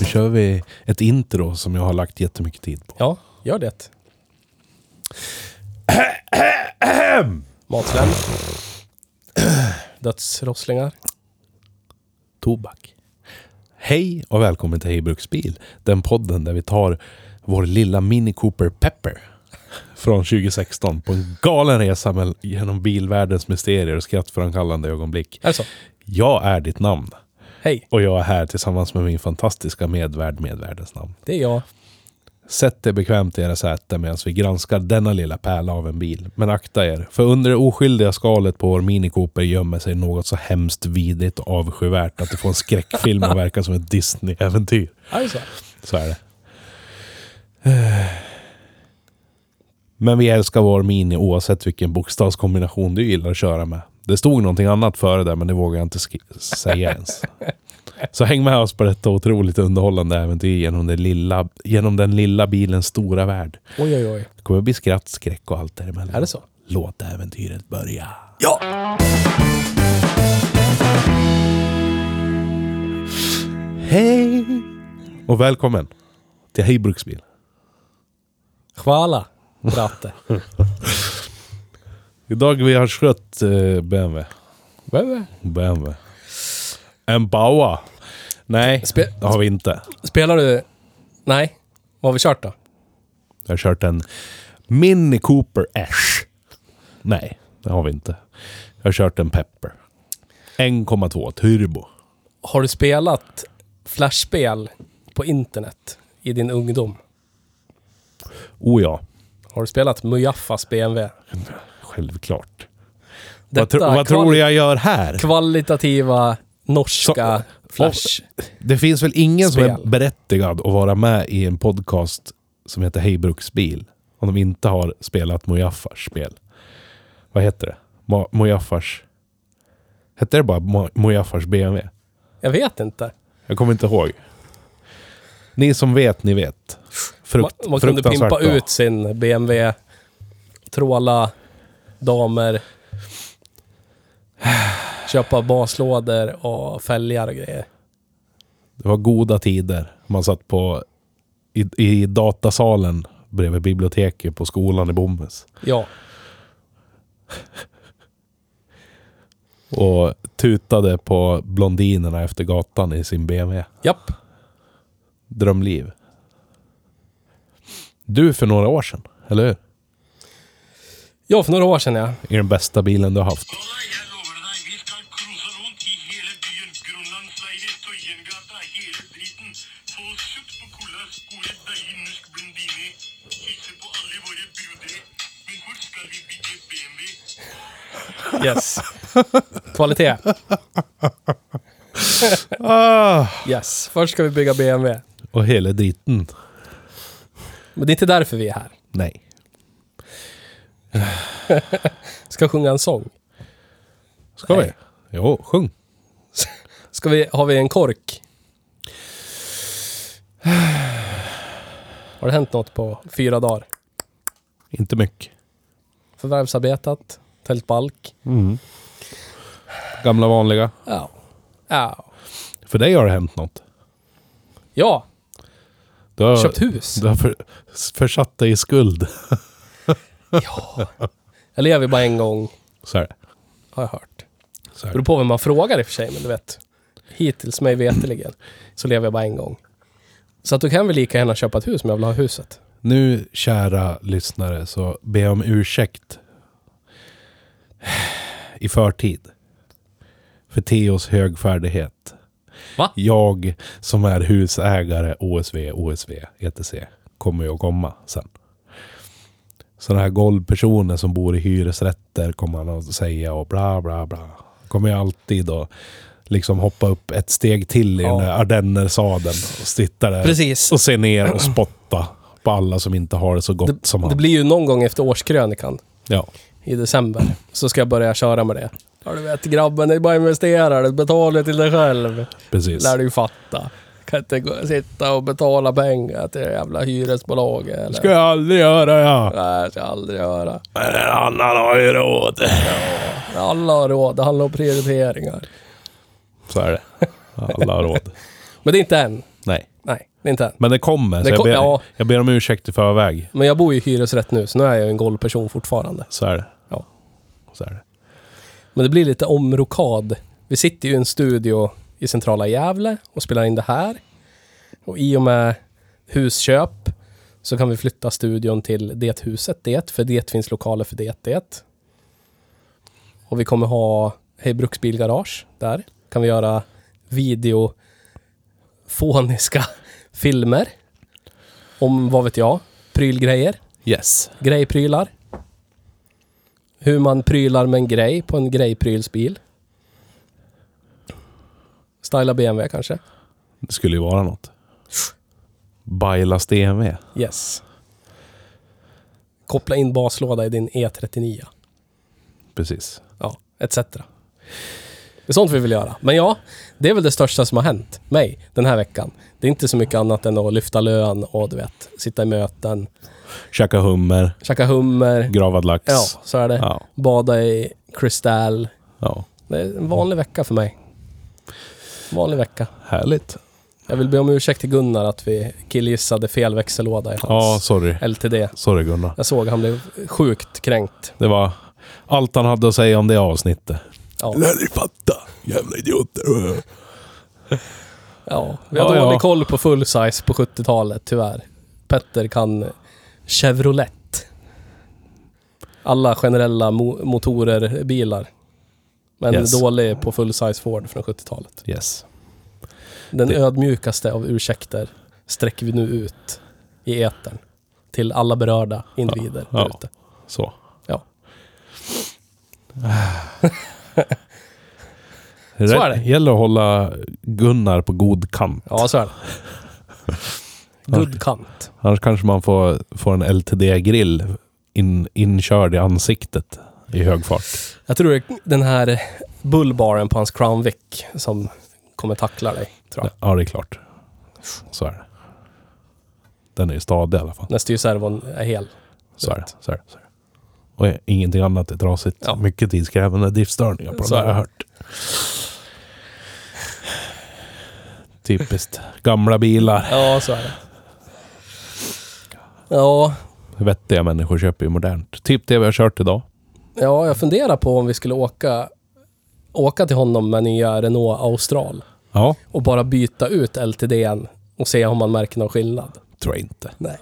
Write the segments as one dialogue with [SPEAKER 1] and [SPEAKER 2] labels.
[SPEAKER 1] Nu kör vi ett intro som jag har lagt jättemycket tid på.
[SPEAKER 2] Ja, gör det. Matsvärm. Dödsrosslingar.
[SPEAKER 1] Tobak. Hej och välkommen till Hej Bruksbil. Den podden där vi tar vår lilla Mini Cooper Pepper från 2016 på en galen resa mell- genom bilvärldens mysterier och skrattframkallande ögonblick.
[SPEAKER 2] Är det så?
[SPEAKER 1] Jag är ditt namn
[SPEAKER 2] Hej,
[SPEAKER 1] och jag är här tillsammans med min fantastiska medvärd medvärdens namn.
[SPEAKER 2] det är jag.
[SPEAKER 1] Sätt er bekvämt i era säten medan vi granskar denna lilla pärla av en bil. Men akta er, för under det oskyldiga skalet på vår Mini Cooper gömmer sig något så hemskt vidrigt och avskyvärt att det får en skräckfilm att verka som ett Disney-äventyr.
[SPEAKER 2] Är det så?
[SPEAKER 1] Så är det. Men vi älskar vår Mini oavsett vilken bokstavskombination du gillar att köra med. Det stod någonting annat före där, men det vågar jag inte sk- säga ens. Så häng med oss på detta otroligt underhållande äventyr genom, det lilla, genom den lilla bilens stora värld.
[SPEAKER 2] Oj, oj, oj.
[SPEAKER 1] Det kommer bli skratt, skräck och allt däremellan.
[SPEAKER 2] Är det så?
[SPEAKER 1] Låt äventyret börja.
[SPEAKER 2] Ja!
[SPEAKER 1] Hej! Och välkommen till Hej Bruksbil.
[SPEAKER 2] Chvala. Bratte.
[SPEAKER 1] Idag vi har skött eh, BMW.
[SPEAKER 2] Vem är-
[SPEAKER 1] BMW. En Baua. Nej,
[SPEAKER 2] Spe-
[SPEAKER 1] det har vi inte.
[SPEAKER 2] Spelar du... Nej. Vad har vi kört då?
[SPEAKER 1] Jag har kört en Mini Cooper Ash. Nej, det har vi inte. Jag har kört en Pepper. 1,2 turbo.
[SPEAKER 2] Har du spelat flashspel på internet i din ungdom?
[SPEAKER 1] Oh ja,
[SPEAKER 2] Har du spelat Mujaffas BMW?
[SPEAKER 1] självklart. Vad,
[SPEAKER 2] Detta
[SPEAKER 1] tro, vad tror du jag gör här?
[SPEAKER 2] kvalitativa norska flash...
[SPEAKER 1] Det finns väl ingen som
[SPEAKER 2] Spel.
[SPEAKER 1] är berättigad att vara med i en podcast som heter Hej Bruksbil om de inte har spelat Mujaffars spel. Vad heter det? Ma- Mujaffars... Hette det bara Ma- Mujaffars BMW?
[SPEAKER 2] Jag vet inte.
[SPEAKER 1] Jag kommer inte ihåg. Ni som vet, ni vet. Frukt,
[SPEAKER 2] man, man kunde
[SPEAKER 1] fruktansvärt
[SPEAKER 2] pimpa
[SPEAKER 1] bra.
[SPEAKER 2] ut sin BMW, tråla damer, köpa baslådor och fälgar och grejer.
[SPEAKER 1] Det var goda tider. Man satt på... I, i datasalen bredvid biblioteket på skolan i Bomhus.
[SPEAKER 2] Ja,
[SPEAKER 1] Och tutade på blondinerna efter gatan i sin BMW.
[SPEAKER 2] japp.
[SPEAKER 1] Drömliv. Du för några år sedan, eller hur?
[SPEAKER 2] Ja, för några år sedan ja.
[SPEAKER 1] I den bästa bilen du har haft.
[SPEAKER 3] Dalai, jeg lover deg, vi skal cruise rundt i hele byen, Grønlandsleiret, Tøyengata, hele driten. Få oss sutt på cola, skole deilig norsk blondine. Kysse på alle våre brudere. Men hvor skal vi bygge BMW?
[SPEAKER 2] Yes. Kvalitet.
[SPEAKER 1] Ah!
[SPEAKER 2] Yes. Först ska vi bygga BMW.
[SPEAKER 1] Och hela driten.
[SPEAKER 2] Men det är inte därför vi är här.
[SPEAKER 1] Nej.
[SPEAKER 2] Ska sjunga en sång.
[SPEAKER 1] Ska vi?
[SPEAKER 2] Nej.
[SPEAKER 1] Jo, sjung.
[SPEAKER 2] Ska vi, har vi en kork? Har det hänt något på fyra dagar?
[SPEAKER 1] Inte mycket.
[SPEAKER 2] Förvärvsarbetat, tält balk.
[SPEAKER 1] Gamla vanliga.
[SPEAKER 2] Ja. Ja.
[SPEAKER 1] För dig har det hänt något.
[SPEAKER 2] Ja,
[SPEAKER 1] Du har,
[SPEAKER 2] köpt hus.
[SPEAKER 1] Du har för, försatt dig i skuld.
[SPEAKER 2] Jag lever bara en gång,
[SPEAKER 1] Så här.
[SPEAKER 2] har jag hört.
[SPEAKER 1] Så här.
[SPEAKER 2] Beror på vem man frågar i och för sig, men du vet. Hittills mig veteligen så lever jag bara en gång. Så att du kan väl lika gärna köpa ett hus om jag vill ha huset.
[SPEAKER 1] Nu, kära lyssnare, så be om ursäkt i förtid för Theos högfärdighet.
[SPEAKER 4] Va?
[SPEAKER 1] Jag som är husägare OSV, OSV, ETC kommer ju att komma sen. Sådana här golvpersoner som bor i hyresrätter kommer han att säga och bla bla bla. Kommer ju alltid att liksom hoppa upp ett steg till i
[SPEAKER 2] Ja.
[SPEAKER 1] den där ardennersadeln och sitta där
[SPEAKER 4] Precis.
[SPEAKER 1] och se ner och spotta på alla som inte har det så gott som
[SPEAKER 2] Det
[SPEAKER 1] han.
[SPEAKER 2] blir ju någon gång efter årskrönikan
[SPEAKER 1] Ja.
[SPEAKER 2] i december. Så ska jag börja köra med det. Ja, du vet grabben, det är bara att investera. Du betalar till dig själv.
[SPEAKER 1] Precis.
[SPEAKER 2] lär du ju fatta. Kan inte gå, sitta och betala pengar till det jävla hyresbolaget. Eller?
[SPEAKER 1] ska jag aldrig göra ja.
[SPEAKER 2] Nej, det ska jag aldrig göra.
[SPEAKER 1] Men en annan har ju råd.
[SPEAKER 2] Alla har råd. Det handlar om prioriteringar.
[SPEAKER 1] Så är det. Alla har råd.
[SPEAKER 2] Men det är inte än.
[SPEAKER 1] Nej.
[SPEAKER 2] Nej, det är inte än.
[SPEAKER 1] Men det kommer.
[SPEAKER 2] Det
[SPEAKER 1] så
[SPEAKER 2] kom-
[SPEAKER 1] jag, ber,
[SPEAKER 2] ja.
[SPEAKER 1] jag ber om ursäkt i förväg.
[SPEAKER 2] Men jag bor ju i hyresrätt nu, så nu är jag ju en golvperson fortfarande.
[SPEAKER 1] Så är det.
[SPEAKER 2] Ja.
[SPEAKER 1] Så är det.
[SPEAKER 2] Men det blir lite omrokad. Vi sitter ju i en studio i centrala Gävle och spelar in det här. Och i och med husköp så kan vi flytta studion till det huset det, för det finns lokaler för det det. Och vi kommer ha Hej Bruksbilgarage där. Kan vi göra videofoniska filmer. Om, vad vet jag, prylgrejer
[SPEAKER 1] Yes.
[SPEAKER 2] grejprylar. Hur man prylar med en grej på en grejprylsbil. Styla BMW kanske?
[SPEAKER 1] Det skulle ju vara något. Baila DMV.
[SPEAKER 2] Yes. Koppla in baslåda i din E39.
[SPEAKER 1] Precis.
[SPEAKER 2] Ja, etc. Det är sånt vi vill göra. Men ja, det är väl det största som har hänt mig den här veckan. Det är inte så mycket annat än att lyfta lön och du vet, sitta i möten,
[SPEAKER 1] Käka hummer.
[SPEAKER 2] käka hummer.
[SPEAKER 1] Gravad lax.
[SPEAKER 2] Ja, så är det.
[SPEAKER 1] Ja.
[SPEAKER 2] Bada i kristall.
[SPEAKER 1] ja.
[SPEAKER 2] Det är en vanlig vecka för mig. Vanlig vecka.
[SPEAKER 1] Härligt.
[SPEAKER 2] Jag vill be om ursäkt till Gunnar att vi killgissade fel växellåda i
[SPEAKER 1] Ja,
[SPEAKER 2] hans
[SPEAKER 1] sorry.
[SPEAKER 2] LTD.
[SPEAKER 1] Sorry Gunnar.
[SPEAKER 2] Jag såg han blev sjukt kränkt.
[SPEAKER 1] Det var allt han hade att säga om det avsnittet.
[SPEAKER 2] Ja,
[SPEAKER 1] ni fatta. Jävla idioter.
[SPEAKER 2] ja. Vi har
[SPEAKER 1] Ja, ja.
[SPEAKER 2] dålig koll på full size på 70-talet, tyvärr. Petter kan Chevrolet. Alla generella mo- motorer, bilar. Men
[SPEAKER 1] Yes.
[SPEAKER 2] dålig på full size Ford från 70-talet.
[SPEAKER 1] Yes.
[SPEAKER 2] Den
[SPEAKER 1] Det-
[SPEAKER 2] ödmjukaste av ursäkter sträcker vi nu ut i etern till alla berörda individer
[SPEAKER 1] Ja, ja.
[SPEAKER 2] ja, där ute.
[SPEAKER 1] Så.
[SPEAKER 2] Ja.
[SPEAKER 1] Så
[SPEAKER 2] är det.
[SPEAKER 1] gäller att hålla Gunnar på god kant.
[SPEAKER 2] Ja, så är det. Good kant.
[SPEAKER 1] Annars kanske man får, får en LTD-grill in, inkörd i ansiktet i hög fart.
[SPEAKER 2] Jag tror det är den här bullbaren på hans Crown Vic som kommer tackla dig, tror jag.
[SPEAKER 1] Ja, det är klart. Så är det. Den är ju stadig i alla fall.
[SPEAKER 2] När styrservon är hel.
[SPEAKER 1] Så är det. Så är det. Så är det. Och ingenting annat är trasigt.
[SPEAKER 2] Ja.
[SPEAKER 1] Mycket tidskrävande driftstörningar på
[SPEAKER 2] Så
[SPEAKER 1] den har jag
[SPEAKER 2] är det.
[SPEAKER 1] hört. Typiskt. Gamla bilar.
[SPEAKER 2] Ja, så är det. Ja,
[SPEAKER 1] Vettiga människor köper ju modernt. Typ det vi har kört idag.
[SPEAKER 2] ja, jag funderar på om vi skulle åka, åka till honom med nya Renault Austral
[SPEAKER 1] Ja,
[SPEAKER 2] och bara byta ut LTDn och se om man märker någon skillnad.
[SPEAKER 1] tror jag inte.
[SPEAKER 2] Nej.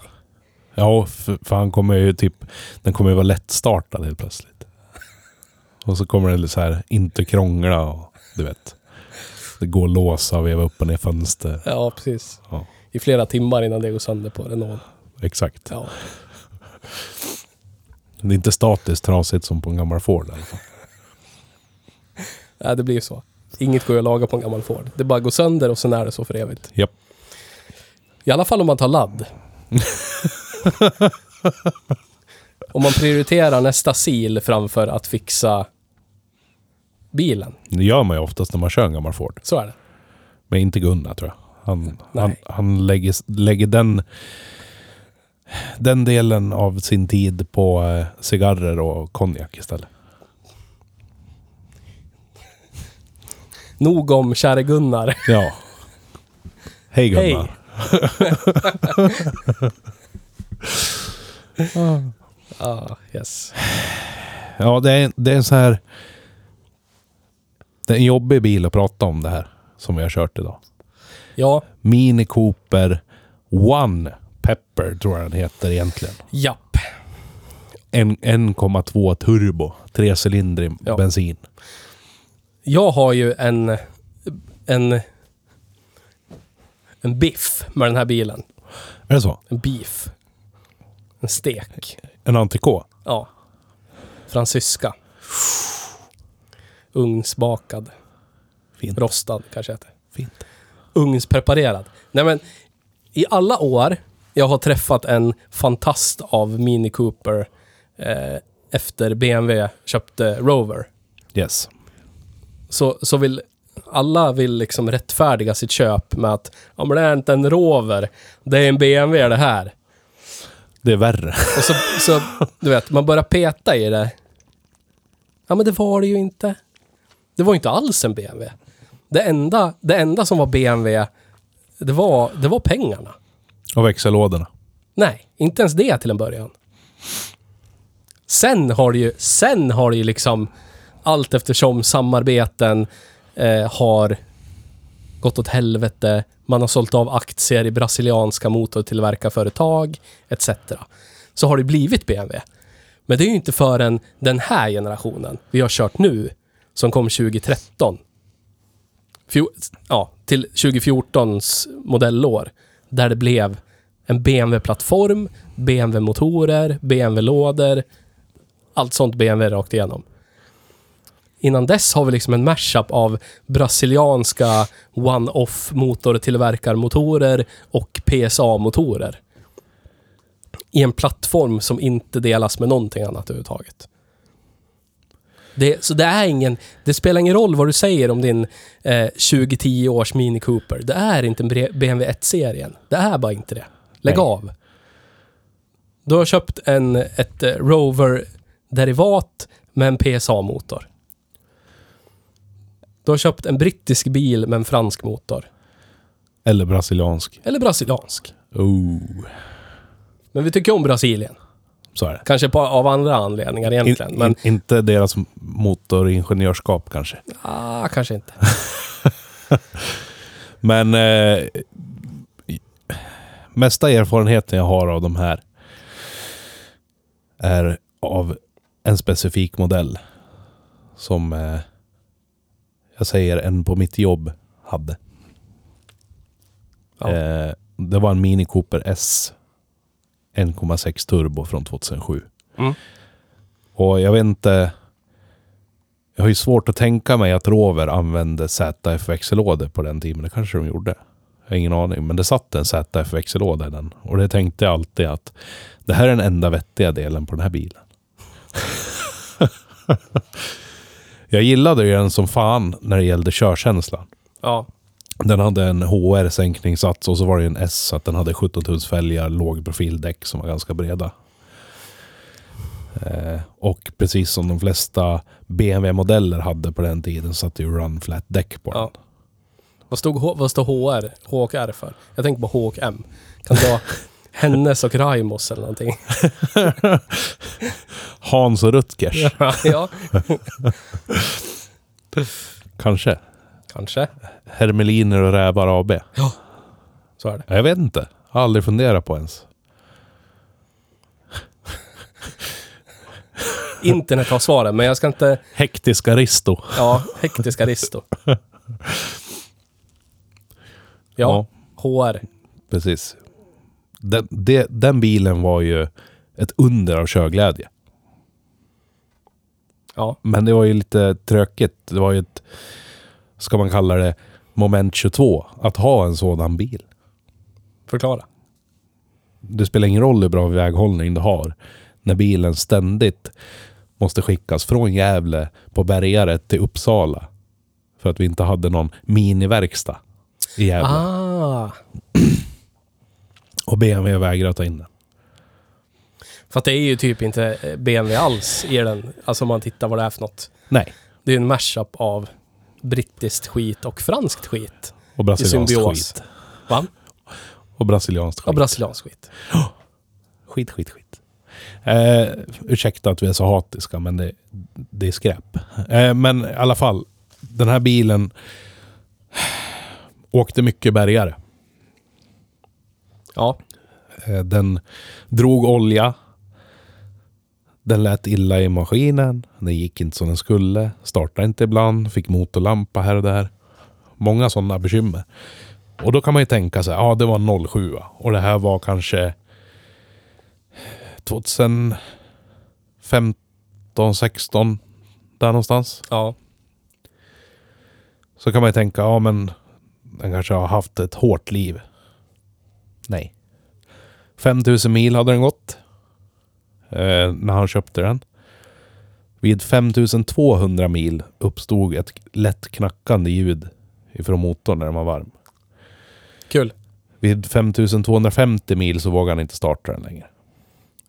[SPEAKER 1] Ja, för, för han kommer ju typ... Den kommer ju vara lättstartad helt plötsligt. Och så kommer den så här, inte krångla och du vet. Det går att låsa och veva upp och ner fönster.
[SPEAKER 2] Ja, precis.
[SPEAKER 1] Ja,
[SPEAKER 2] I flera timmar innan det går sönder på Renault.
[SPEAKER 1] exakt.
[SPEAKER 2] Ja.
[SPEAKER 1] Det är inte statiskt trasigt som på en gammal Ford i alla fall.
[SPEAKER 2] Ja, det blir ju så. Inget går ju att laga på en gammal Ford. Det bara går sönder och sen är det så för evigt.
[SPEAKER 1] Japp.
[SPEAKER 2] I alla fall om man tar ladd. om man prioriterar nästa sil framför att fixa bilen.
[SPEAKER 1] Det gör man ju oftast när man kör en gammal Ford.
[SPEAKER 2] Så är det.
[SPEAKER 1] Men inte Gunnar tror jag. Han, han,
[SPEAKER 2] Nej.
[SPEAKER 1] han lägger, lägger den, den delen av sin tid på eh, cigarrer och konjak istället.
[SPEAKER 2] Nog om käre Gunnar.
[SPEAKER 1] Ja. Hej Gunnar.
[SPEAKER 2] Hej. ah, yes.
[SPEAKER 1] Ja, det är, det är en så här... Det är en jobbig bil att prata om det här som vi har kört idag.
[SPEAKER 2] Ja,
[SPEAKER 1] Mini Cooper One Pepper tror jag den heter egentligen.
[SPEAKER 2] japp.
[SPEAKER 1] En- 1,2 turbo, trecylindrig
[SPEAKER 2] Ja.
[SPEAKER 1] bensin.
[SPEAKER 2] Jag har ju en, en en biff med den här bilen.
[SPEAKER 1] Är det så?
[SPEAKER 2] En beef. En stek.
[SPEAKER 1] En antikå?
[SPEAKER 2] Ja. Fransyska. Ugnsbakad.
[SPEAKER 1] Fint.
[SPEAKER 2] Rostad kanske heter.
[SPEAKER 1] Fint.
[SPEAKER 2] Ugnspreparerad. Nej men, i alla år jag har träffat en fantast av Mini Cooper eh, efter BMW köpte Rover.
[SPEAKER 1] Yes.
[SPEAKER 2] så, så vill alla vill liksom rättfärdiga sitt köp med att ja, men det är inte en Rover, det är en BMW det här.
[SPEAKER 1] Det är värre.
[SPEAKER 2] Och så, så du vet, man börjar peta i det. Ja, men det var det ju inte. Det var ju inte alls en BMW. Det enda, det enda som var BMW, det var, det var pengarna.
[SPEAKER 1] Och växellådorna.
[SPEAKER 2] Nej, inte ens det till en början. Sen har det ju, sen har det ju liksom allt eftersom samarbeten eh, har gått åt helvete. Man har sålt av aktier i brasilianska motortillverkarföretag etc. Så har det blivit BMW. Men det är ju inte förrän den här generationen vi har kört nu, som kom 2013. Fjo, ja, till 2014s modellår, där det blev en BMW-plattform, BMW-motorer, BMW-lådor, allt sånt BMW rakt igenom. Innan dess har vi liksom en mashup av brasilianska one-off motortillverkarmotorer och PSA-motorer. I en plattform som inte delas med någonting annat överhuvudtaget. Det, så det är ingen... Det spelar ingen roll vad du säger om din eh, 2010 års Mini Cooper. Det är inte en bre- BMW 1-serien. Det är bara inte det. Lägg
[SPEAKER 1] Nej.
[SPEAKER 2] av. Du har köpt en, ett eh, Rover-derivat med en PSA-motor. Du har köpt en brittisk bil med en fransk motor.
[SPEAKER 1] Eller brasiliansk.
[SPEAKER 2] Eller brasiliansk.
[SPEAKER 1] Oh,
[SPEAKER 2] Men vi tycker om Brasilien.
[SPEAKER 1] så är det.
[SPEAKER 2] Kanske på, av andra anledningar egentligen.
[SPEAKER 1] In,
[SPEAKER 2] men
[SPEAKER 1] in, inte deras motoringenjörskap kanske.
[SPEAKER 2] ah, kanske inte.
[SPEAKER 1] Men eh, mesta erfarenheten jag har av de här är av en specifik modell. Som eh, jag säger en på mitt jobb hade.
[SPEAKER 2] Ja.
[SPEAKER 1] Eh, det var en Mini Cooper S 1,6 turbo från 2007.
[SPEAKER 2] Mm.
[SPEAKER 1] Och jag vet inte... Jag har ju svårt att tänka mig att Rover använde ZF-växellådor på den tiden. men Det kanske de gjorde. Jag har ingen aning. Men det satt en ZF-växellåda i den. Och det tänkte jag alltid att det här är den enda vettiga delen på den här bilen. jag gillade ju den som fan när det gällde körkänslan.
[SPEAKER 2] Ja.
[SPEAKER 1] Den hade en HR-sänkningssats och så var det en S så att den hade 17 tums fälgar, låg profildäck som var ganska breda. Eh, och precis som de flesta BMW-modeller hade på den tiden så att det ju run flat däck på
[SPEAKER 2] ja.
[SPEAKER 1] den.
[SPEAKER 2] Vad, stod, H- vad står HR, HKR för? Jag tänker på HKM. Kan det vara Hennes och Raimos eller någonting?
[SPEAKER 1] Hans och Rutgers,
[SPEAKER 2] ja,
[SPEAKER 1] kanske.
[SPEAKER 2] kanske.
[SPEAKER 1] Hermeliner och Rävar AB.
[SPEAKER 2] Så är det.
[SPEAKER 1] Ja, Jag vet inte. Har aldrig funderat på ens.
[SPEAKER 2] Internet har svaren, men jag ska inte...
[SPEAKER 1] Hektisk Aristo.
[SPEAKER 2] Ja, hektisk Aristo. Ja,
[SPEAKER 1] Ja.
[SPEAKER 2] HR.
[SPEAKER 1] Precis. Den, det, den bilen var ju ett under av körglädje.
[SPEAKER 2] Ja,
[SPEAKER 1] Men det var ju lite trökigt. Det var ju ett, ska man kalla det, moment 22. Att ha en sådan bil.
[SPEAKER 2] förklara.
[SPEAKER 1] Det spelar ingen roll hur bra väghållning du har. När bilen ständigt måste skickas från Gävle på Bergaret till Uppsala. För att vi inte hade någon miniverkstad i Gävle.
[SPEAKER 2] Ah,
[SPEAKER 1] Och BMW vägrade ta in den.
[SPEAKER 2] för att det är ju typ inte eh, BMW alls i den. Alltså om man tittar vad det är för något.
[SPEAKER 1] Nej.
[SPEAKER 2] Det är ju en mashup av brittiskt skit och franskt skit.
[SPEAKER 1] Och
[SPEAKER 2] I
[SPEAKER 1] brasilianskt
[SPEAKER 2] symbios.
[SPEAKER 1] skit.
[SPEAKER 2] Va?
[SPEAKER 1] Och brasilianskt skit.
[SPEAKER 2] Ja, brasiliansk skit.
[SPEAKER 1] Skit, skit, skit. Eh, ursäkta att vi är så hatiska, men det, det är skräp. Eh, men i alla fall, den här bilen åkte mycket bergare.
[SPEAKER 2] Ja.
[SPEAKER 1] Eh, den drog olja. Den lät illa i maskinen. Den gick inte som den skulle. Startade inte ibland. Fick motorlampa här och där. Många sådana bekymmer. Och då kan man ju tänka sig, ja ah, det var 07 va? och det här var kanske 2015, 16 där någonstans.
[SPEAKER 2] Ja.
[SPEAKER 1] Så kan man ju tänka, ja men den kanske har haft ett hårt liv. Nej. 5000 mil hade den gått. Eh, när han köpte den. Vid 5200 mil uppstod ett lätt knackande ljud ifrån motorn när den var varm.
[SPEAKER 2] Kul.
[SPEAKER 1] Vid 5250 mil så vågade han inte starta den längre.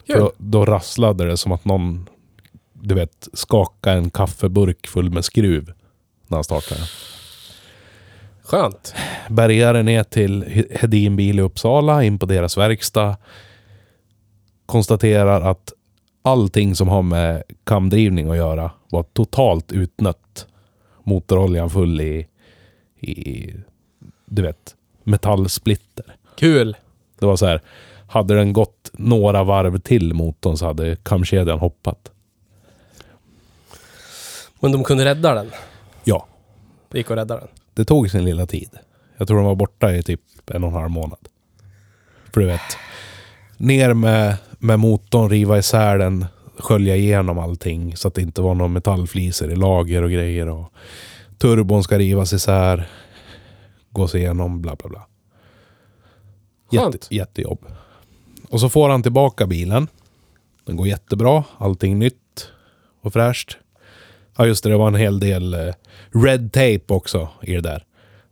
[SPEAKER 1] För
[SPEAKER 2] Kul.
[SPEAKER 1] då, då rasslade det som att någon, du vet, skakade en kaffeburk full med skruv när han startade den.
[SPEAKER 2] Skönt.
[SPEAKER 1] bärgare ner till He- Hedin Bil i Uppsala, in på deras verkstad. Konstaterar att allting som har med kamdrivning att göra var totalt utnött. Motoroljan full i, i du vet, metallsplitter.
[SPEAKER 2] Kul.
[SPEAKER 1] Det var så här, hade den gått några varv till motorn så hade kamkedjan hoppat.
[SPEAKER 2] Men de kunde rädda den.
[SPEAKER 1] Ja,
[SPEAKER 2] Det gick att rädda den.
[SPEAKER 1] det tog sin lilla tid. Jag tror de var borta i typ en och en halv månad. För du vet, ner med, med motorn, riva isär den, skölja igenom allting så att det inte var några metallflisor i lager och grejer. Och turbon ska rivas isär, gås igenom, bla bla bla. Jätte,
[SPEAKER 2] Skönt.
[SPEAKER 1] jättejobb. Och så får han tillbaka bilen. Den går jättebra, allting nytt och fräscht. Ja just det, det var en hel del eh, red tape också i det där.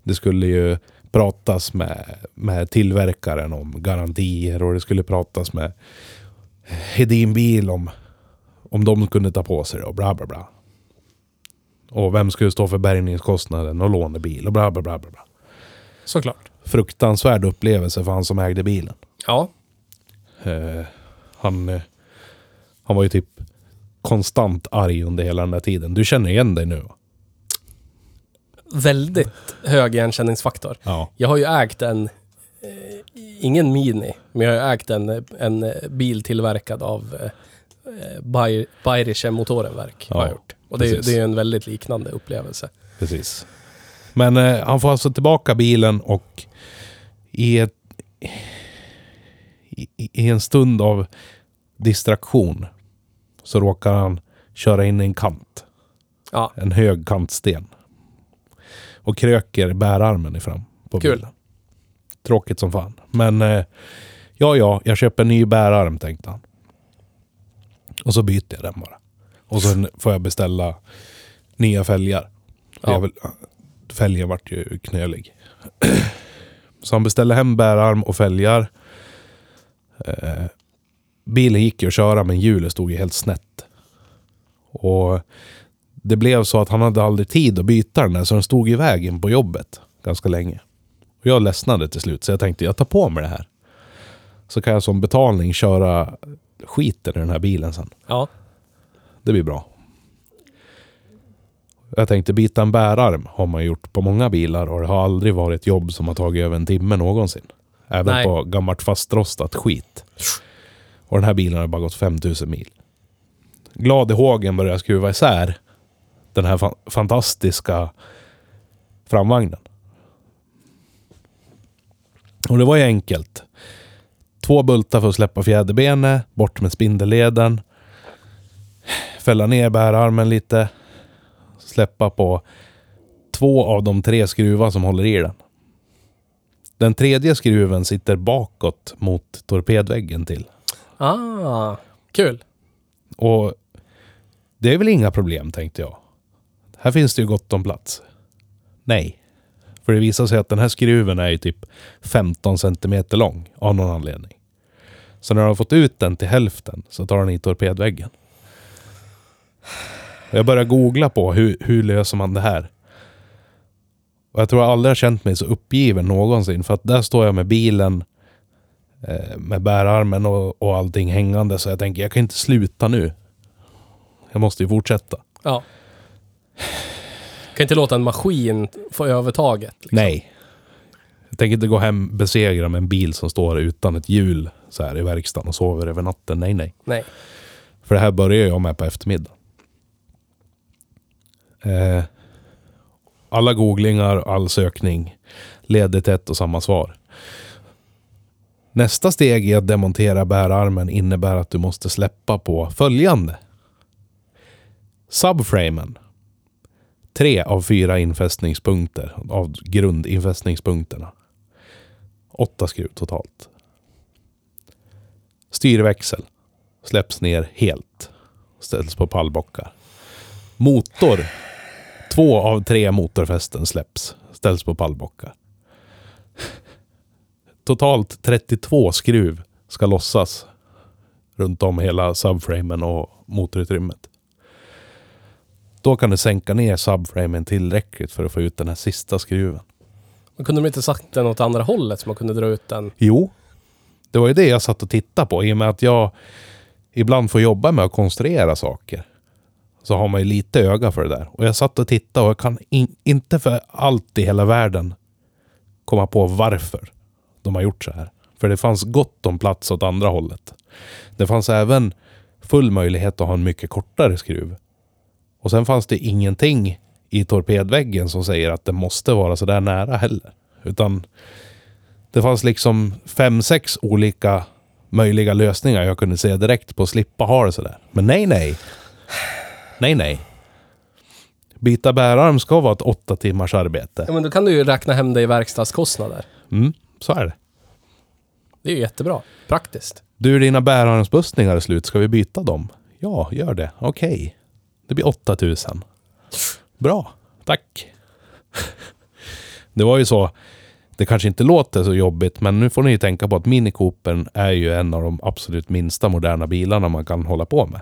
[SPEAKER 1] Det skulle ju pratas med, med tillverkaren om garantier och det skulle pratas med eh, Hedin Bil om, om de kunde ta på sig det och bla bla bla. Och vem skulle stå för bärgningskostnaden och lånebil och bla bla bla. bla, bla.
[SPEAKER 2] Såklart.
[SPEAKER 1] Fruktansvärd upplevelse för han som ägde bilen.
[SPEAKER 2] Ja.
[SPEAKER 1] Eh, han, eh, han var ju typ konstant arg under hela den där tiden. Du känner igen dig nu va?
[SPEAKER 2] Väldigt hög igenkänningsfaktor.
[SPEAKER 1] Ja.
[SPEAKER 2] Jag har ju ägt en, eh, ingen Mini, men jag har ju ägt en, en eh, bil tillverkad av eh, eh, Bayer- Bayerische Motorenwerk. har
[SPEAKER 1] Ja,
[SPEAKER 2] jag gjort. Och det, är ju-
[SPEAKER 1] precis.
[SPEAKER 2] det är ju en väldigt liknande upplevelse.
[SPEAKER 1] Precis. Men eh, han får alltså tillbaka bilen och i, ett, i, i- i en stund av distraktion så råkar han köra in i en kant.
[SPEAKER 2] Ja.
[SPEAKER 1] En hög kantsten. Och kröker bärarmen ifram på
[SPEAKER 2] Kul.
[SPEAKER 1] bilen. Tråkigt som fan. Men eh, ja, ja, jag köper en ny bärarm tänkte han. Och så byter jag den bara. Och sen får jag beställa nya fälgar.
[SPEAKER 2] Ja.
[SPEAKER 1] Jag vill, fälgen vart ju knölig. Så han beställde hem bärarm och fälgar. Eh, bilen gick ju att köra men hjulet stod ju helt snett. Och det blev så att han hade aldrig tid att byta den där så den stod i vägen på jobbet ganska länge. Och jag ledsnade till slut så jag tänkte jag tar på mig det här. Så kan jag som betalning köra skiten i den här bilen sen.
[SPEAKER 2] Ja.
[SPEAKER 1] Det blir bra. Jag tänkte byta en bärarm har man gjort på många bilar och det har aldrig varit ett jobb som har tagit över en timme någonsin. Även
[SPEAKER 2] Nej.
[SPEAKER 1] på gammalt fastrostat skit. Och den här bilen har bara gått 5000 mil. Glad i hågen börjar jag skruva isär den här fa- fantastiska framvagnen. Och det var ju enkelt. Två bultar för att släppa fjäderbenet, bort med spindelleden fälla ner bärarmen lite. Släppa på två av de tre skruvar som håller i den. Den tredje skruven sitter bakåt mot torpedväggen till.
[SPEAKER 2] Ah, kul.
[SPEAKER 1] Och det är väl inga problem tänkte jag. Här finns det ju gott om plats. Nej. För det visar sig att den här skruven är ju typ 15 centimeter lång av någon anledning. Så när de har fått ut den till hälften så tar den i torpedväggen. Och Jag börjar googla på hur, hur löser man det här. Och jag tror jag aldrig har känt mig så uppgiven någonsin för att där står jag med bilen eh, med bärarmen och, och allting hängande så jag tänker jag kan inte sluta nu. Jag måste ju fortsätta.
[SPEAKER 2] Ja. Kan inte låta en maskin få övertaget. liksom.
[SPEAKER 1] Nej. Jag tänker inte gå hem besegrad med en bil som står utan ett hjul så här i verkstaden och sover över natten. Nej, nej.
[SPEAKER 2] Nej.
[SPEAKER 1] För det här börjar jag med på eftermiddagen. Eh, alla googlingar, all sökning leder till ett och samma svar. Nästa steg i att demontera bärarmen innebär att du måste släppa på följande. Subframen. Tre av fyra infästningspunkter av grundinfästningspunkterna. Åtta skruv totalt. Styrväxel släpps ner helt. Ställs på pallbockar. Motor. Två av tre motorfästen släpps. Ställs på pallbockar. Totalt 32 skruv ska lossas runt om hela subframen och motorutrymmet. Då kan du sänka ner subframen tillräckligt för att få ut den här sista skruven.
[SPEAKER 2] Men kunde de inte sagt den åt andra hållet så man kunde dra ut den?
[SPEAKER 1] Jo. Det var ju det jag satt och tittade på. I och med att jag ibland får jobba med att konstruera saker. Så har man ju lite öga för det där. Och jag satt och tittade och jag kan in, inte för allt i hela världen komma på varför de har gjort så här. För det fanns gott om plats åt andra hållet. Det fanns även full möjlighet att ha en mycket kortare skruv. Och sen fanns det ingenting i torpedväggen som säger att det måste vara så där nära heller. Utan det fanns liksom fem, sex olika möjliga lösningar jag kunde se direkt på att slippa ha det sådär. Men nej, nej. Nej, nej. Byta bärarm ska vara ett åtta timmars arbete.
[SPEAKER 2] Ja, men då kan du ju räkna hem det i verkstadskostnader.
[SPEAKER 1] Mm, så är det.
[SPEAKER 2] Det är ju jättebra. Praktiskt.
[SPEAKER 1] Du, dina bärarmsbussningar är slut. Ska vi byta dem? Ja, gör det. Okej. Det blir 8000. Bra. Tack. Det var ju så. Det kanske inte låter så jobbigt, men nu får ni ju tänka på att Mini Coopern är ju en av de absolut minsta moderna bilarna man kan hålla på med.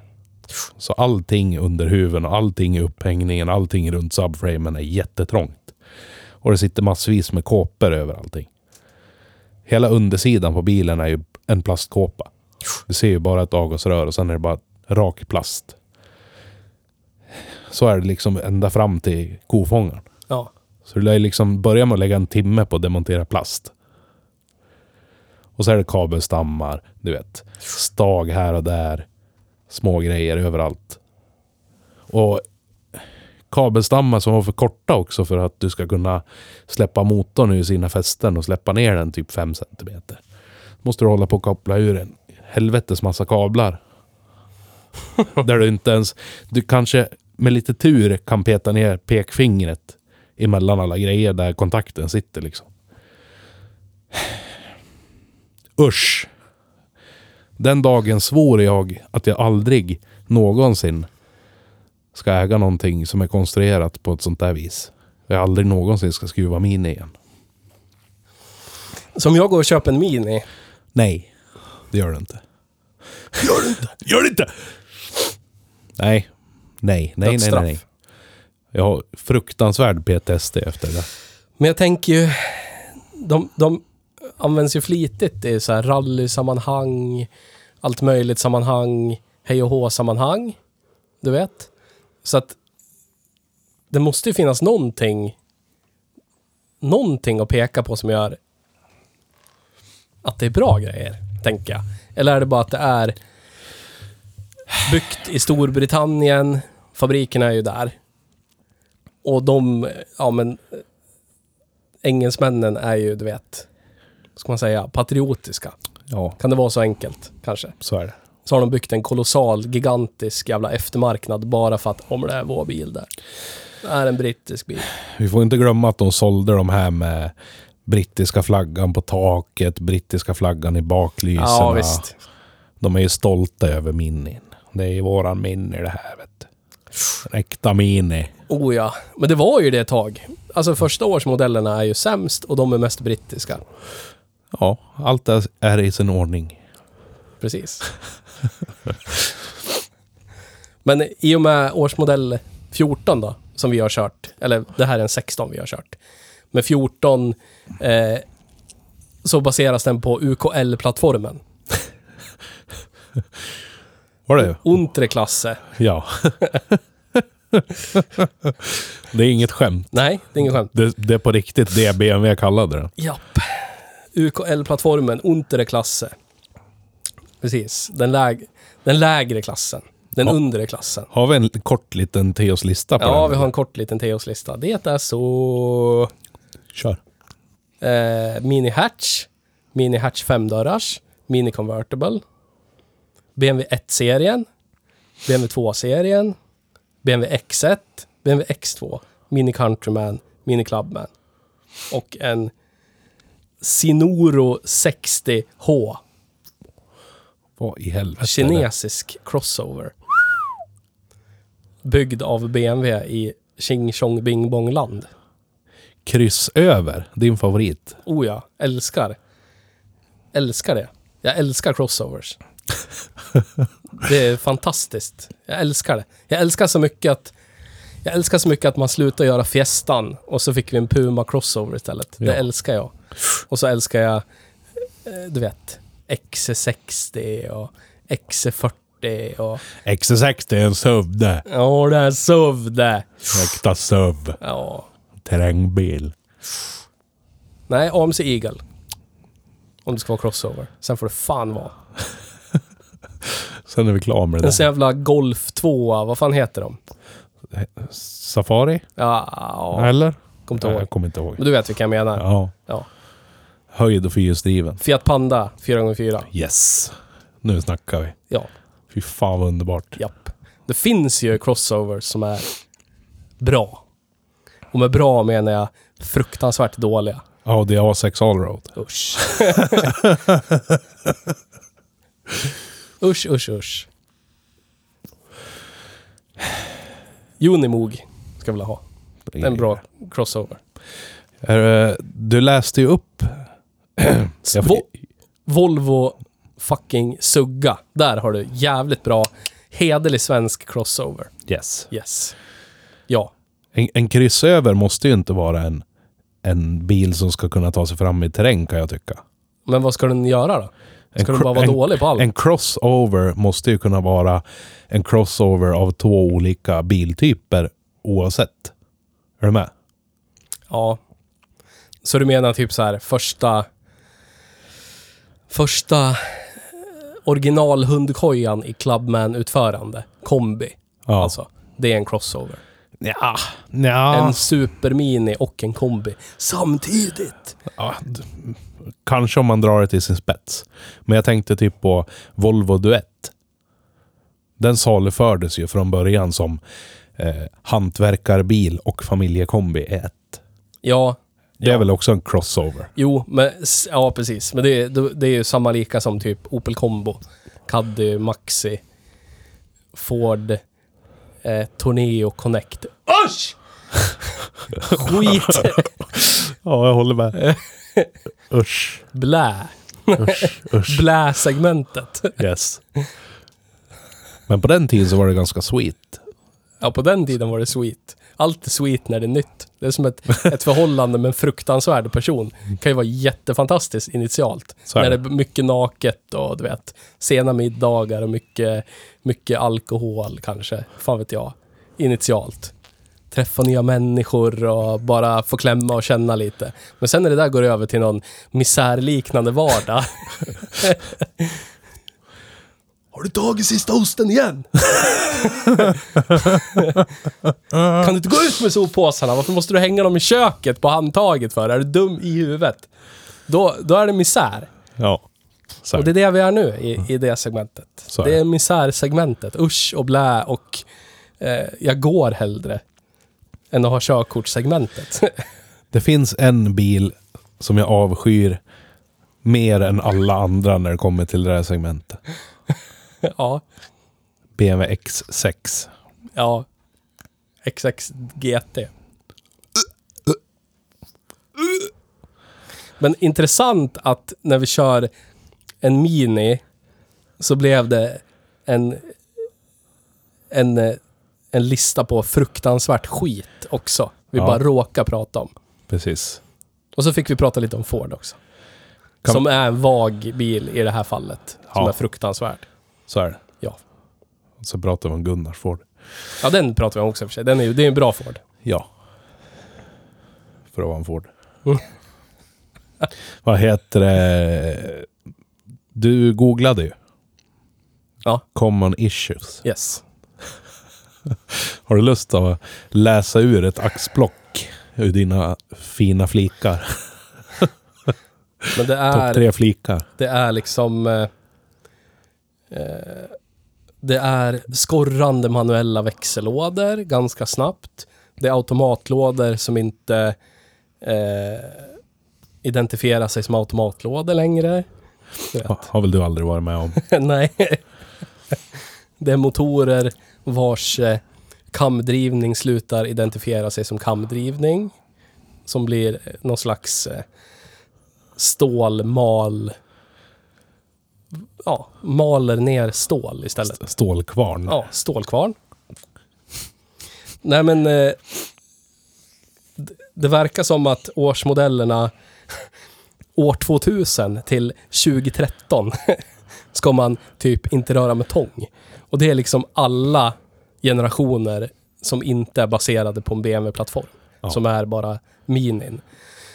[SPEAKER 1] Så allting under huven och allting i upphängningen, allting runt subframen är jättetrångt. Och det sitter massvis med kåpor över allting. Hela undersidan på bilen är ju en plastkåpa. Du ser ju bara ett avgasrör och sen är det bara rak plast. Så är det liksom ända fram till kofångaren.
[SPEAKER 2] Ja.
[SPEAKER 1] Så du lär ju liksom börja med att lägga en timme på att demontera plast. Och så är det kabelstammar, du vet. Stag här och där. Små grejer överallt. Och kabelstammar som var för korta också för att du ska kunna släppa motorn ur sina fästen och släppa ner den typ 5 centimeter. Måste du hålla på att koppla ur en helvetes massa kablar. Där du inte ens... Du kanske med lite tur kan peta ner pekfingret emellan alla grejer där kontakten sitter liksom. Usch! Den dagen svor jag att jag aldrig någonsin ska äga någonting som är konstruerat på ett sånt där vis. Jag aldrig någonsin ska skruva min igen.
[SPEAKER 2] Så om jag går och köper en Mini,
[SPEAKER 1] Nej, det gör du inte. Gör det inte! Gör det inte! Nej. Nej, nej, nej, nej. nej.
[SPEAKER 2] Dödsstraff.
[SPEAKER 1] Jag har fruktansvärd PTSD efter det.
[SPEAKER 2] men jag tänker ju... De, de används ju flitigt i så här rallysammanhang, allt möjligt sammanhang, hej och hå-sammanhang. Du vet? Så att det måste ju finnas någonting, någonting att peka på som gör att det är bra grejer, tänker jag. Eller är det bara att det är byggt i Storbritannien, fabrikerna är ju där. Och de, ja men, engelsmännen är ju, du vet, vad ska man säga, patriotiska.
[SPEAKER 1] Ja,
[SPEAKER 2] Kan det vara så enkelt, kanske?
[SPEAKER 1] så är det.
[SPEAKER 2] Så har de byggt en kolossal, gigantisk jävla eftermarknad bara för att, om det är vår bil där. Det är en brittisk bil.
[SPEAKER 1] Vi får inte glömma att de sålde de här med brittiska flaggan på taket, brittiska flaggan i baklyserna.
[SPEAKER 2] Ja, visst.
[SPEAKER 1] De är ju stolta över minin. Det är ju våran mini det här vet du. En äkta mini.
[SPEAKER 2] Oh ja, men det var ju det ett tag. Alltså första årsmodellerna är ju sämst och de är mest brittiska.
[SPEAKER 1] Ja, allt är- är i sin ordning.
[SPEAKER 2] Precis. Men i och med årsmodell 14 då, som vi har kört, eller det här är en 16 vi har kört. Med 14 eh, så baseras den på UKL-plattformen.
[SPEAKER 1] Var det?
[SPEAKER 2] Untere Klasse.
[SPEAKER 1] Ja. det är inget skämt.
[SPEAKER 2] Nej, det är inget skämt.
[SPEAKER 1] Det, det är på riktigt det BMW kallade den.
[SPEAKER 2] Japp. UKL-plattformen, untere Klasse. Precis. Den, läg den lägre klassen. Den
[SPEAKER 1] Ja.
[SPEAKER 2] undre klassen.
[SPEAKER 1] Har vi en kort liten Teos lista på
[SPEAKER 2] Ja,
[SPEAKER 1] den?
[SPEAKER 2] vi har en kort liten Teos-lista. Det är så...
[SPEAKER 1] Kör.
[SPEAKER 2] Eh, mini hatch, mini hatch femdörrars, mini convertible, BMW 1-serien, BMW 2-serien, BMW X1, BMW X2, mini countryman, mini clubman och en Sinoro 60H,
[SPEAKER 1] Vad i helvete?
[SPEAKER 2] kinesisk crossover. Byggd av BMW i Ching Chong Bing Bong land.
[SPEAKER 1] Kryss över, din favorit.
[SPEAKER 2] Oh ja, älskar. Älskar det. Jag älskar crossovers. det är fantastiskt. Jag älskar det. Jag älskar så mycket att jag älskar så mycket att man slutar göra fiestan och så fick vi en Puma Crossover istället.
[SPEAKER 1] Ja.
[SPEAKER 2] Det älskar jag. Och så älskar jag, eh, du vet, XC60 och XC40 och...
[SPEAKER 1] XS60 är en SUV det.
[SPEAKER 2] Ja, det är SUV det!
[SPEAKER 1] Äkta SUV.
[SPEAKER 2] Ja.
[SPEAKER 1] Terrängbil.
[SPEAKER 2] Nej, AMC Eagle. Om det ska vara crossover. Sen får det fan vara.
[SPEAKER 1] Sen är vi klara med det
[SPEAKER 2] En sån
[SPEAKER 1] där.
[SPEAKER 2] jävla Golf 2, vad fan heter de?
[SPEAKER 1] Safari?
[SPEAKER 2] Ja, ja.
[SPEAKER 1] Eller?
[SPEAKER 2] Kom inte
[SPEAKER 1] Nej,
[SPEAKER 2] ihåg.
[SPEAKER 1] Jag kommer inte ihåg.
[SPEAKER 2] Men du vet vilka jag menar. Ja.
[SPEAKER 1] Ja. Höjd och fyrhjulsdriven.
[SPEAKER 2] Fiat Panda 4x4.
[SPEAKER 1] Yes. Nu snackar vi.
[SPEAKER 2] Ja,
[SPEAKER 1] Fy fan vad underbart.
[SPEAKER 2] japp. Det finns ju crossovers som är bra. Och med bra menar jag fruktansvärt dåliga.
[SPEAKER 1] Audi A6 Allroad.
[SPEAKER 2] Usch. usch, usch, usch. Unimog ska jag vilja ha. Det är en bra crossover.
[SPEAKER 1] Är det- Du läste ju upp... Jag-
[SPEAKER 2] Vo Volvo fucking sugga. Där har du jävligt bra, hederlig svensk crossover.
[SPEAKER 1] Yes.
[SPEAKER 2] Yes. Ja.
[SPEAKER 1] En, en kryssöver måste ju inte vara en, en bil som ska kunna ta sig fram i terräng kan jag tycka.
[SPEAKER 2] Men vad ska den göra då?
[SPEAKER 1] En
[SPEAKER 2] Ska den
[SPEAKER 1] cro-
[SPEAKER 2] bara vara
[SPEAKER 1] en,
[SPEAKER 2] dålig på allt?
[SPEAKER 1] En crossover måste ju kunna vara en crossover av två olika biltyper oavsett. Är du med?
[SPEAKER 2] Ja. Så du menar typ så här första... Första originalhundkojan i Clubman-utförande. Kombi.
[SPEAKER 1] Ja.
[SPEAKER 2] Alltså, det är en crossover.
[SPEAKER 1] Ja. ja.
[SPEAKER 2] En supermini och en kombi. Samtidigt!
[SPEAKER 1] ja. d- Kanske om man drar det till sin spets. Men jag tänkte typ på Volvo Duett. Den salufördes ju från början som eh, hantverkarbil och familjekombi i ett.
[SPEAKER 2] Ja,
[SPEAKER 1] Det är väl också en crossover?
[SPEAKER 2] Jo, men, s- ja precis. Men det, är- det, det är ju samma lika som typ Opel Combo, Caddy, Maxi, Ford, eh, Torneo Connect. Usch! Skit!
[SPEAKER 1] Ja, jag håller med. Usch.
[SPEAKER 2] Blä!
[SPEAKER 1] Usch. Usch.
[SPEAKER 2] Blä-segmentet.
[SPEAKER 1] Yes. Men på den tiden så var det ganska sweet.
[SPEAKER 2] Ja, på den tiden var det sweet. Allt är sweet när det är nytt. Det är som ett, ett förhållande med en fruktansvärd person. Det kan ju vara jättefantastiskt initialt.
[SPEAKER 1] Så är
[SPEAKER 2] när det
[SPEAKER 1] det.
[SPEAKER 2] är mycket naket och du vet, sena middagar och mycket, mycket alkohol kanske. Fan vet jag. Initialt. Träffa nya människor och bara få klämma och känna lite. Men sen när det där går över till någon misärliknande vardag. Har du tagit sista osten igen? Kan du inte gå ut med soppåsarna? Varför måste du hänga dem i köket på handtaget för? Är du dum i huvudet? Då, då är det misär.
[SPEAKER 1] Ja. Så
[SPEAKER 2] Och det är det vi är nu i, i det segmentet.
[SPEAKER 1] Så är
[SPEAKER 2] det
[SPEAKER 1] det.
[SPEAKER 2] är misärsegmentet. Usch och blä och eh, jag går hellre än att ha körkortssegmentet.
[SPEAKER 1] Det finns en bil som jag avskyr mer än alla andra när det kommer till det här segmentet.
[SPEAKER 2] ja,
[SPEAKER 1] BMW X6.
[SPEAKER 2] ja. XX GT. Men intressant att när vi kör en Mini så blev det en, en, eh, en lista på fruktansvärt skit också. Vi
[SPEAKER 1] Ja.
[SPEAKER 2] bara råkar prata om.
[SPEAKER 1] Precis.
[SPEAKER 2] Och så fick vi prata lite om Ford också.
[SPEAKER 1] Kan-
[SPEAKER 2] Som är en vag bil i det här fallet. Som
[SPEAKER 1] Ja.
[SPEAKER 2] är fruktansvärd.
[SPEAKER 1] Så är det.
[SPEAKER 2] Ja.
[SPEAKER 1] Och så pratar vi om Gunnars Ford.
[SPEAKER 2] ja, den pratar vi om också i och för sig. Den är, ju- det är en bra Ford.
[SPEAKER 1] Ja. För att vara en Ford.
[SPEAKER 2] Mm.
[SPEAKER 1] Vad heter det? Du googlade ju.
[SPEAKER 2] Ja.
[SPEAKER 1] Common issues.
[SPEAKER 2] Yes.
[SPEAKER 1] Har du lust att läsa ur ett axplock ur dina fina flikar?
[SPEAKER 2] Men det
[SPEAKER 1] Topp
[SPEAKER 2] är,
[SPEAKER 1] tre flikar.
[SPEAKER 2] det är liksom... Eh, eh, det är skorrande manuella växellådor ganska snabbt. Det är automatlådor som inte eh, identifierar sig som automatlådor längre. Du vet.
[SPEAKER 1] Ha- Har väl du aldrig varit med om.
[SPEAKER 2] Nej. Det är motorer vars eh, kamdrivning slutar identifiera sig som kamdrivning. Som blir eh, någon slags eh, stålmal... Ja, maler ner stål istället.
[SPEAKER 1] Stålkvarn.
[SPEAKER 2] Ja, stålkvarn. Nej men... Eh, d- det verkar som att årsmodellerna år 2000 till 2013 ska man typ inte röra med tång. Och det är liksom alla generationer som inte är baserade på en BMW-plattform.
[SPEAKER 1] Ja.
[SPEAKER 2] Som är bara minin.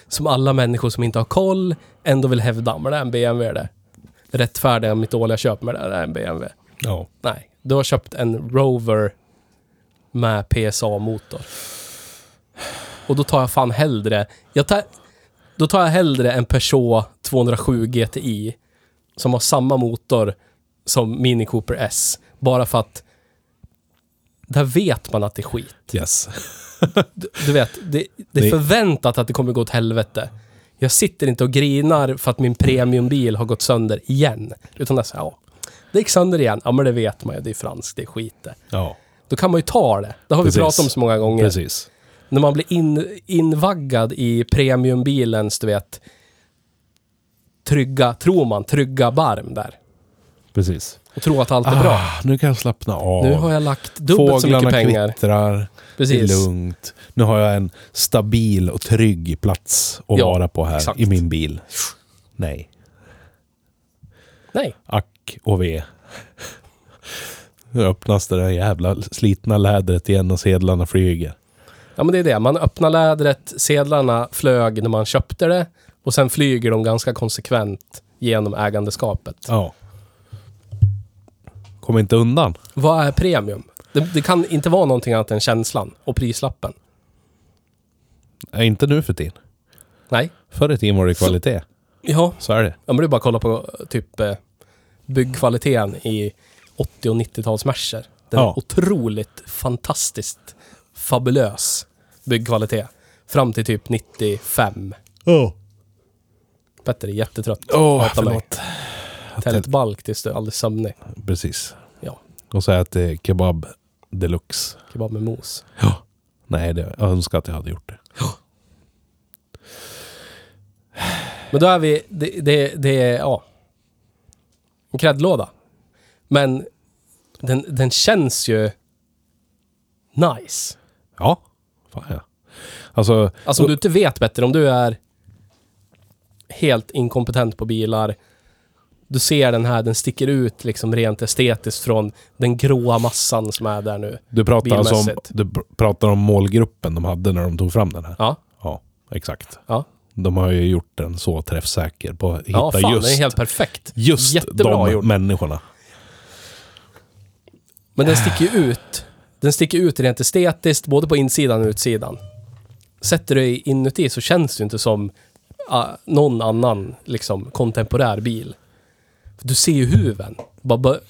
[SPEAKER 2] Som alla människor som inte har koll ändå vill hävda, men det är en BMW det. Rättfärdiga mitt dåliga köp, men det är en BMW.
[SPEAKER 1] Ja.
[SPEAKER 2] Nej, du har köpt en Rover med PSA-motor. Och då tar jag fan hellre... Jag tar, då tar jag hellre en Peugeot 207 GTI som har samma motor som Mini Cooper S. Bara för att där vet man att det är skit.
[SPEAKER 1] Yes.
[SPEAKER 2] Du, du vet, det, det
[SPEAKER 1] Det-
[SPEAKER 2] är förväntat att det kommer gå åt helvete. Jag sitter inte och grinar för att min premiumbil har gått sönder igen. Utan det är så här, ja. Det gick sönder igen. Ja, men det vet man ju. Det är franskt, det är skit det.
[SPEAKER 1] Ja.
[SPEAKER 2] Då kan man ju ta det. Det har
[SPEAKER 1] Precis.
[SPEAKER 2] vi pratat om så många gånger.
[SPEAKER 1] Precis.
[SPEAKER 2] När man blir in, invaggad i premiumbilens, du vet, trygga, tror man, trygga barm där.
[SPEAKER 1] Precis.
[SPEAKER 2] Och tror att allt är bra.
[SPEAKER 1] Ah, nu kan jag slappna av.
[SPEAKER 2] Nu har jag lagt dubbelt så mycket pengar.
[SPEAKER 1] kvittrar.
[SPEAKER 2] Precis.
[SPEAKER 1] Det är lugnt. Nu har jag en stabil och trygg plats att
[SPEAKER 2] Ja,
[SPEAKER 1] vara på här
[SPEAKER 2] exakt.
[SPEAKER 1] i min bil. Nej.
[SPEAKER 2] Nej.
[SPEAKER 1] Ack och ve. Nu öppnas det där jävla slitna lädret igen och sedlarna flyger.
[SPEAKER 2] Ja, men det är det. Man öppnar lädret, sedlarna flög när man köpte det och sen flyger de ganska konsekvent genom ägandeskapet.
[SPEAKER 1] Ja. Kom inte undan.
[SPEAKER 2] Vad är premium? Det, det kan inte vara någonting annat än känslan och prislappen.
[SPEAKER 1] Nej, Äh, inte nu för tiden.
[SPEAKER 2] Nej.
[SPEAKER 1] Förr i tiden var det kvalitet.
[SPEAKER 2] Ja,
[SPEAKER 1] Så är det.
[SPEAKER 2] Ja, men det är bara att kolla på typ eh, byggkvaliteten i 80 och 90-tals Mercer. Den
[SPEAKER 1] Ja.
[SPEAKER 2] är otroligt fantastiskt fabulös byggkvalitet. Fram till typ 95.
[SPEAKER 1] Åh,
[SPEAKER 2] Petter är jättetrött.
[SPEAKER 1] oh,
[SPEAKER 2] Hatar mig.
[SPEAKER 1] förlåt.
[SPEAKER 2] Tältbalk tills du är alldeles sömnig.
[SPEAKER 1] Precis.
[SPEAKER 2] Ja,
[SPEAKER 1] Och så äter jag kebab deluxe.
[SPEAKER 2] kebab med mos.
[SPEAKER 1] Ja. Nej, det, jag önskar att jag hade gjort det.
[SPEAKER 2] Men då är vi... Det, det, det är... Ja. En kräddlåda. Men den, den känns ju nice.
[SPEAKER 1] Ja. Fan ja. Alltså,
[SPEAKER 2] Alltså om du inte vet bättre, om du är helt inkompetent på bilar, du ser den här, den sticker ut liksom rent estetiskt från den gråa massan som är där nu.
[SPEAKER 1] du, pratar alltså om,
[SPEAKER 2] bilmässigt.
[SPEAKER 1] du pr- pratar om målgruppen de hade när de tog fram den här.
[SPEAKER 2] Ja,
[SPEAKER 1] Ja, exakt.
[SPEAKER 2] ja.
[SPEAKER 1] De har ju gjort den så träffsäker på att hitta
[SPEAKER 2] Ja, fan,
[SPEAKER 1] just,
[SPEAKER 2] den är helt perfekt.
[SPEAKER 1] just
[SPEAKER 2] Jättebra
[SPEAKER 1] de
[SPEAKER 2] gjord.
[SPEAKER 1] människorna.
[SPEAKER 2] Men den sticker ju ut. Den sticker ut rent estetiskt, både på insidan och utsidan. Sätter du dig inuti så känns det ju inte som ah, någon annan liksom, kontemporär bil. Du ser ju huven. Bara bör-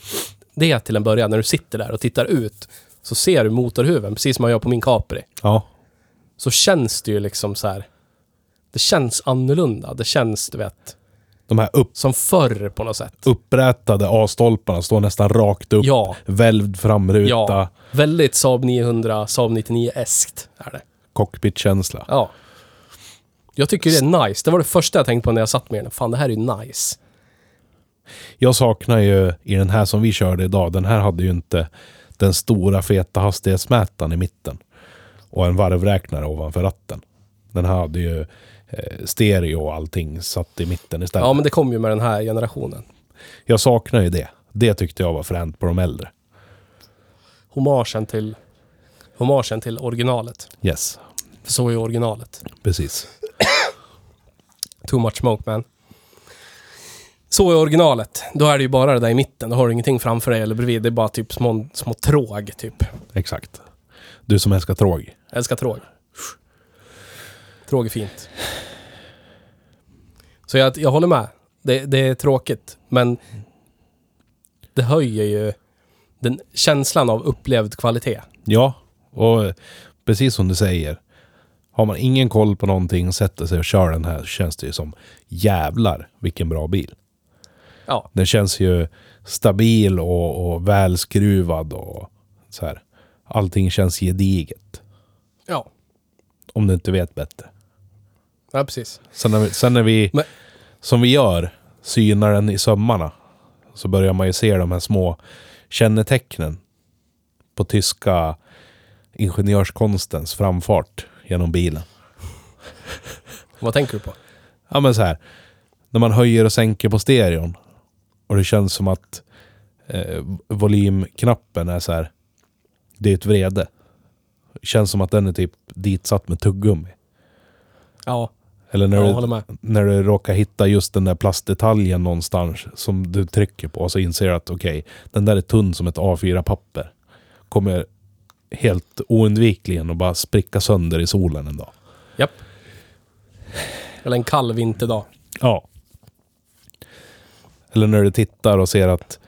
[SPEAKER 2] det till en början, när du sitter där och tittar ut, så ser du motorhuven, precis som man gör på min Capri.
[SPEAKER 1] Ja,
[SPEAKER 2] Så känns det ju liksom så här. Det känns annorlunda. Det känns, du vet,
[SPEAKER 1] de här upp,
[SPEAKER 2] som förr på något sätt.
[SPEAKER 1] upprätade A-stolparna står nästan rakt upp.
[SPEAKER 2] Ja.
[SPEAKER 1] Välvd framruta.
[SPEAKER 2] Ja, väldigt Saab 900, Saab 99-eskt är det.
[SPEAKER 1] Cockpitkänsla.
[SPEAKER 2] Ja. Jag tycker det är nice. Det var det första jag tänkte på när jag satt med den. Fan, det här är ju nice.
[SPEAKER 1] Jag saknar ju i den här som vi körde idag, den här hade ju inte den stora feta hastighetsmätaren i mitten. Och en varvräknare ovanför ratten. Den här hade ju eh, stereo och allting satt i mitten istället.
[SPEAKER 2] Ja, men det kom ju med den här generationen.
[SPEAKER 1] Jag saknar ju det. Det tyckte jag var fränt på de äldre.
[SPEAKER 2] Homagen till, homagen till originalet.
[SPEAKER 1] Yes,
[SPEAKER 2] För så är ju originalet.
[SPEAKER 1] precis.
[SPEAKER 2] Too much smoke, man. Så är originalet. Då är det ju bara det där i mitten. Då har du ingenting framför dig eller bredvid. Det är bara typ små, små tråg, typ.
[SPEAKER 1] Exakt. Du som älskar tråg.
[SPEAKER 2] Jag älskar tråg. Tråg är fint. Så jag, jag håller med. Det, det är tråkigt, men det höjer ju den känslan av upplevd kvalitet.
[SPEAKER 1] Ja, och eh, precis som du säger. Har man ingen koll på någonting, sätter sig och kör den här, känns det ju som jävlar vilken bra bil.
[SPEAKER 2] Ja.
[SPEAKER 1] Den känns ju stabil och, och välskruvad och så här. Allting känns gediget.
[SPEAKER 2] Ja.
[SPEAKER 1] Om du inte vet bättre.
[SPEAKER 2] Ja, precis.
[SPEAKER 1] Sen när vi, sen när vi
[SPEAKER 2] Men-
[SPEAKER 1] som vi gör, synar den i sömmarna. Så börjar man ju se de här små kännetecknen på tyska ingenjörskonstens framfart genom bilen.
[SPEAKER 2] Vad tänker du på?
[SPEAKER 1] Ja men så här. När man höjer och sänker på stereon. Och det känns som att eh, volymknappen är så här. Det är ett vrede. Det känns som att den är typ ditsatt med tuggummi.
[SPEAKER 2] Ja,
[SPEAKER 1] Eller när,
[SPEAKER 2] jag håller
[SPEAKER 1] du,
[SPEAKER 2] med.
[SPEAKER 1] när du råkar hitta just den där plastdetaljen någonstans som du trycker på och så inser du att okej, den där är tunn som ett A4-papper. Kommer helt oundvikligen att bara spricka sönder i solen en dag.
[SPEAKER 2] Japp. Eller en kall vinterdag.
[SPEAKER 1] Ja. Eller när du tittar och ser att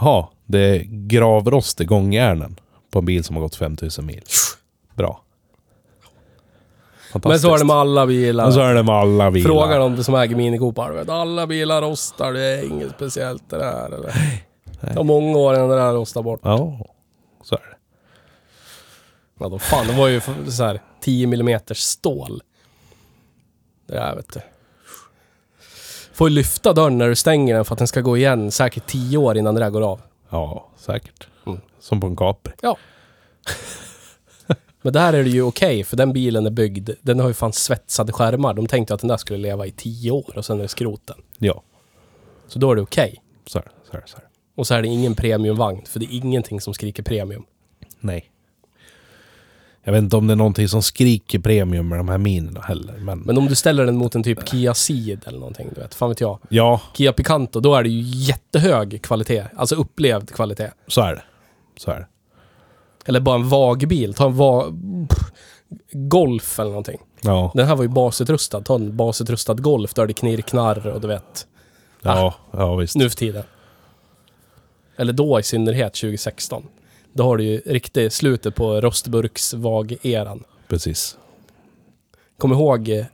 [SPEAKER 1] ja, det är gravrost i gångjärnen på en bil som har gått 5000 mil. Bra.
[SPEAKER 2] Men
[SPEAKER 1] Fantastiskt.
[SPEAKER 2] så är det med alla bilar.
[SPEAKER 1] Men så är det med alla bilar.
[SPEAKER 2] Frågar de som äger minikopar. du vet, Alla bilar rostar, det är inget speciellt det där. Eller? Det var många år innan det där rostade bort.
[SPEAKER 1] Ja, så är det.
[SPEAKER 2] Ja, då fan, det var ju för- så här 10 mm stål. Det där vet du. Får ju lyfta dörren när du stänger den för att den ska gå igen säkert 10 år innan det där går av.
[SPEAKER 1] Ja, säkert.
[SPEAKER 2] Mm.
[SPEAKER 1] Som på en Capri.
[SPEAKER 2] Ja. Men där är det ju okej, för den bilen är byggd. Den har ju fan svetsade skärmar. De tänkte att den där skulle leva i 10 år och sen är det skroten.
[SPEAKER 1] Ja,
[SPEAKER 2] Så då är det okej.
[SPEAKER 1] så är det. Så är det, så är det.
[SPEAKER 2] Och så är det ingen premiumvagn, för det är ingenting som skriker premium.
[SPEAKER 1] Nej. Jag vet inte om det är någonting som skriker premium med de här minerna heller. Men,
[SPEAKER 2] Men om du ställer den mot en typ Kia Ceed eller någonting, du vet. Fan vet jag.
[SPEAKER 1] ja,
[SPEAKER 2] Kia Picanto, då är det ju jättehög kvalitet. Alltså upplevd kvalitet.
[SPEAKER 1] så är det. Så är det.
[SPEAKER 2] Eller bara en vag bil. Ta en vag... pff, Golf eller någonting.
[SPEAKER 1] Ja,
[SPEAKER 2] Den här var ju basutrustad. Ta en basutrustad Golf, då är det knirr-knarr och du vet.
[SPEAKER 1] ja, ja visst.
[SPEAKER 2] Nu för tiden. Eller då i synnerhet 2016. Då har du ju riktigt slutet på rostburks-vag-eran.
[SPEAKER 1] Precis.
[SPEAKER 2] kom ihåg eh,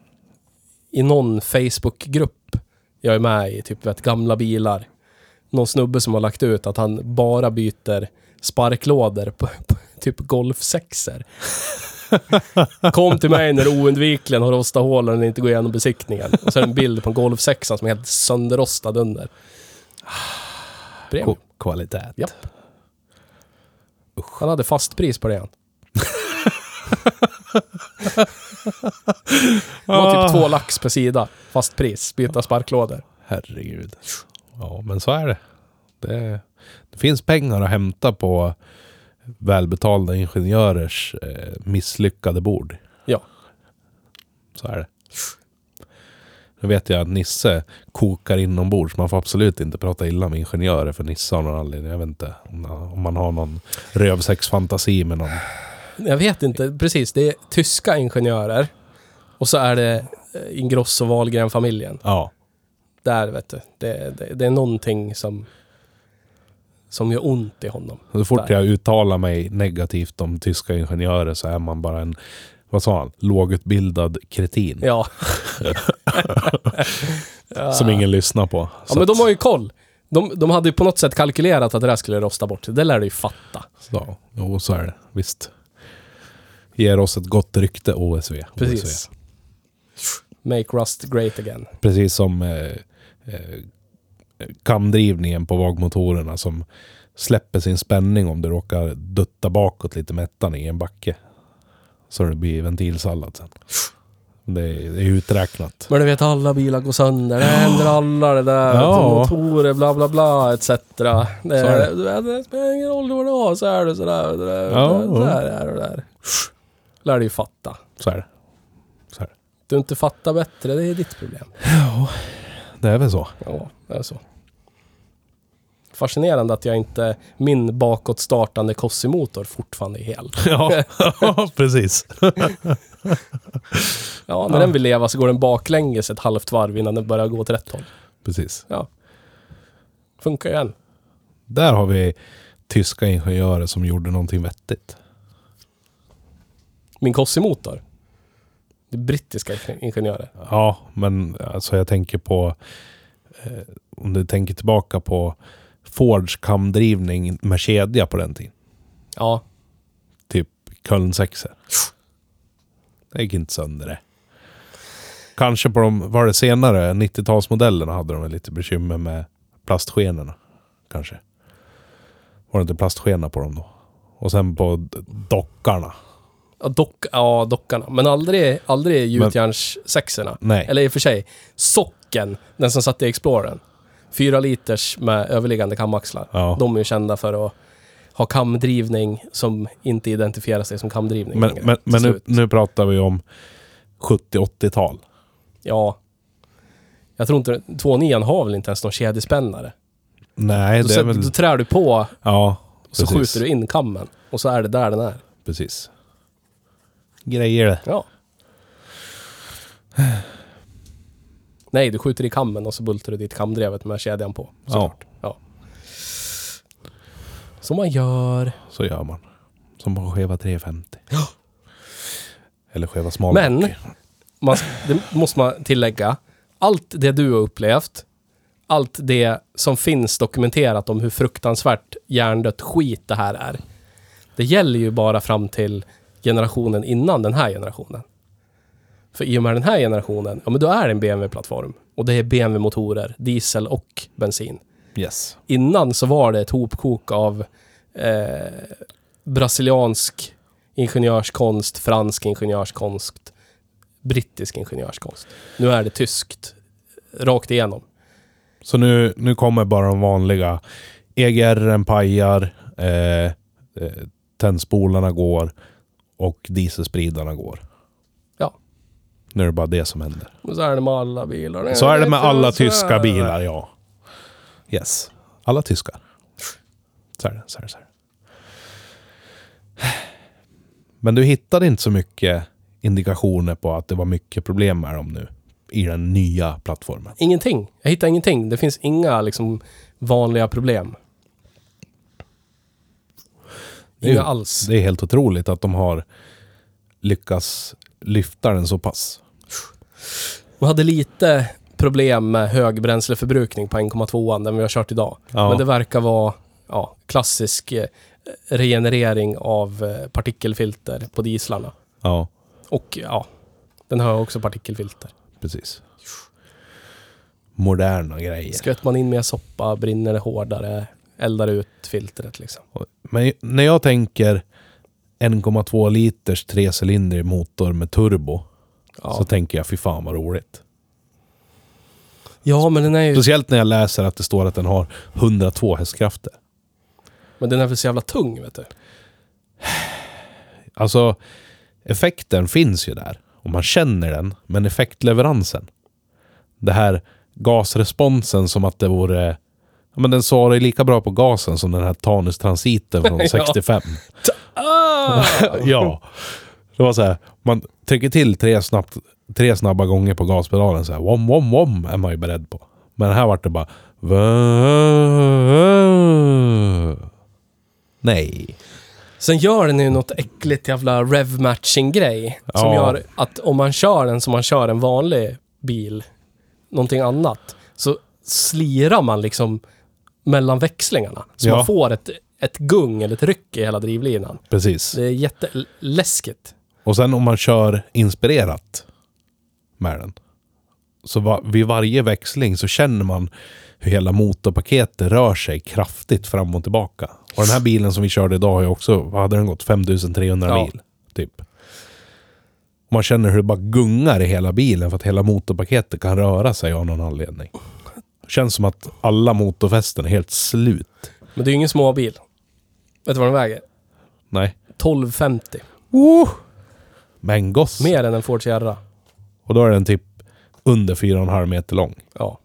[SPEAKER 2] i någon Facebookgrupp jag är med i, typ vet, gamla bilar. Någon snubbe som har lagt ut att han bara byter sparklådor på, på typ golfsexer. Kom till mig när du oundvikligen har rostat hål och den inte går igenom besiktningen. Och så är det en bild på en golfsexa som är helt sönderrostad under. Ah, Premium.
[SPEAKER 1] Ko- kvalitet.
[SPEAKER 2] Japp. Han hade fast pris på det han. Det var
[SPEAKER 1] Ah.
[SPEAKER 2] typ två lax per sida. Fast pris. Byta sparklådor.
[SPEAKER 1] Herregud. Ja, men så är det. det. Det finns pengar att hämta på välbetalda ingenjörers eh, misslyckade bord.
[SPEAKER 2] Ja.
[SPEAKER 1] Så är det. Nu vet jag att Nisse kokar inombords. Man får absolut inte prata illa om ingenjörer för Nisse av någon anledning. Jag vet inte om- om man har någon rövsexfantasi med någon.
[SPEAKER 2] Jag vet inte. Precis. Det är tyska ingenjörer. Och så är det eh, Ingrosso Wahlgren-familjen.
[SPEAKER 1] Ja,
[SPEAKER 2] Där vet du. Det, det, det är någonting som som gör ont i honom.
[SPEAKER 1] så fort
[SPEAKER 2] Där.
[SPEAKER 1] jag uttalar mig negativt om tyska ingenjörer så är man bara en, vad sa han, lågutbildad kretin.
[SPEAKER 2] Ja.
[SPEAKER 1] Som ingen lyssnar på.
[SPEAKER 2] ja
[SPEAKER 1] Så
[SPEAKER 2] men de
[SPEAKER 1] att-
[SPEAKER 2] har ju koll. De, de hade ju på något sätt kalkylerat att det där skulle rosta bort. Det lär du ju fatta.
[SPEAKER 1] Ja, jo, så är det. Visst. Ger oss ett gott rykte, OSV. OSV.
[SPEAKER 2] Precis. Make Rust great again.
[SPEAKER 1] Precis som eh, eh, kamdrivningen på vagmotorerna som släpper sin spänning om du råkar dutta bakåt lite med ettan i en backe. Så det blir ventilsallad sen. Det är, det är uträknat.
[SPEAKER 2] Men du vet, alla bilar går sönder. Det händer alla det där. alltså
[SPEAKER 1] Ja.
[SPEAKER 2] Motorer, bla bla bla, etc. Det,
[SPEAKER 1] är det.
[SPEAKER 2] du vet, det spelar ingen roll hur det var, så är det sådär. Det där,
[SPEAKER 1] Ja,
[SPEAKER 2] det
[SPEAKER 1] ja.
[SPEAKER 2] där är det där. Lär dig ju fatta.
[SPEAKER 1] Så är det. Så är det.
[SPEAKER 2] Du inte fattar bättre, det är ditt problem.
[SPEAKER 1] Det är väl så.
[SPEAKER 2] Ja, det är så. fascinerande att jag inte... Min bakåtstartande Cossi-motor fortfarande är hel.
[SPEAKER 1] Ja, ja, precis.
[SPEAKER 2] Ja, när den vill leva så går den baklänges ett halvt varv innan den börjar gå åt rätt håll.
[SPEAKER 1] precis.
[SPEAKER 2] Ja. Funkar ju än.
[SPEAKER 1] Där har vi tyska ingenjörer som gjorde någonting vettigt.
[SPEAKER 2] Min Cossi-motor. Det är brittiska ingenjörer.
[SPEAKER 1] Ja, men alltså jag tänker på... eh, Om du tänker tillbaka på Fords kamdrivning med kedja på den tiden.
[SPEAKER 2] Ja,
[SPEAKER 1] Typ Köln 6 Det gick inte sönder det. Kanske på de, var det senare, 90-talsmodellerna hade de väl lite bekymmer med plastskenorna. Kanske. Var det inte plastskena på dem då? Och sen på d- dockarna.
[SPEAKER 2] Ja, dock, ja dockarna. Men aldrig, aldrig gjutjärnssexorna.
[SPEAKER 1] Nej.
[SPEAKER 2] Eller i och för sig, socken, den som satt i Explorern. Fyra liters med överliggande kamaxlar.
[SPEAKER 1] Ja.
[SPEAKER 2] De är ju kända för att ha kamdrivning som inte identifierar sig som kamdrivning.
[SPEAKER 1] Men,
[SPEAKER 2] längre,
[SPEAKER 1] men,
[SPEAKER 2] till
[SPEAKER 1] men nu,
[SPEAKER 2] slut.
[SPEAKER 1] nu pratar vi om 70-80-tal.
[SPEAKER 2] Ja. Jag tror inte... 2.9 har väl inte ens någon kedjespännare?
[SPEAKER 1] Nej,
[SPEAKER 2] Då,
[SPEAKER 1] det är
[SPEAKER 2] sätter-
[SPEAKER 1] väl...
[SPEAKER 2] då trär du på
[SPEAKER 1] Ja,
[SPEAKER 2] och så skjuter du in kammen. Och så är det där den är.
[SPEAKER 1] Precis. Grejer det.
[SPEAKER 2] Ja. Nej, du skjuter i kammen och så bultar du dit kamdrevet med kedjan på.
[SPEAKER 1] Ja,
[SPEAKER 2] Ja. Som man gör.
[SPEAKER 1] så gör man. Som på skeva 350. Eller skeva smal.
[SPEAKER 2] Men, man, det måste man tillägga. Allt det du har upplevt, allt det som finns dokumenterat om hur fruktansvärt hjärndött skit det här är. Det gäller ju bara fram till generationen innan den här generationen. För i och med den här generationen, ja men då är det en BMW-plattform. Och det är BMW-motorer, diesel och bensin.
[SPEAKER 1] Yes.
[SPEAKER 2] innan så var det ett hopkok av eh, brasiliansk ingenjörskonst, fransk ingenjörskonst, brittisk ingenjörskonst. Nu är det tyskt, rakt igenom.
[SPEAKER 1] Så nu, nu kommer bara de vanliga. EGR, pajar, eh, eh, tändspolarna går och dieselspridarna går.
[SPEAKER 2] Ja,
[SPEAKER 1] Nu är det bara det som händer.
[SPEAKER 2] och så är det med alla bilar.
[SPEAKER 1] Så är det med alla tyska bilar, ja. Yes. Alla tyskar. Så är det, så är det, så är det. Men du hittade inte så mycket indikationer på att det var mycket problem med dem nu i den nya plattformen.
[SPEAKER 2] Ingenting. Jag hittar ingenting. Det finns inga liksom vanliga problem.
[SPEAKER 1] Det är ju-
[SPEAKER 2] Inga alls.
[SPEAKER 1] Det är helt otroligt att de har lyckats lyfta den så pass.
[SPEAKER 2] Man hade lite problem med hög bränsleförbrukning på 1,2an, den vi har kört idag.
[SPEAKER 1] Ja.
[SPEAKER 2] Men det verkar vara ja, klassisk eh, regenerering av eh, partikelfilter på dieslarna.
[SPEAKER 1] Ja,
[SPEAKER 2] Och ja, den har också partikelfilter.
[SPEAKER 1] precis. Moderna grejer.
[SPEAKER 2] Skvätter man in mer soppa, brinner det hårdare, eldar ut filtret liksom.
[SPEAKER 1] Men när jag tänker 1,2 liters trecylindrig motor med turbo
[SPEAKER 2] Ja.
[SPEAKER 1] så tänker jag fy fan vad roligt.
[SPEAKER 2] ja, men den är ju...
[SPEAKER 1] Speciellt när jag läser att det står att den har 102 hästkrafter.
[SPEAKER 2] Men den är väl så jävla tung, vet du.
[SPEAKER 1] Alltså effekten finns ju där och man känner den, men effektleveransen. Det här gasresponsen som att det vore Ja, men den svarar ju lika bra på gasen som den här Tanus Transiten från
[SPEAKER 2] Ja.
[SPEAKER 1] 65.
[SPEAKER 2] Ah!
[SPEAKER 1] ja. Det var så här, man trycker till tre, snabbt, tre snabba gånger på gaspedalen så här, wom, wom, wom, är man ju beredd på. Men här vart det bara... vö- Nej.
[SPEAKER 2] Sen gör den ju något äckligt jävla rev-matching-grej. Som
[SPEAKER 1] Ja.
[SPEAKER 2] gör att om man kör den som man kör en vanlig bil, någonting annat, så slirar man liksom mellan växlingarna. Så
[SPEAKER 1] Ja.
[SPEAKER 2] man får ett, ett gung eller ett ryck i hela drivlinan.
[SPEAKER 1] Precis.
[SPEAKER 2] Det är jätteläskigt.
[SPEAKER 1] Och sen om man kör inspirerat med den. Så va, vid varje växling så känner man hur hela motorpaketet rör sig kraftigt fram och tillbaka. Och den här bilen som vi körde idag har ju också, vad hade den gått? 5300
[SPEAKER 2] Ja.
[SPEAKER 1] mil. Typ. Och man känner hur det bara gungar i hela bilen för att hela motorpaketet kan röra sig av någon anledning. Känns som att alla motorfästen är helt slut.
[SPEAKER 2] Men det är ju ingen småbil. Vet du vad den väger?
[SPEAKER 1] Nej.
[SPEAKER 2] 1250.
[SPEAKER 1] Men goss.
[SPEAKER 2] Mer än en Ford Sierra.
[SPEAKER 1] Och då är den typ under 4,5 meter lång.
[SPEAKER 2] Ja.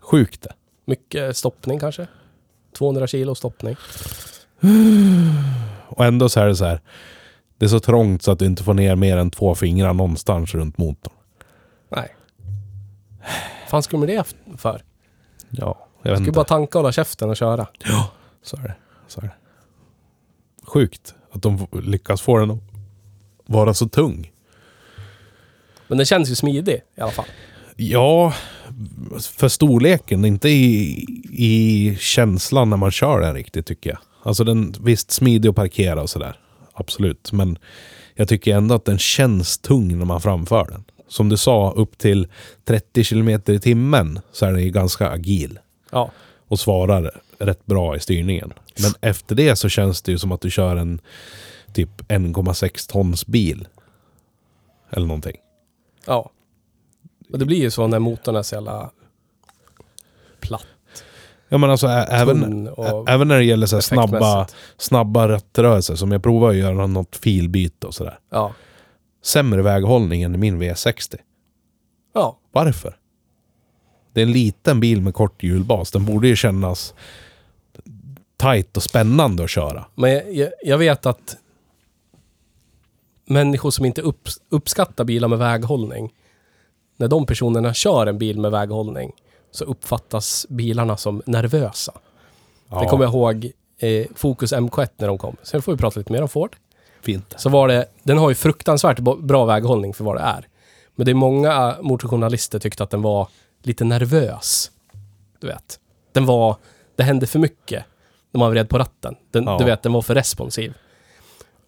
[SPEAKER 1] Sjukt det.
[SPEAKER 2] Mycket stoppning kanske. 200 kilo stoppning.
[SPEAKER 1] Och ändå så är det så här. Det är så trångt så att du inte får ner mer än två fingrar någonstans runt motorn.
[SPEAKER 2] Nej. fan ska man det f- för?
[SPEAKER 1] Ja, jag vet
[SPEAKER 2] Ska
[SPEAKER 1] inte.
[SPEAKER 2] ju bara tanka och hålla käften och köra.
[SPEAKER 1] Ja, så är det. Så är det. Sjukt att de f- lyckas få den att vara så tung.
[SPEAKER 2] Men den känns ju smidig i alla fall.
[SPEAKER 1] Ja, för storleken. Inte i, i känslan när man kör den riktigt tycker jag. Alltså den, visst smidig att parkera och sådär. Absolut. Men jag tycker ändå att den känns tung när man framför den. Som du sa, upp till 30 kilometer i timmen så är den ju ganska agil.
[SPEAKER 2] Ja.
[SPEAKER 1] och svarar rätt bra i styrningen. Men efter det så känns det ju som att du kör en typ 1,6 tons bil. Eller någonting.
[SPEAKER 2] Ja. Och det blir ju så när motorn är så jävla platt.
[SPEAKER 1] Ja men alltså ä- även,
[SPEAKER 2] Tung och
[SPEAKER 1] ä- även när det gäller så här snabba,
[SPEAKER 2] effektmässigt.
[SPEAKER 1] snabba rattrörelser. Som jag provar att göra något filbyte och sådär.
[SPEAKER 2] Ja.
[SPEAKER 1] Sämre väghållning än i min V60.
[SPEAKER 2] Ja.
[SPEAKER 1] Varför? Det är en liten bil med kort hjulbas. Den borde ju kännas tight och spännande att köra.
[SPEAKER 2] Men jag, jag, jag vet att människor som inte upp, uppskattar bilar med väghållning, när de personerna kör en bil med väghållning så uppfattas bilarna som nervösa. Det
[SPEAKER 1] Ja,
[SPEAKER 2] kommer jag ihåg eh, Focus MK1 när de kom. Sen får vi prata lite mer om Ford.
[SPEAKER 1] fint.
[SPEAKER 2] Så var det, den har ju fruktansvärt bo- bra väghållning för vad det är. Men det är många äh, motorjournalister tyckte att den var lite nervös. Du vet. Den var, det hände för mycket när man vred på ratten. Den,
[SPEAKER 1] Ja.
[SPEAKER 2] Du vet, den var för responsiv.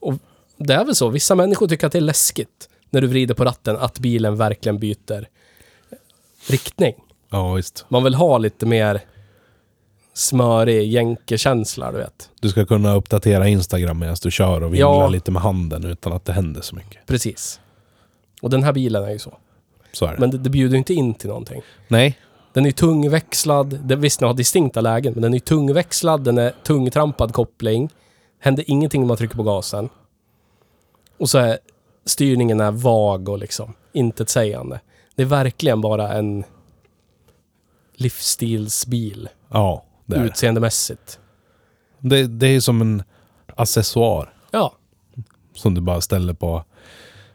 [SPEAKER 2] Och det är väl så, vissa människor tycker att det är läskigt när du vrider på ratten, att bilen verkligen byter riktning.
[SPEAKER 1] Ja, visst.
[SPEAKER 2] Man vill ha lite mer smörig jänkekänsla, du vet.
[SPEAKER 1] Du ska kunna uppdatera Instagram medan du kör och vingla
[SPEAKER 2] Ja.
[SPEAKER 1] lite med handen utan att det händer så mycket.
[SPEAKER 2] Precis. Och den här bilen är ju så.
[SPEAKER 1] Så är det.
[SPEAKER 2] Men det, det bjuder ju inte in till någonting.
[SPEAKER 1] Nej.
[SPEAKER 2] Den är tungväxlad. Den, visst, den har distinkta lägen, men den är tungväxlad. Den är tungtrampad koppling. Händer ingenting när man trycker på gasen. Och så är styrningen är vag och liksom intetsägande. Det är verkligen bara en livsstilsbil
[SPEAKER 1] Ja, det är det.
[SPEAKER 2] utseendemässigt.
[SPEAKER 1] det. Det är som en accessoar
[SPEAKER 2] Ja,
[SPEAKER 1] som du bara ställer på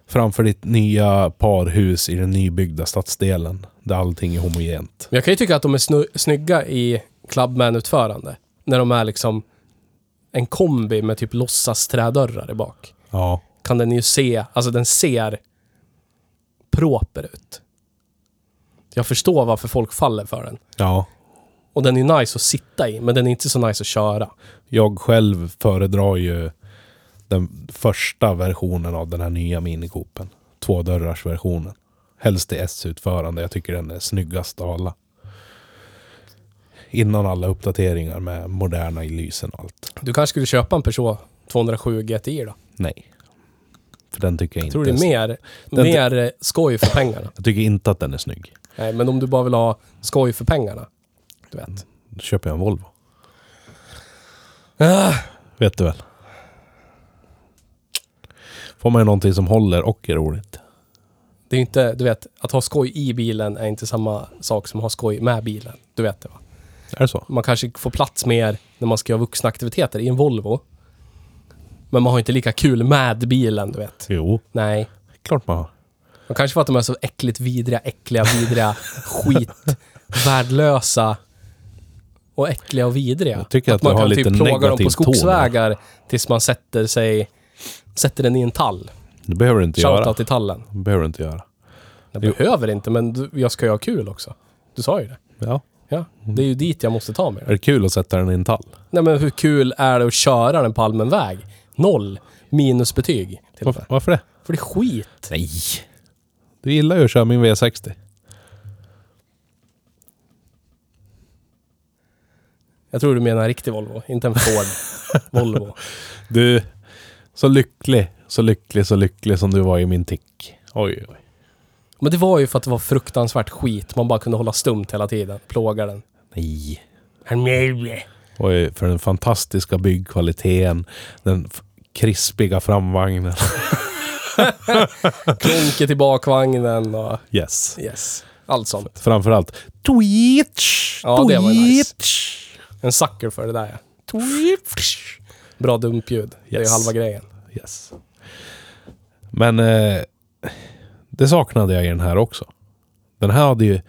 [SPEAKER 1] framför ditt nya parhus i den nybyggda stadsdelen där allting är homogent.
[SPEAKER 2] men jag kan ju tycka att de är snu- snygga i Clubman-utförande. När de är liksom en kombi med typ låtsas trädörrar i bak.
[SPEAKER 1] Ja,
[SPEAKER 2] kan den ju se, alltså den ser proper ut. Jag förstår varför folk faller för den.
[SPEAKER 1] ja.
[SPEAKER 2] Och den är nice att sitta i, men den är inte så nice att köra.
[SPEAKER 1] Jag själv föredrar ju den första versionen av den här nya minikopen. Tvådörrarsversionen. Helst i S-utförande. Jag tycker den är snyggast av alla. Innan alla uppdateringar med moderna lysen och allt.
[SPEAKER 2] Du kanske skulle köpa en Peugeot 207 GTI då?
[SPEAKER 1] Nej. För den tycker jag inte
[SPEAKER 2] Tror du det är
[SPEAKER 1] snygg.
[SPEAKER 2] mer,
[SPEAKER 1] Den-
[SPEAKER 2] mer eh, skoj för pengarna?
[SPEAKER 1] Jag tycker inte att den är snygg.
[SPEAKER 2] Nej, men om du bara vill ha skoj för pengarna, du vet.
[SPEAKER 1] Då köper jag en Volvo.
[SPEAKER 2] Ah,
[SPEAKER 1] Vet du väl? Får man ju någonting som håller och är roligt.
[SPEAKER 2] det är ju inte, du vet, att ha skoj i bilen är inte samma sak som att ha skoj med bilen. Du vet det va?
[SPEAKER 1] Är det så?
[SPEAKER 2] man kanske får plats mer när man ska göra vuxna aktiviteter i en Volvo. Men man har inte lika kul med bilen, du vet.
[SPEAKER 1] Jo,
[SPEAKER 2] Nej.
[SPEAKER 1] klart man har.
[SPEAKER 2] Och kanske för att de är så äckligt vidriga, äckliga, vidriga, skit, värdelösa och äckliga och vidriga.
[SPEAKER 1] Jag tycker att du
[SPEAKER 2] man
[SPEAKER 1] har
[SPEAKER 2] kan
[SPEAKER 1] lite
[SPEAKER 2] typ plåga dem
[SPEAKER 1] negativ ton
[SPEAKER 2] på skogsvägar tills man sätter sig, sätter den i en tall.
[SPEAKER 1] Det behöver du inte göra.
[SPEAKER 2] Shoutout till tallen.
[SPEAKER 1] Det behöver du inte göra.
[SPEAKER 2] Jag
[SPEAKER 1] Jo.
[SPEAKER 2] behöver inte, men du, jag ska ju ha kul också. Du sa ju det.
[SPEAKER 1] Ja.
[SPEAKER 2] Ja,
[SPEAKER 1] Mm.
[SPEAKER 2] det är ju dit jag måste ta mig.
[SPEAKER 1] Är det kul att sätta den i en tall?
[SPEAKER 2] Nej men hur kul är det att köra den på allmän väg? Noll. Minusbetyg. Till och
[SPEAKER 1] Varför,
[SPEAKER 2] med.
[SPEAKER 1] varför det?
[SPEAKER 2] För det är skit.
[SPEAKER 1] Nej. Du gillar ju att köra min V60.
[SPEAKER 2] Jag tror du menar en riktig Volvo, inte en Ford Volvo.
[SPEAKER 1] Du, så lycklig, så lycklig, så lycklig som du var i min tick. Oj, oj.
[SPEAKER 2] Men det var ju för att det var fruktansvärt skit. Man bara kunde hålla stumt hela tiden. Plåga den.
[SPEAKER 1] Nej.
[SPEAKER 2] Nej.
[SPEAKER 1] Oj, för den fantastiska byggkvaliteten, den f- krispiga framvagnen.
[SPEAKER 2] Klonket i bakvagnen och...
[SPEAKER 1] Yes.
[SPEAKER 2] Yes. Allt sånt.
[SPEAKER 1] Framförallt Twitch!
[SPEAKER 2] Ja, det var nice.
[SPEAKER 1] Twitch!
[SPEAKER 2] En sucker för det där ja. Bra dumpljud. Det är ju
[SPEAKER 1] Yes.
[SPEAKER 2] halva grejen.
[SPEAKER 1] Yes. Men eh, det saknade jag i den här också. Den här hade ju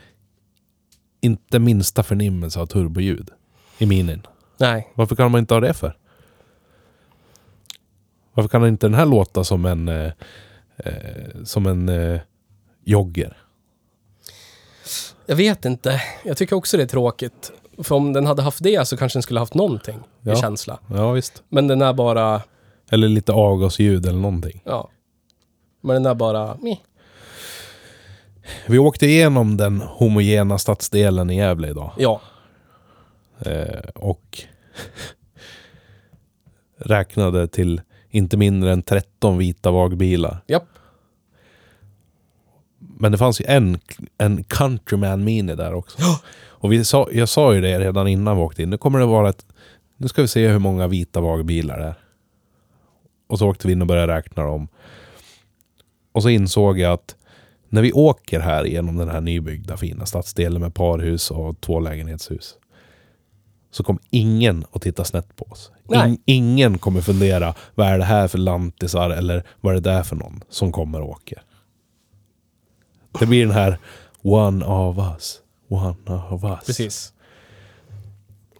[SPEAKER 1] inte minsta förnimmelse av turboljud i minin.
[SPEAKER 2] Nej,
[SPEAKER 1] Varför kan man inte ha det för? Varför kan inte den här låta som en... Eh, eh, som en eh, jogger?
[SPEAKER 2] jag vet inte. Jag tycker också det är tråkigt. För om den hade haft det så kanske den skulle haft någonting
[SPEAKER 1] Ja.
[SPEAKER 2] i känsla.
[SPEAKER 1] Ja, visst.
[SPEAKER 2] Men den är bara...
[SPEAKER 1] Eller lite avgasljud eller någonting.
[SPEAKER 2] Ja. Men den är bara... meh.
[SPEAKER 1] Vi åkte igenom den homogena stadsdelen i Gävle idag.
[SPEAKER 2] Ja.
[SPEAKER 1] Eh, och räknade till inte mindre än 13 vita vagbilar.
[SPEAKER 2] Japp.
[SPEAKER 1] Men det fanns ju en, en Countryman Mini där också. Och vi sa, jag sa ju det redan innan vi åkte in. Nu kommer det vara ett... Nu ska vi se hur många vita vagbilar det är. Och så åkte vi in och började räkna dem. Och så insåg jag att när vi åker här genom den här nybyggda fina stadsdelen med parhus och två lägenhetshus. Så kommer ingen att titta snett på oss.
[SPEAKER 2] Nej.
[SPEAKER 1] In, ingen kommer fundera, vad är det här för lantisar eller vad är det där för någon som kommer och åker? Det blir den här One of us. One of us.
[SPEAKER 2] Precis.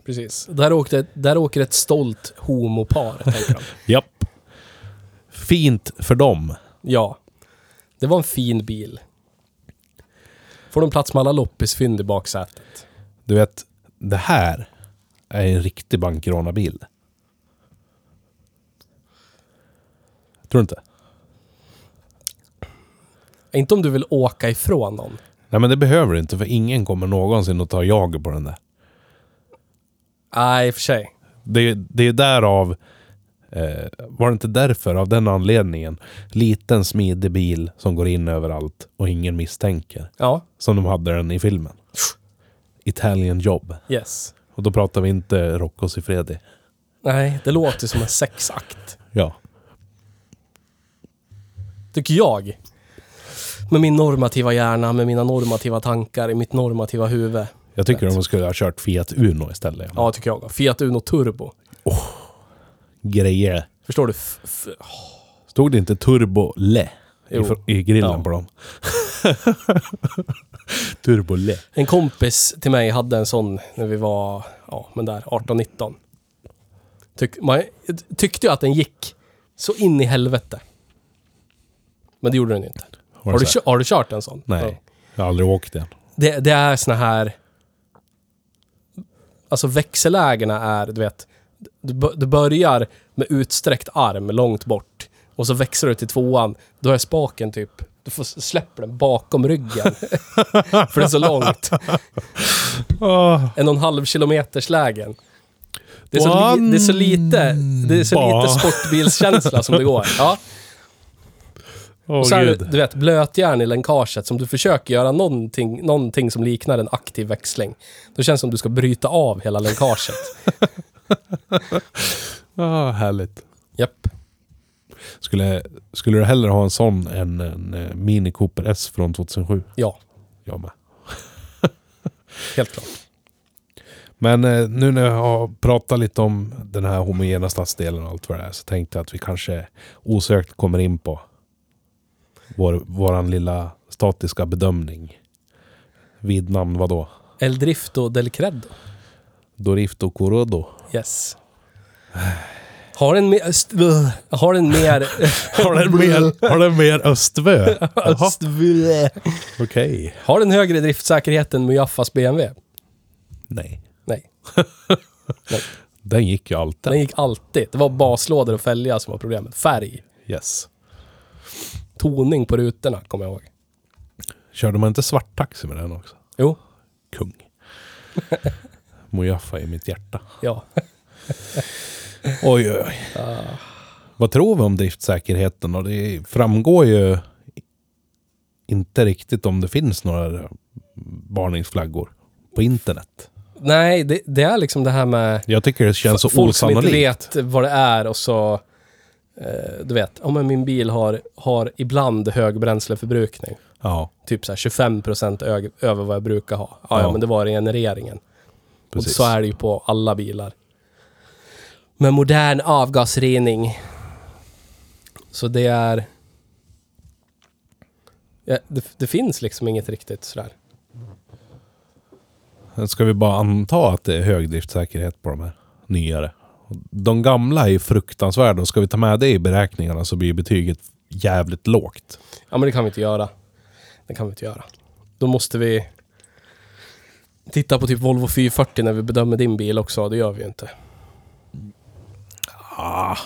[SPEAKER 2] Precis. Där, åkte, där åker ett stolt homopar, tänker de.
[SPEAKER 1] Japp. Fint för dem.
[SPEAKER 2] Ja. Det var en fin bil. Får de plats med alla loppisfynd i baksätet?
[SPEAKER 1] Du vet, det här är en riktig bankrånarbil. Tror du inte?
[SPEAKER 2] Inte om du vill åka ifrån någon.
[SPEAKER 1] Nej, men det behöver du inte för ingen kommer någonsin att ta jager på den där.
[SPEAKER 2] Nej, i och för sig.
[SPEAKER 1] Det är, det är därav... Eh, var det inte därför, av den anledningen, liten smidig bil som går in överallt och ingen misstänker.
[SPEAKER 2] Ja,
[SPEAKER 1] Som de hade den i filmen. Italian Job.
[SPEAKER 2] yes.
[SPEAKER 1] Och då pratar vi inte Rocco Siffredi.
[SPEAKER 2] Nej, det låter som en sexakt.
[SPEAKER 1] Ja.
[SPEAKER 2] Tycker jag. Med min normativa hjärna, med mina normativa tankar, i mitt normativa huvud.
[SPEAKER 1] Jag tycker de skulle ha kört Fiat Uno istället.
[SPEAKER 2] Ja, tycker jag. Fiat Uno Turbo.
[SPEAKER 1] Grejer.
[SPEAKER 2] Förstår du? F- f-
[SPEAKER 1] Stod det inte Turbo Le i,
[SPEAKER 2] Jo.
[SPEAKER 1] fr- i grillen
[SPEAKER 2] Ja.
[SPEAKER 1] på dem? Turbo Le.
[SPEAKER 2] En kompis till mig hade en sån när vi var, ja men där, 18-19. Tyck, man tyckte ju att den gick så in i helvete. Men det gjorde den ju inte.
[SPEAKER 1] Var
[SPEAKER 2] Har du,
[SPEAKER 1] så
[SPEAKER 2] kö- har du kört en sån?
[SPEAKER 1] här?
[SPEAKER 2] Ja.
[SPEAKER 1] Nej, jag har aldrig åkt den.
[SPEAKER 2] Det, det är såna här... Alltså växellägena är, du vet, du, bör- du börjar med utsträckt arm långt bort och så växlar du till tvåan. Då är spaken typ, du får släpper den bakom ryggen. för det är så långt. En och en halv kilometers lägen. Det är, så li, det är så lite, det är så
[SPEAKER 1] Ba.
[SPEAKER 2] lite sportbilskänsla som det går. Ja.
[SPEAKER 1] Åh
[SPEAKER 2] Och så är det,
[SPEAKER 1] gud.
[SPEAKER 2] du vet, blötjärn i länkaget som du försöker göra någonting, någonting som liknar en aktiv växling. Då känns det som du ska bryta av hela länkaget.
[SPEAKER 1] Ah, härligt.
[SPEAKER 2] Japp.
[SPEAKER 1] Skulle, skulle du hellre ha en sån än en eh, Mini Cooper S från 2007?
[SPEAKER 2] Ja,
[SPEAKER 1] Jag med.
[SPEAKER 2] helt klart.
[SPEAKER 1] Men eh, nu när jag har pratat lite om den här homogena stadsdelen och allt vad det är så tänkte jag att vi kanske osökt kommer in på vår, våran lilla statiska bedömning. Vid namn vadå?
[SPEAKER 2] El Drifto del Credo.
[SPEAKER 1] Dorifto Corodo.
[SPEAKER 2] Yes. Har en mer... öst- ugh. Har en mer...
[SPEAKER 1] Har den mer, har den mer Östvö? Jaha,
[SPEAKER 2] öst- bleh.
[SPEAKER 1] Okej.
[SPEAKER 2] har den högre driftsäkerhet än Mujaffas BMW?
[SPEAKER 1] Nej.
[SPEAKER 2] Nej,
[SPEAKER 1] Den gick ju alltid.
[SPEAKER 2] den gick alltid. Det var baslådor och fälgar som var problemet. Färg,
[SPEAKER 1] Yes.
[SPEAKER 2] toning på rutorna, kommer jag ihåg.
[SPEAKER 1] Körde man inte svart taxi med den också?
[SPEAKER 2] Jo,
[SPEAKER 1] Kung. Mujaffa i mitt hjärta.
[SPEAKER 2] ja.
[SPEAKER 1] Oj, oj, oj. Vad tror vi om driftsäkerheten? Och det framgår ju inte riktigt om det finns några varningsflaggor på internet.
[SPEAKER 2] Nej, det, det är liksom det här med...
[SPEAKER 1] Jag tycker det känns så
[SPEAKER 2] Folk som inte
[SPEAKER 1] osannolikt.
[SPEAKER 2] vet vad det är och så... Eh, du vet, ja, men min bil har, har ibland hög bränsleförbrukning.
[SPEAKER 1] Ja,
[SPEAKER 2] Typ så här 25 procent över vad jag brukar ha. Ja, ja.
[SPEAKER 1] Ja.
[SPEAKER 2] men det var regenereringen. Och
[SPEAKER 1] Precis.
[SPEAKER 2] så är det ju på alla bilar. Med modern avgasrening. Så det är... Ja, det, det finns liksom inget riktigt sådär.
[SPEAKER 1] Ska vi bara anta att det är hög driftsäkerhet på de här nyare? De gamla är ju fruktansvärda och ska vi ta med det i beräkningarna så blir betyget jävligt lågt.
[SPEAKER 2] Ja, men det kan vi inte göra. Det kan vi inte göra. Då måste vi titta på typ Volvo 440 när vi bedömer din bil också. Det gör vi ju inte.
[SPEAKER 1] Ah,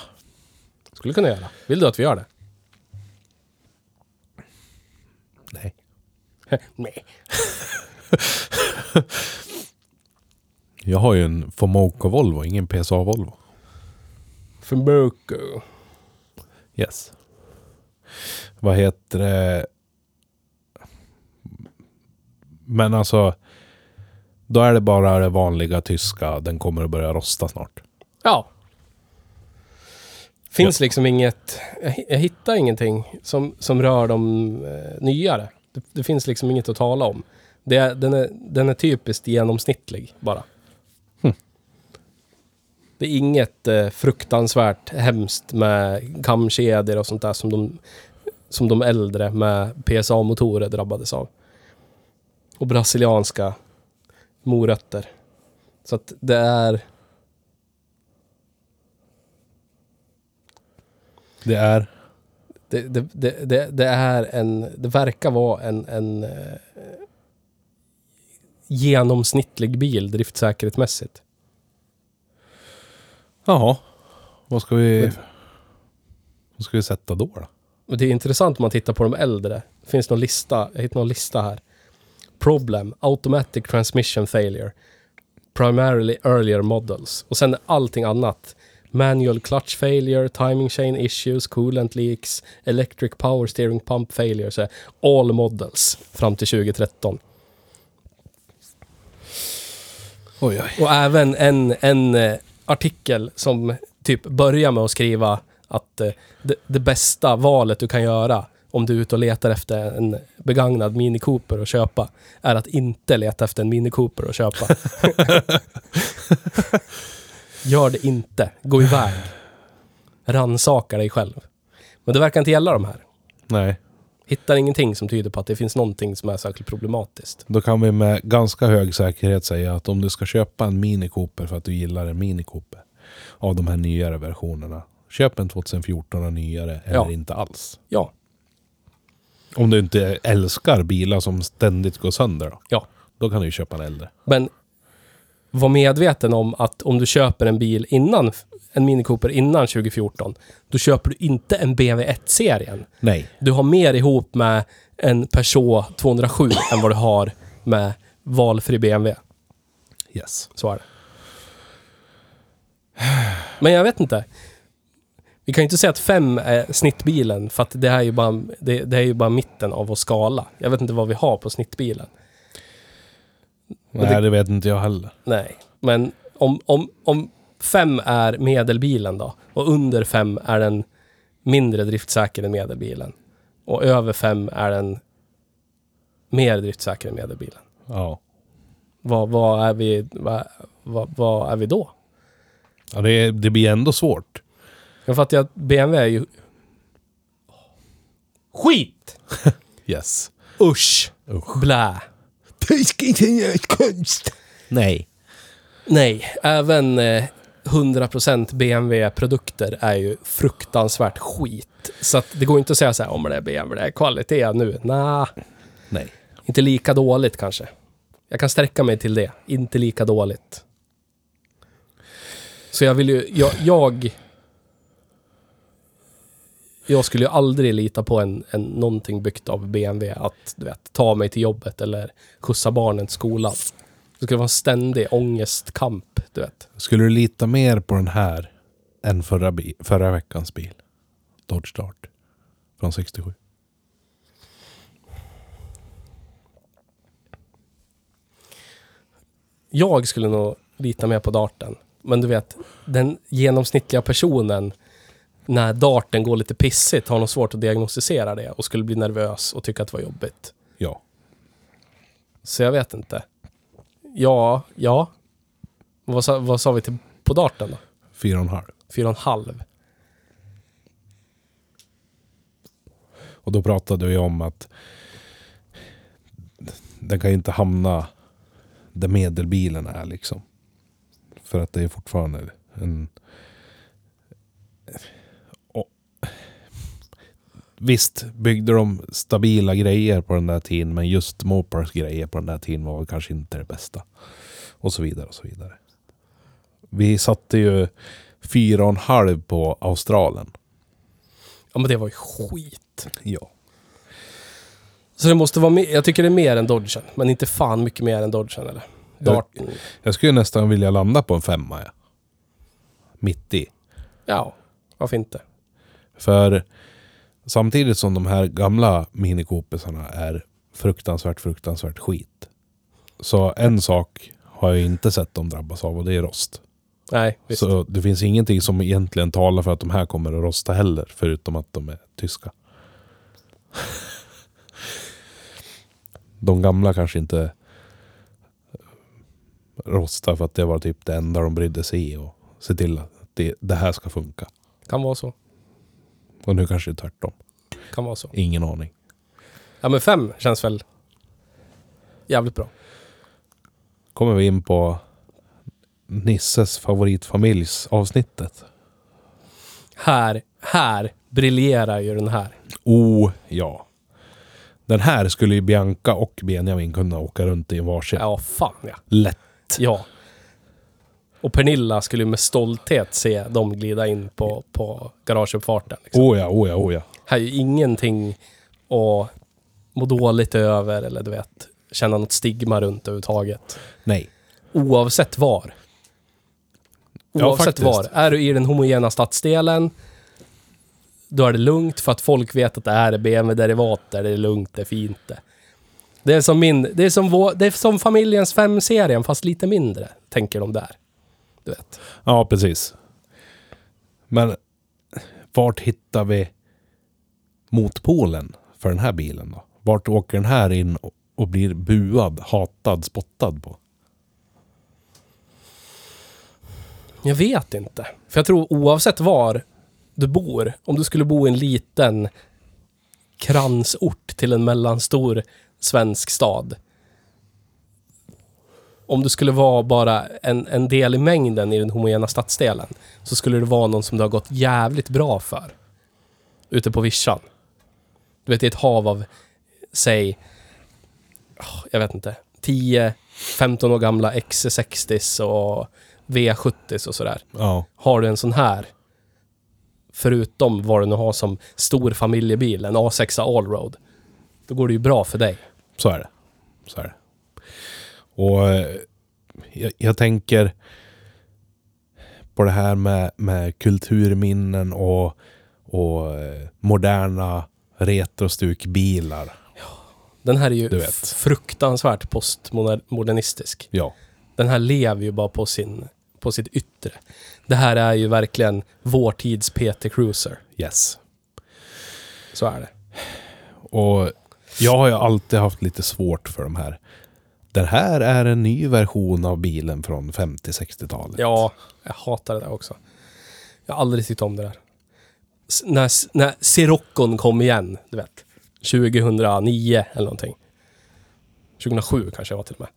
[SPEAKER 2] Skulle kunna göra. Vill du att vi gör det?
[SPEAKER 1] nej.
[SPEAKER 2] Nej.
[SPEAKER 1] Jag har ju en Fomoco Volvo, ingen PSA Volvo.
[SPEAKER 2] För Merco.
[SPEAKER 1] Yes. Vad heter det? Men alltså, då är det bara det vanliga tyska. Den kommer att börja rosta snart.
[SPEAKER 2] Ja. Finns liksom inget... Jag, hi- jag hittar ingenting som, som rör de eh, nyare. Det, det finns liksom inget att tala om. Det, är- den, är, den är typiskt genomsnittlig bara. Det är inget eh, fruktansvärt hemskt med kamkedjor och sånt där som de, som de äldre med PSA-motorer drabbades av. Och brasilianska morötter. Så att det är...
[SPEAKER 1] Det är?
[SPEAKER 2] det, det, det, det, det är en, det verkar vara en, en eh, genomsnittlig bil driftsäkerhetsmässigt.
[SPEAKER 1] Jaha. Vad ska vi... Vad ska vi sätta då? då?
[SPEAKER 2] Men det är intressant om man tittar på de äldre. Det finns någon lista, jag hittade någon lista här. Problem, automatic transmission failure. Primarily earlier models. Och sen allting annat. Manual clutch failure, timing chain issues, coolant leaks, electric power steering pump failure. Så här, all models fram till 2013.
[SPEAKER 1] Oj, oj.
[SPEAKER 2] Och även en, en eh, artikel som typ börjar med att skriva att eh, det, det bästa valet du kan göra om du är ute och letar efter en begagnad Mini Cooper att köpa är att inte leta efter en Mini Cooper att köpa. Gör det inte. Gå iväg. Rannsaka dig själv. Men det verkar inte gälla de här.
[SPEAKER 1] Nej.
[SPEAKER 2] Hittar ingenting som tyder på att det finns någonting som är särskilt problematiskt.
[SPEAKER 1] Då kan vi med ganska hög säkerhet säga att om du ska köpa en Mini Cooper för att du gillar en Mini Cooper av de här nyare versionerna. Köp en 2014 och nyare eller
[SPEAKER 2] Ja.
[SPEAKER 1] inte alls.
[SPEAKER 2] Ja,
[SPEAKER 1] Om du inte älskar bilar som ständigt går sönder då.
[SPEAKER 2] ja.
[SPEAKER 1] Då kan du ju köpa en äldre.
[SPEAKER 2] Men var medveten om att om du köper en bil innan, en Mini Cooper innan 2014, då köper du inte en BMW 1-serien.
[SPEAKER 1] Nej.
[SPEAKER 2] Du har mer ihop med en Peugeot 207 än vad du har med valfri BMW.
[SPEAKER 1] Yes.
[SPEAKER 2] Så är det. Men jag vet inte. Vi kan ju inte säga att fem är snittbilen, för att det här är ju bara, det, det är ju bara mitten av vår skala. Jag vet inte vad vi har på snittbilen.
[SPEAKER 1] Nej, det... vet inte jag heller.
[SPEAKER 2] Nej, men om, om, om fem är medelbilen då och under fem är den mindre driftsäker än medelbilen och över fem är den mer driftsäker än medelbilen.
[SPEAKER 1] Ja.
[SPEAKER 2] Vad, vad, är, vi, vad, vad, vad är vi då?
[SPEAKER 1] ja det, är- det blir ändå svårt.
[SPEAKER 2] Jag fattar ju att BMW är ju... Skit!
[SPEAKER 1] Yes.
[SPEAKER 2] Usch! Blä!
[SPEAKER 1] Nej.
[SPEAKER 2] Nej, även eh, 100% BMW-produkter är ju fruktansvärt skit. Så att det går inte att säga så här, om det är BMW, det är kvalitet nu. Nej,
[SPEAKER 1] Nej.
[SPEAKER 2] inte lika dåligt kanske. Jag kan sträcka mig till det, inte lika dåligt. Så jag vill ju, jag, jag, jag skulle ju aldrig lita på en, en, någonting byggt av BMW att du vet, ta mig till jobbet eller skjutsa barnen till skolan. Det skulle vara en ständig ångestkamp, du vet.
[SPEAKER 1] Skulle du lita mer på den här än förra, bi- förra veckans bil? Dodge Dart. Från 67.
[SPEAKER 2] Jag skulle nog lita mer på darten. Men du vet, den genomsnittliga personen, när darten går lite pissigt, har nog svårt att diagnostisera det och skulle bli nervös och tycka att det var jobbigt.
[SPEAKER 1] Ja.
[SPEAKER 2] Så jag vet inte. Ja, ja. Vad sa, vad sa vi till, på darten då?
[SPEAKER 1] Fyra och en halv.
[SPEAKER 2] Fyra och en halv.
[SPEAKER 1] Och då pratade vi om att den kan ju inte hamna där medelbilen är liksom. För att det är fortfarande en... Och... Visst byggde de stabila grejer på den där tiden men just Mopars grejer på den där tiden var väl kanske inte det bästa. Och så vidare och så vidare. Vi satte ju fyra och en halv på Australien.
[SPEAKER 2] Ja men det var ju skit.
[SPEAKER 1] Ja.
[SPEAKER 2] Så det måste vara mer, jag tycker det är mer än Dodgen. Men inte fan mycket mer än Dodgen eller? Darten.
[SPEAKER 1] Jag skulle nästan vilja landa på en femma. Ja. Mitt i.
[SPEAKER 2] Ja, varför inte?
[SPEAKER 1] För samtidigt som de här gamla Mini Coopersarna är fruktansvärt, fruktansvärt skit. Så en sak har jag inte sett dem drabbas av och det är rost.
[SPEAKER 2] Nej, visst.
[SPEAKER 1] Så det finns ingenting som egentligen talar för att de här kommer att rosta heller, förutom att de är tyska. De gamla kanske inte rostar för att det var typ det enda de brydde sig i och se till att det, det här ska funka.
[SPEAKER 2] Kan vara så.
[SPEAKER 1] Och nu kanske det är tvärtom.
[SPEAKER 2] Kan vara så.
[SPEAKER 1] Ingen aning.
[SPEAKER 2] Ja men fem känns väl jävligt bra.
[SPEAKER 1] Kommer vi in på Nisses favoritfamiljs avsnittet.
[SPEAKER 2] Här, här briljerar ju den här.
[SPEAKER 1] Oh, ja. Den här skulle ju Bianca och Benjamin kunna åka runt i en varsin.
[SPEAKER 2] Ja, fan ja.
[SPEAKER 1] Lätt.
[SPEAKER 2] Ja. Och Pernilla skulle ju med stolthet se dem glida in på, på garageuppfarten. Liksom.
[SPEAKER 1] Oh ja, oh ja, oh ja.
[SPEAKER 2] Här är ju ingenting att må dåligt över eller du vet, känna något stigma runt överhuvudtaget.
[SPEAKER 1] Nej.
[SPEAKER 2] Oavsett var.
[SPEAKER 1] Ja,
[SPEAKER 2] Oavsett
[SPEAKER 1] faktiskt.
[SPEAKER 2] var. Är du i den homogena stadsdelen, då är det lugnt för att folk vet att det här är BMW-derivat, där det är lugnt, det är fint det. Det är som, min, det är som, vår, det är som familjens fem-serien, fast lite mindre, tänker de där. Du vet.
[SPEAKER 1] Ja, precis. Men vart hittar vi motpolen för den här bilen då? Vart åker den här in och- och blir buad, hatad, spottad på?
[SPEAKER 2] Jag vet inte. För jag tror oavsett var du bor, om du skulle bo i en liten kransort till en mellanstor svensk stad. Om du skulle vara bara en, en del i mängden i den homogena stadsdelen så skulle det vara någon som det har gått jävligt bra för. Ute på vischan. Du vet, det är ett hav av, säg, åh, jag vet inte, 10-15 år gamla XC60s och V70s och sådär
[SPEAKER 1] Ja.
[SPEAKER 2] har du en sån här, förutom vad du nu har som stor familjebil, en A6 Allroad, då går det ju bra för dig.
[SPEAKER 1] Så är det. Så är det. Och eh, jag, jag tänker på det här med, med kulturminnen och, och eh, moderna retrostukbilar.
[SPEAKER 2] Den här är ju
[SPEAKER 1] Du vet.
[SPEAKER 2] f- fruktansvärt postmodernistisk.
[SPEAKER 1] Ja.
[SPEAKER 2] Den här lever ju bara på, sin, på sitt yttre. Det här är ju verkligen vår tids PT Cruiser.
[SPEAKER 1] Yes.
[SPEAKER 2] Så är det.
[SPEAKER 1] Och jag har ju alltid haft lite svårt för de här. Den här är en ny version av bilen från 50-60-talet.
[SPEAKER 2] Ja, jag hatar det där också. Jag har aldrig tyckt om det där. S- när, s- när Siroccon kom igen, du vet. 2009 eller någonting. 2007 kanske jag var till och med.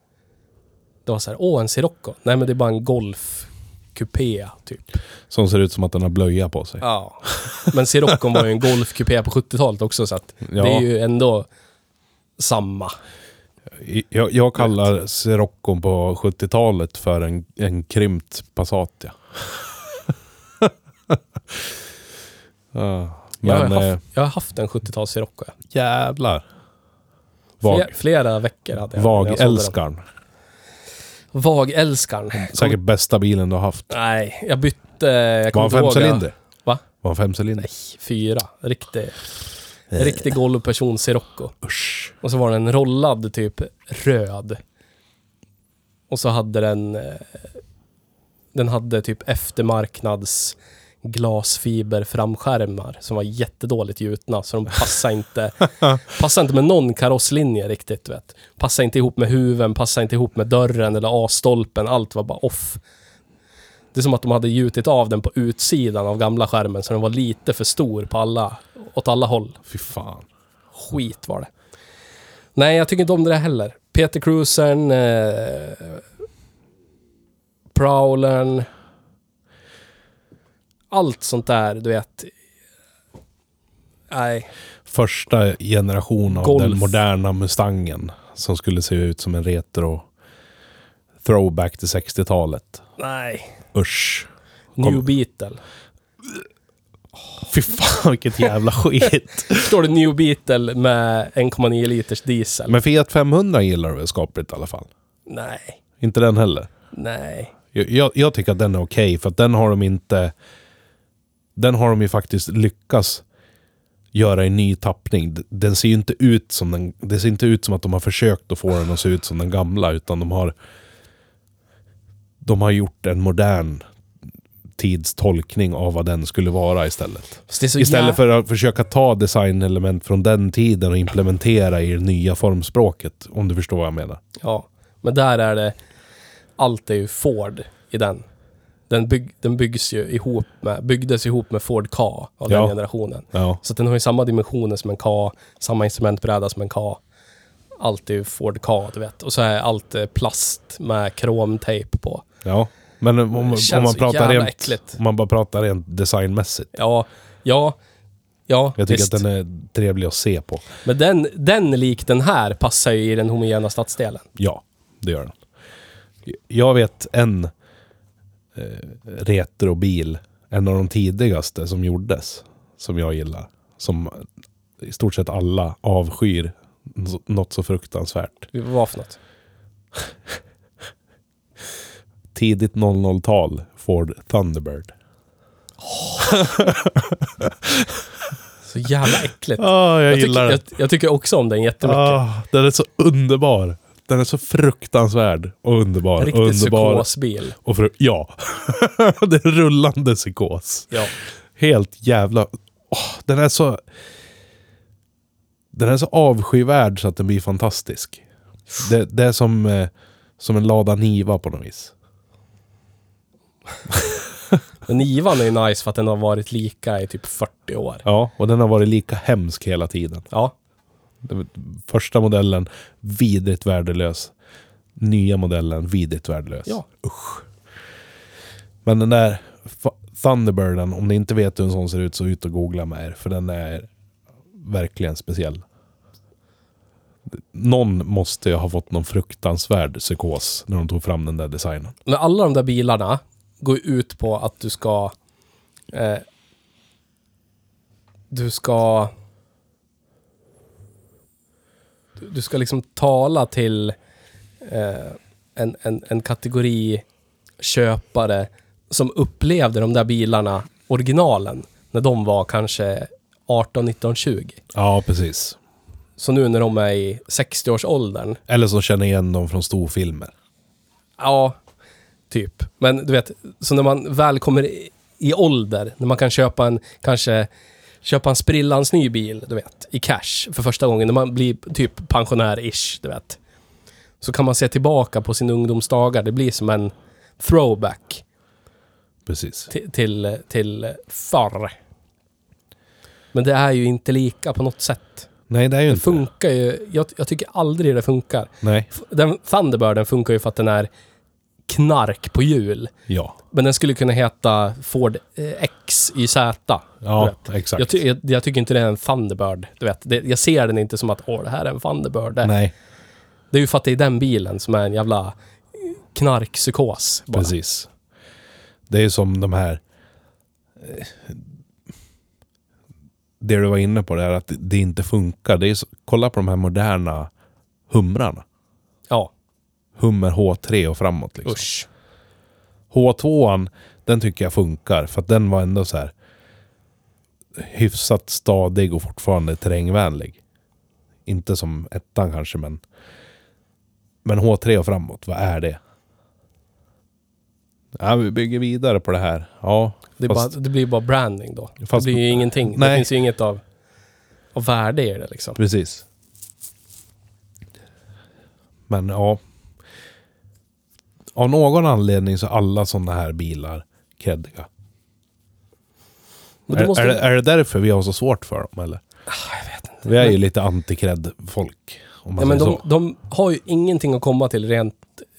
[SPEAKER 2] Det var så här, åh en Sirocco. Nej men det är bara en Golf Coupé typ.
[SPEAKER 1] Som ser ut som att den har blöja på sig.
[SPEAKER 2] Ja. Men Siroccon var ju en Golf Coupé på 70-talet också så att
[SPEAKER 1] Ja.
[SPEAKER 2] det är ju ändå samma.
[SPEAKER 1] Jag, jag kallar Siroccon på 70-talet för en, en krympt Passat. Ja. Ja,
[SPEAKER 2] Jag har,
[SPEAKER 1] men eh,
[SPEAKER 2] haft, jag har haft en 70-tals Sirocco. ja.
[SPEAKER 1] jävlar.
[SPEAKER 2] Flera,
[SPEAKER 1] Vag,
[SPEAKER 2] flera veckor hade jag. när jag sålde den.
[SPEAKER 1] Vagälskaren.
[SPEAKER 2] Vagälskaren.
[SPEAKER 1] Säkert bästa bilen du har haft.
[SPEAKER 2] Nej, jag bytte... Jag
[SPEAKER 1] Var
[SPEAKER 2] kommer
[SPEAKER 1] han
[SPEAKER 2] inte ihåg-
[SPEAKER 1] femcylinder?
[SPEAKER 2] Va?
[SPEAKER 1] Var han femcylinder?
[SPEAKER 2] Fyra. Riktig,
[SPEAKER 1] Eh.
[SPEAKER 2] riktig golvperson Sirocco. Usch. Och så var den en rollad typ röd. Och så hade den... eh, Den hade typ eftermarknads glasfiber framskärmar som var jättedåligt gjutna så de passade inte, passade inte med någon karosslinje riktigt. du Vet. Passade inte ihop med huven, passade inte ihop med dörren eller A-stolpen, allt var bara off. Det är som att de hade gjutit av den på utsidan av gamla skärmen så den var lite för stor på alla, åt alla håll.
[SPEAKER 1] Fy fan.
[SPEAKER 2] Skit var det. Nej, jag tycker inte om det där heller. Peter Cruisern, eh, Prowlern, allt sånt där, du vet. Nej,
[SPEAKER 1] Första generation av
[SPEAKER 2] Golf.
[SPEAKER 1] den moderna Mustangen. Som skulle se ut som en retro throwback till 60-talet.
[SPEAKER 2] nej.
[SPEAKER 1] Usch.
[SPEAKER 2] New
[SPEAKER 1] Kom.
[SPEAKER 2] Beetle.
[SPEAKER 1] Fy fan vilket jävla skit.
[SPEAKER 2] Står det New Beetle med 1,9 liters diesel?
[SPEAKER 1] Men Fiat 500 gillar du väl skapligt i alla fall?
[SPEAKER 2] Nej,
[SPEAKER 1] Inte den heller?
[SPEAKER 2] nej.
[SPEAKER 1] Jag, jag, jag tycker att den är okej, för att den har de inte... Den har de ju faktiskt lyckats göra i ny tappning. D- Den ser ju inte ut som den... Det ser inte ut som att de har försökt att få den att se ut som den gamla, utan de har... De har gjort en modern tidstolkning av vad den skulle vara istället.
[SPEAKER 2] Fast det är så
[SPEAKER 1] Istället
[SPEAKER 2] jä-
[SPEAKER 1] för att försöka ta designelement från den tiden och implementera i det nya formspråket. Om du förstår vad jag menar.
[SPEAKER 2] Ja, men där är det... Allt är ju Ford i den. Den, bygg, den byggs ju ihop med, byggdes ihop med Ford Ka av
[SPEAKER 1] Ja.
[SPEAKER 2] den generationen.
[SPEAKER 1] Ja.
[SPEAKER 2] Så att den har ju samma dimensioner som en Ka, samma instrumentbräda som en Ka. Allt är ju Ford Ka, du vet. Och så är allt eh, plast med kromtejp på.
[SPEAKER 1] Ja, men om, om
[SPEAKER 2] känns
[SPEAKER 1] man
[SPEAKER 2] så
[SPEAKER 1] pratar
[SPEAKER 2] jävla
[SPEAKER 1] rent,
[SPEAKER 2] äckligt.
[SPEAKER 1] om man bara pratar rent designmässigt.
[SPEAKER 2] Ja, ja, ja,
[SPEAKER 1] Jag tycker
[SPEAKER 2] visst.
[SPEAKER 1] att den är trevlig att se på.
[SPEAKER 2] Men den, den lik den här passar ju i den homogena stadsdelen.
[SPEAKER 1] Ja, det gör den. Jag vet en eh, retrobil, en av de tidigaste som gjordes, som jag gillar. Som i stort sett alla avskyr nå- något så fruktansvärt.
[SPEAKER 2] Vad var för något?
[SPEAKER 1] Tidigt 00-tal, Ford Thunderbird.
[SPEAKER 2] Så jävla äckligt.
[SPEAKER 1] Ah, jag,
[SPEAKER 2] Jag tycker,
[SPEAKER 1] gillar
[SPEAKER 2] jag, jag tycker också om den jättemycket.
[SPEAKER 1] Ah, den är så underbar. Den är så fruktansvärd och underbar.
[SPEAKER 2] En
[SPEAKER 1] och
[SPEAKER 2] riktig
[SPEAKER 1] underbar.
[SPEAKER 2] psykosbil.
[SPEAKER 1] Och för, ja. det är en rullande psykos.
[SPEAKER 2] Ja.
[SPEAKER 1] Helt jävla... Åh, den är så... Den är så avskyvärd så att den blir fantastisk. Det, det är som, eh, som en lada Niva på något vis.
[SPEAKER 2] Men Nivan är ju nice för att den har varit lika i typ 40 år.
[SPEAKER 1] Ja, och den har varit lika hemsk hela tiden.
[SPEAKER 2] Ja.
[SPEAKER 1] Den första modellen, vidrigt värdelös. Nya modellen, vidrigt värdelös.
[SPEAKER 2] Ja.
[SPEAKER 1] Men den där Fu- Thunderbirden, om ni inte vet hur en sån ser ut så ut och googla med er. För den är verkligen speciell. Någon måste ju ha fått någon fruktansvärd psykos när de tog fram den där designen.
[SPEAKER 2] Men alla de där bilarna går ju ut på att du ska... Eh, du ska... du- Du ska liksom tala till eh, en, en, en kategori köpare som upplevde de där bilarna, originalen, när de var kanske 18, 19, 20.
[SPEAKER 1] Ja, precis.
[SPEAKER 2] Så nu när de är i 60-årsåldern,
[SPEAKER 1] Eller så känner igen dem från storfilmer.
[SPEAKER 2] ja, typ. Men du vet, så när man väl kommer i, i ålder, när man kan köpa en, kanske, köpa en sprillans ny bil, du vet, i cash för första gången, när man blir typ pensionär-ish, du vet. Så kan man se tillbaka på sin ungdomsdagar, det blir som en throwback
[SPEAKER 1] Precis.
[SPEAKER 2] till, till, till förr. Men det är ju inte lika på något sätt.
[SPEAKER 1] Nej, det är ju
[SPEAKER 2] Det
[SPEAKER 1] inte det.
[SPEAKER 2] funkar ju, jag, jag tycker aldrig det funkar.
[SPEAKER 1] Nej.
[SPEAKER 2] F- Den Thunderbirden funkar ju för att den är knark på hjul.
[SPEAKER 1] Ja.
[SPEAKER 2] Men den skulle kunna heta Ford eh, XYZ. du
[SPEAKER 1] Ja,
[SPEAKER 2] vet.
[SPEAKER 1] exakt.
[SPEAKER 2] Jag, ty jag, jag tycker inte det är en Thunderbird. Du vet. Det, jag ser den inte som att åh, det här är en Thunderbird. Det,
[SPEAKER 1] Nej,
[SPEAKER 2] det är ju för att det är den bilen som är en jävla knarkpsykos. bara.
[SPEAKER 1] precis. Det är ju som de här... eh, Det du var inne på, det är att det- det inte funkar. Det är så, kolla på de här moderna humrarna.
[SPEAKER 2] Ja,
[SPEAKER 1] Hummer H3 och framåt. Liksom.
[SPEAKER 2] usch.
[SPEAKER 1] H2an, den tycker jag funkar. För att den var ändå så här hyfsat stadig och fortfarande terrängvänlig. Inte som ettan kanske, men... Men H3 och framåt, vad är det? Ja, vi bygger vidare på det här. Ja,
[SPEAKER 2] Det, är bara,
[SPEAKER 1] fast-
[SPEAKER 2] det blir bara branding då.
[SPEAKER 1] Fast-
[SPEAKER 2] det blir ju ingenting. Det
[SPEAKER 1] Nej.
[SPEAKER 2] finns ju inget av, av värde i det liksom.
[SPEAKER 1] Precis. Men ja. av någon anledning så är alla sådana här bilar kreddiga.
[SPEAKER 2] Men
[SPEAKER 1] Är,
[SPEAKER 2] då måste Ah,
[SPEAKER 1] är, det- är det därför vi har så svårt för dem eller? Vi är ju lite anti-kredd-folk. Om man
[SPEAKER 2] ja, men
[SPEAKER 1] säger
[SPEAKER 2] de,
[SPEAKER 1] så.
[SPEAKER 2] de har ju ingenting att komma till rent,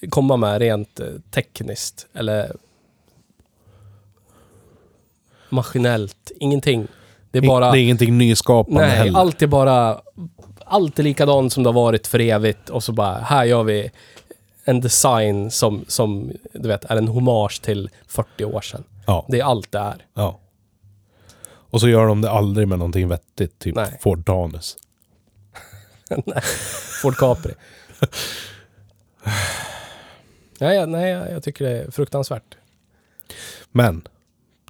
[SPEAKER 2] komma med rent eh, tekniskt eller maskinellt. Ingenting. Det är bara...
[SPEAKER 1] Det är ingenting nyskapande
[SPEAKER 2] nej,
[SPEAKER 1] heller.
[SPEAKER 2] allt är bara... Allt är likadant som det har varit för evigt och så bara, här gör vi en design som, som du vet, är en hommage till 40 år sedan.
[SPEAKER 1] Ja.
[SPEAKER 2] Det är allt det är.
[SPEAKER 1] ja. Och så gör de det aldrig med någonting vettigt. Typ
[SPEAKER 2] Nej.
[SPEAKER 1] Ford Tanus.
[SPEAKER 2] Ford Capri. nej, jag- nej, jag jag tycker det är fruktansvärt.
[SPEAKER 1] Men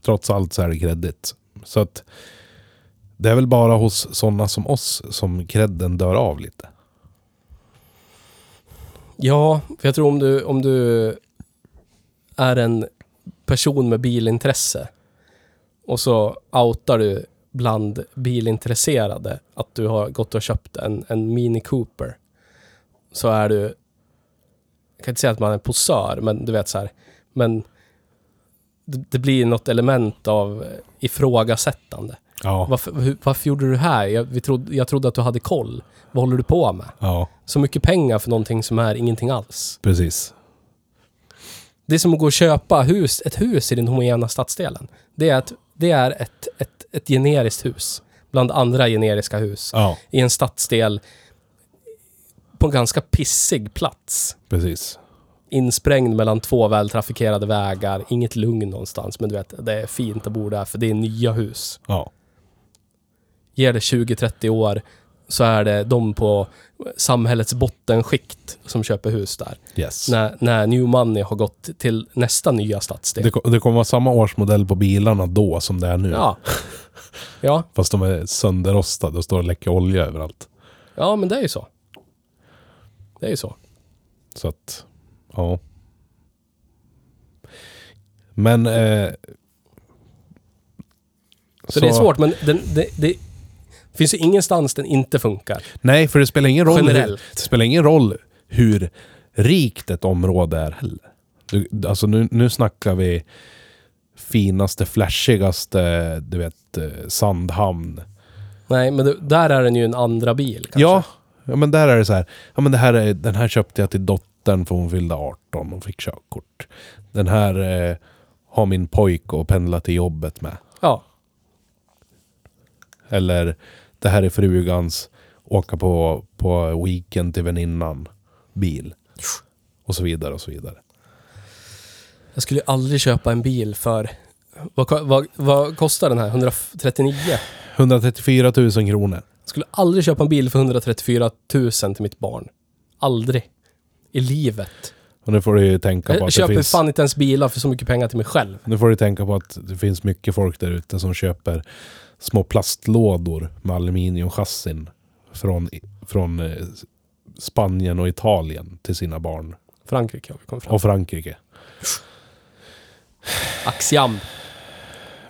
[SPEAKER 1] trots allt så är det kreddigt. Så att det är väl bara hos sådana som oss som credden dör av lite.
[SPEAKER 2] Ja, för jag tror om du, om du är en person med bilintresse och så outar du bland bilintresserade att du har gått och köpt en, en Mini Cooper. Så är du, jag kan inte säga att man är posör, men du vet så här, men det, det blir något element av eh, ifrågasättande.
[SPEAKER 1] Ja.
[SPEAKER 2] Varför, hur, varför gjorde du det här? Jag, vi trodde, jag trodde att du hade koll. Vad håller du på med?
[SPEAKER 1] Ja,
[SPEAKER 2] Så mycket pengar för någonting som är ingenting alls.
[SPEAKER 1] precis.
[SPEAKER 2] Det är som att gå och köpa hus, ett hus i den homogena stadsdelen. Det är, ett, det är ett, ett, ett generiskt hus bland andra generiska hus
[SPEAKER 1] Ja,
[SPEAKER 2] i en stadsdel på en ganska pissig plats.
[SPEAKER 1] precis.
[SPEAKER 2] Insprängd mellan två vältrafikerade vägar, inget lugn någonstans, men du vet, det är fint att bo där för det är nya hus.
[SPEAKER 1] Ja,
[SPEAKER 2] Ger det 20-30 år så är det de på samhällets bottenskikt som köper hus där.
[SPEAKER 1] yes.
[SPEAKER 2] När, när New Money har gått till nästa nya stadsdel.
[SPEAKER 1] Det, ko- det kommer vara samma årsmodell på bilarna då som det är nu.
[SPEAKER 2] Ja. ja.
[SPEAKER 1] Fast de är sönderrostade och står och läcker olja överallt.
[SPEAKER 2] Ja, men det är ju så. Det är ju så.
[SPEAKER 1] Så att, ja. Men... Eh,
[SPEAKER 2] Så, det är svårt, men den, det, det finns ju ingenstans den inte funkar.
[SPEAKER 1] Nej, för det spelar ingen roll, hur,
[SPEAKER 2] Generellt.
[SPEAKER 1] det spelar ingen roll hur rikt ett område är heller. Du, alltså nu, nu snackar vi finaste, flashigaste, du vet, eh, Sandhamn.
[SPEAKER 2] Nej, men det, där är den ju en andra bil. Kanske.
[SPEAKER 1] Ja, ja, men där är det så här. Ja, men det här är, den här köpte jag till dottern för hon fyllde 18 och fick körkort. Den här eh, har min pojke och pendlar till jobbet med.
[SPEAKER 2] ja.
[SPEAKER 1] Eller det här är frugans åka på, på weekend till väninnan bil. Och så vidare och så vidare.
[SPEAKER 2] Jag skulle ju aldrig köpa en bil för... Vad, ko- vad, vad kostar den här? 139?
[SPEAKER 1] 134 000 kronor.
[SPEAKER 2] Jag skulle aldrig köpa en bil för 134 000 till mitt barn. Aldrig. I livet.
[SPEAKER 1] Och nu får du ju tänka på
[SPEAKER 2] Jag
[SPEAKER 1] att det
[SPEAKER 2] köper
[SPEAKER 1] finns,
[SPEAKER 2] fan inte ens bilar för så mycket pengar till mig själv.
[SPEAKER 1] nu får du tänka på att det finns mycket folk där ute som köper små plastlådor med aluminiumchassin från, från eh, Spanien och Italien till sina barn.
[SPEAKER 2] Frankrike har vi kommit fram
[SPEAKER 1] Och Frankrike,
[SPEAKER 2] Axiam.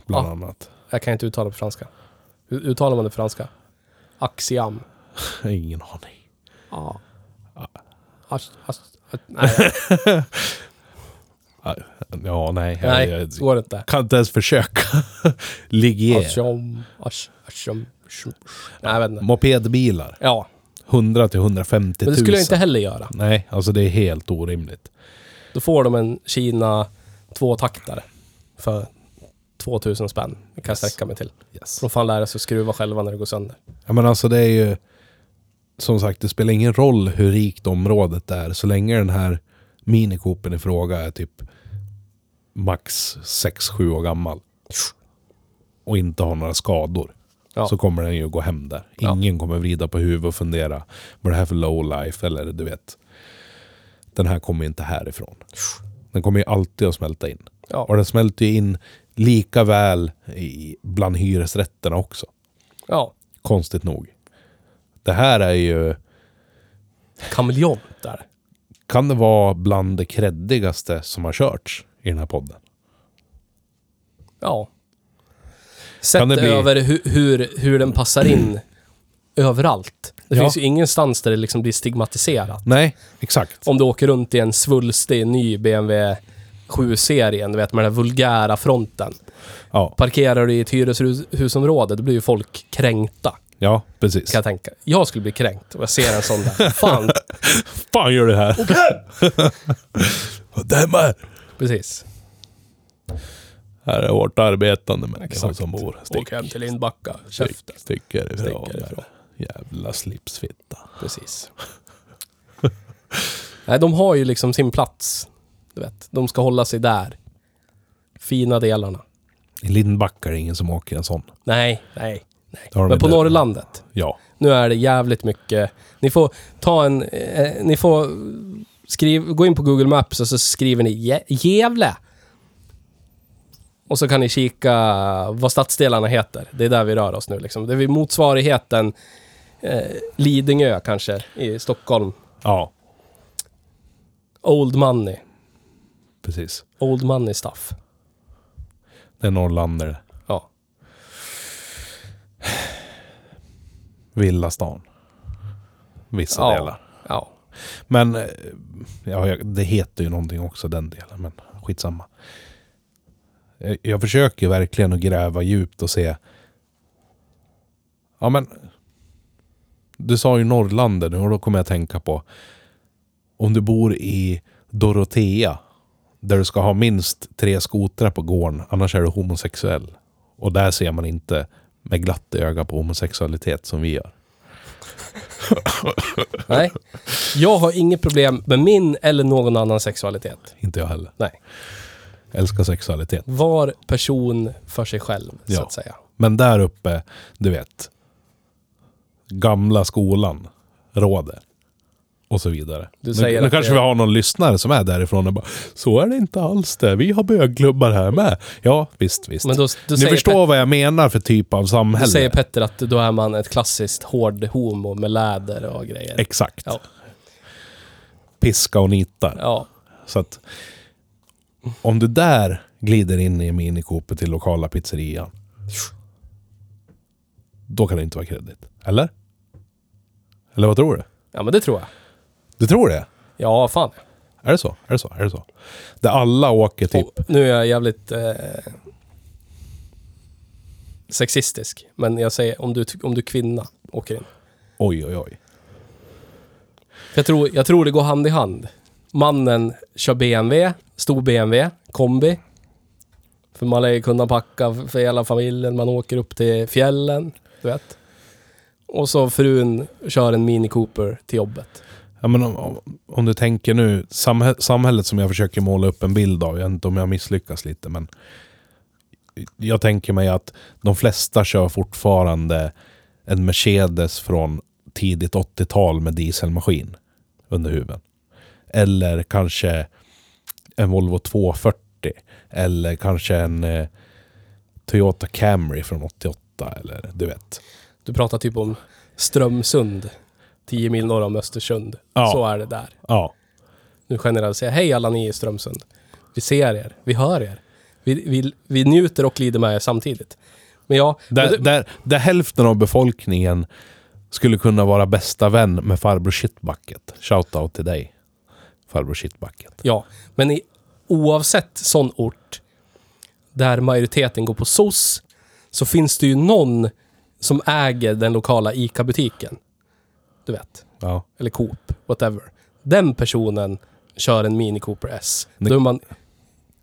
[SPEAKER 1] bland
[SPEAKER 2] Ja.
[SPEAKER 1] annat.
[SPEAKER 2] Jag kan inte uttala på franska. Hur uttalar man det på franska? Axiam.
[SPEAKER 1] Jag har Ingen aning.
[SPEAKER 2] Ja. As, as, as, nej,
[SPEAKER 1] Ja, nej. jag-
[SPEAKER 2] nej,
[SPEAKER 1] Jag,
[SPEAKER 2] det går inte.
[SPEAKER 1] kan inte ens försöka. Ligier.
[SPEAKER 2] Axiam, as, asiam, shum, shum. Nej, jag vet inte.
[SPEAKER 1] Mopedbilar.
[SPEAKER 2] Ja,
[SPEAKER 1] 100 till 150 000.
[SPEAKER 2] men det skulle jag inte heller göra.
[SPEAKER 1] Nej, alltså det är helt orimligt.
[SPEAKER 2] Då får de en Kina tvåtaktare för 2000 spänn. Det kan jag sträcka mig till.
[SPEAKER 1] Yes.
[SPEAKER 2] De får fan lära sig att skruva själva när det går sönder.
[SPEAKER 1] Ja men alltså det är ju... Som sagt, det spelar ingen roll hur rikt området är så länge den här minikopen i fråga är typ max 6-7 år gammal. Och inte har några skador.
[SPEAKER 2] Ja.
[SPEAKER 1] Så kommer den ju gå hem där. Ingen kommer vrida på huvudet och fundera. Vad är det här för low life? Eller du vet. Den här kommer ju inte härifrån. Den kommer ju alltid att smälta in. Och
[SPEAKER 2] Ja,
[SPEAKER 1] den smälter ju in lika väl i, bland hyresrätterna också
[SPEAKER 2] ja.
[SPEAKER 1] konstigt nog. Det här är ju,
[SPEAKER 2] kameleont där.
[SPEAKER 1] kan det vara bland det kreddigaste som har körts i den här podden?
[SPEAKER 2] Ja. Sett
[SPEAKER 1] det bli-
[SPEAKER 2] över hu hur, hur den passar in överallt. Det
[SPEAKER 1] Ja.
[SPEAKER 2] finns ju ingenstans där det liksom blir stigmatiserat.
[SPEAKER 1] Nej, exakt.
[SPEAKER 2] Om du åker runt i en svulstig ny BMW 7-serien, du vet med den här vulgära fronten.
[SPEAKER 1] Ja,
[SPEAKER 2] Parkerar du i ett hyreshusområde, då blir ju folk kränkta.
[SPEAKER 1] ja precis.
[SPEAKER 2] Kan jag tänka. Jag skulle bli kränkt och jag ser en sån där. Fan!
[SPEAKER 1] fan gör du här? Vad dämmer!
[SPEAKER 2] Precis.
[SPEAKER 1] Här är hårt arbetande människor
[SPEAKER 2] Exakt.
[SPEAKER 1] som bor. Stick,
[SPEAKER 2] Åk hem till Lindbacka. Käften.
[SPEAKER 1] stick, sticker ifrån.
[SPEAKER 2] Sticker ifrån.
[SPEAKER 1] Jävla slipsfitta.
[SPEAKER 2] Precis. Nej, de har ju liksom sin plats. Du vet, de ska hålla sig där. Fina delarna.
[SPEAKER 1] I Lindbacka är det ingen som åker en sån.
[SPEAKER 2] Nej, nej, nej.
[SPEAKER 1] Det har de
[SPEAKER 2] Men på
[SPEAKER 1] inte.
[SPEAKER 2] Norrlandet,
[SPEAKER 1] Ja.
[SPEAKER 2] nu är det jävligt mycket... Ni får ta en... Eh, ni får skriv, gå in på Google Maps och så skriver ni Jä- Gävle. Och så kan ni kika vad stadsdelarna heter. Det är där vi rör oss nu liksom. Det är vid motsvarigheten eh, Lidingö kanske i Stockholm.
[SPEAKER 1] Ja,
[SPEAKER 2] Old money.
[SPEAKER 1] precis.
[SPEAKER 2] Old money stuff.
[SPEAKER 1] Det är norrlandare.
[SPEAKER 2] Ja.
[SPEAKER 1] Villastan. Vissa
[SPEAKER 2] Ja.
[SPEAKER 1] delar.
[SPEAKER 2] ja.
[SPEAKER 1] Men eh, ja, jag- det heter ju någonting också den delen. Men skitsamma. Eh, Jag försöker verkligen att gräva djupt och se. Ja men. Du sa ju Norrlanden nu och då kommer jag tänka på. Om du bor i Dorotea. Där du ska ha minst tre skotrar på gården. Annars är du homosexuell. Och där ser man inte med glatt öga på homosexualitet som vi gör.
[SPEAKER 2] Nej. Jag har inget problem med min eller någon annan sexualitet.
[SPEAKER 1] Inte jag heller.
[SPEAKER 2] Nej.
[SPEAKER 1] Älskar sexualitet.
[SPEAKER 2] Var person för sig själv, så
[SPEAKER 1] Ja.
[SPEAKER 2] att säga.
[SPEAKER 1] Men där uppe, du vet. Gamla skolan råder. Och så vidare.
[SPEAKER 2] Du
[SPEAKER 1] nu
[SPEAKER 2] säger
[SPEAKER 1] nu
[SPEAKER 2] att
[SPEAKER 1] kanske
[SPEAKER 2] det-
[SPEAKER 1] vi har någon lyssnare som är därifrån och bara Så är det inte alls det. Vi har bögklubbar här med. Ja, visst, visst.
[SPEAKER 2] Men då, då
[SPEAKER 1] Ni
[SPEAKER 2] säger,
[SPEAKER 1] förstår
[SPEAKER 2] Pet-
[SPEAKER 1] vad jag menar för typ av
[SPEAKER 2] då
[SPEAKER 1] samhälle.
[SPEAKER 2] säger Petter att då är man ett klassiskt hård homo med läder och grejer.
[SPEAKER 1] Exakt.
[SPEAKER 2] Ja.
[SPEAKER 1] Piska och nitar.
[SPEAKER 2] ja.
[SPEAKER 1] Så att om du där glider in i minikoopet till lokala pizzerian. Då kan det inte vara kreddigt. Eller? Eller vad tror du?
[SPEAKER 2] Ja, men det tror jag.
[SPEAKER 1] Du tror det?
[SPEAKER 2] Ja, fan.
[SPEAKER 1] Är det så? Är det så? Är det så? Där alla åker typ...
[SPEAKER 2] Och nu är jag jävligt eh, sexistisk. Men jag säger om du, om du är kvinna åker in.
[SPEAKER 1] Oj, oj, oj.
[SPEAKER 2] För Jag tror, jag tror det går hand i hand. Mannen kör BMW, stor BMW, kombi. För man lär ju kunna packa för hela familjen, man åker upp till fjällen, du vet. Och så frun kör en Mini Cooper till jobbet.
[SPEAKER 1] Ja, men om- om, om du tänker nu, samhä samhället som jag försöker måla upp en bild av, jag vet inte om jag misslyckas lite, men jag tänker mig att de flesta kör fortfarande en Mercedes från tidigt 80-tal med dieselmaskin under huven. Eller kanske en Volvo 240 eller kanske en eh, Toyota Camry från 88 eller du vet.
[SPEAKER 2] Du pratar typ om Strömsund, 10 mil norr om Östersund.
[SPEAKER 1] Ja.
[SPEAKER 2] Så är det där.
[SPEAKER 1] Ja,
[SPEAKER 2] Nu generaliserar jag. Hej alla ni i Strömsund. Vi ser er, vi hör er. Vi, vi, vi njuter och lider med er samtidigt. Men ja, men
[SPEAKER 1] Där,
[SPEAKER 2] det-
[SPEAKER 1] där, där hälften av befolkningen skulle kunna vara bästa vän med farbror Shitbucket. Shoutout till dig, farbror Shitbucket.
[SPEAKER 2] Ja, men i, oavsett sån ort där majoriteten går på SOS så finns det ju någon som äger den lokala ICA-butiken. Du vet.
[SPEAKER 1] Ja.
[SPEAKER 2] Eller Coop, whatever. Den personen kör en Mini Cooper S.
[SPEAKER 1] Men-
[SPEAKER 2] Då är man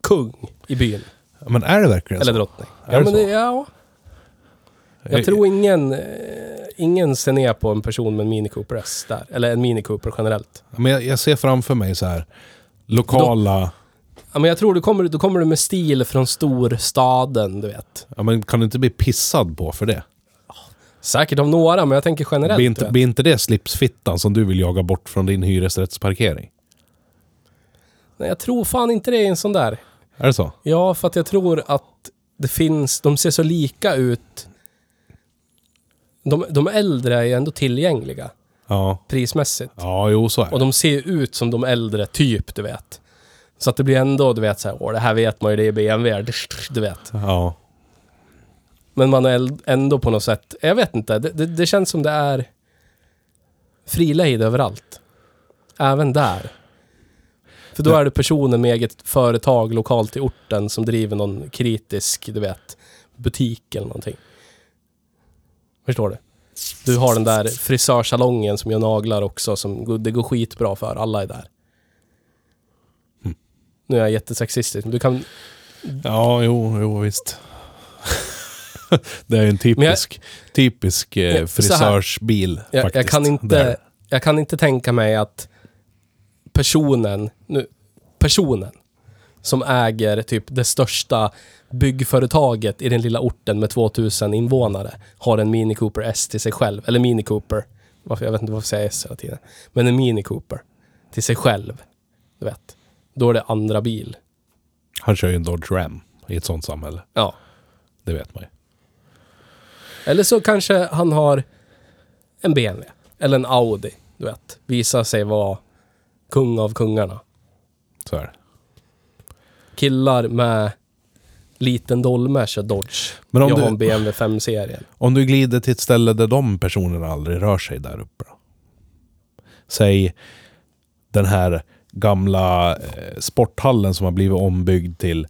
[SPEAKER 2] kung i byn.
[SPEAKER 1] Men är det verkligen
[SPEAKER 2] Eller
[SPEAKER 1] så?
[SPEAKER 2] drottning.
[SPEAKER 1] Är
[SPEAKER 2] Ja,
[SPEAKER 1] det
[SPEAKER 2] men
[SPEAKER 1] så?
[SPEAKER 2] det, ja. Jag tror ingen, eh, ingen ser ner på en person med en Mini Cooper S där. Eller en Mini Cooper generellt.
[SPEAKER 1] Men jag, jag ser framför mig så här lokala...
[SPEAKER 2] Ja, men jag tror du kommer, då kommer du med stil från storstaden, du vet.
[SPEAKER 1] Ja, men kan du inte bli pissad på för det?
[SPEAKER 2] Säkert av några, men jag tänker generellt.
[SPEAKER 1] Blir
[SPEAKER 2] du
[SPEAKER 1] inte,
[SPEAKER 2] vet.
[SPEAKER 1] blir inte det slipsfittan som du vill jaga bort från din hyresrättsparkering?
[SPEAKER 2] Nej, jag tror fan inte det är en sån där.
[SPEAKER 1] Är det så?
[SPEAKER 2] Ja, för att jag tror att det finns, de ser så lika ut. De, de äldre är ju ändå tillgängliga
[SPEAKER 1] Ja.
[SPEAKER 2] prismässigt.
[SPEAKER 1] Ja, jo så är
[SPEAKER 2] Och
[SPEAKER 1] det.
[SPEAKER 2] de ser ju ut som de äldre, typ, du vet. Så att det blir ändå, du vet, så här, åh, det här vet man ju, det är BMW, du vet.
[SPEAKER 1] Ja.
[SPEAKER 2] Men man är äl- ändå på något sätt, jag vet inte, det, det, det känns som det är frilejd överallt. Även där. För då är det personer med eget företag lokalt i orten som driver någon kritisk, du vet, butik eller någonting. Förstår du? Du har den där frisörsalongen som gör naglar också, som går- det går skitbra för. Alla är där. Nu är jag jättesexistisk, men du kan...
[SPEAKER 1] Ja, jo, jo visst. det är en
[SPEAKER 2] Men jag-
[SPEAKER 1] typisk, typisk eh,
[SPEAKER 2] Ja, så här.
[SPEAKER 1] frisörsbil
[SPEAKER 2] Jag,
[SPEAKER 1] faktiskt.
[SPEAKER 2] jag, kan
[SPEAKER 1] Där.
[SPEAKER 2] inte, jag kan inte tänka mig att personen, nu, personen som äger typ det största byggföretaget i den lilla orten med 2000 invånare har en Mini Cooper S till sig själv. Eller Mini Cooper. Varför, jag vet inte varför jag säger S hela tiden. Men en Mini Cooper till sig själv. Du vet. Då är det andra bil.
[SPEAKER 1] Han kör ju en Dodge Ram i ett sånt samhälle.
[SPEAKER 2] Ja.
[SPEAKER 1] Det vet man ju.
[SPEAKER 2] Eller så kanske han har en BMW. Eller en Audi. Du vet. Visar sig vara kung av kungarna.
[SPEAKER 1] Så är det.
[SPEAKER 2] killar med liten dolme kör Dodge.
[SPEAKER 1] Men om
[SPEAKER 2] jag
[SPEAKER 1] du-
[SPEAKER 2] har en BMW 5-serien.
[SPEAKER 1] Om du glider till ett ställe där de personerna aldrig rör sig där uppe då? Säg den här gamla eh, sporthallen som har blivit ombyggd till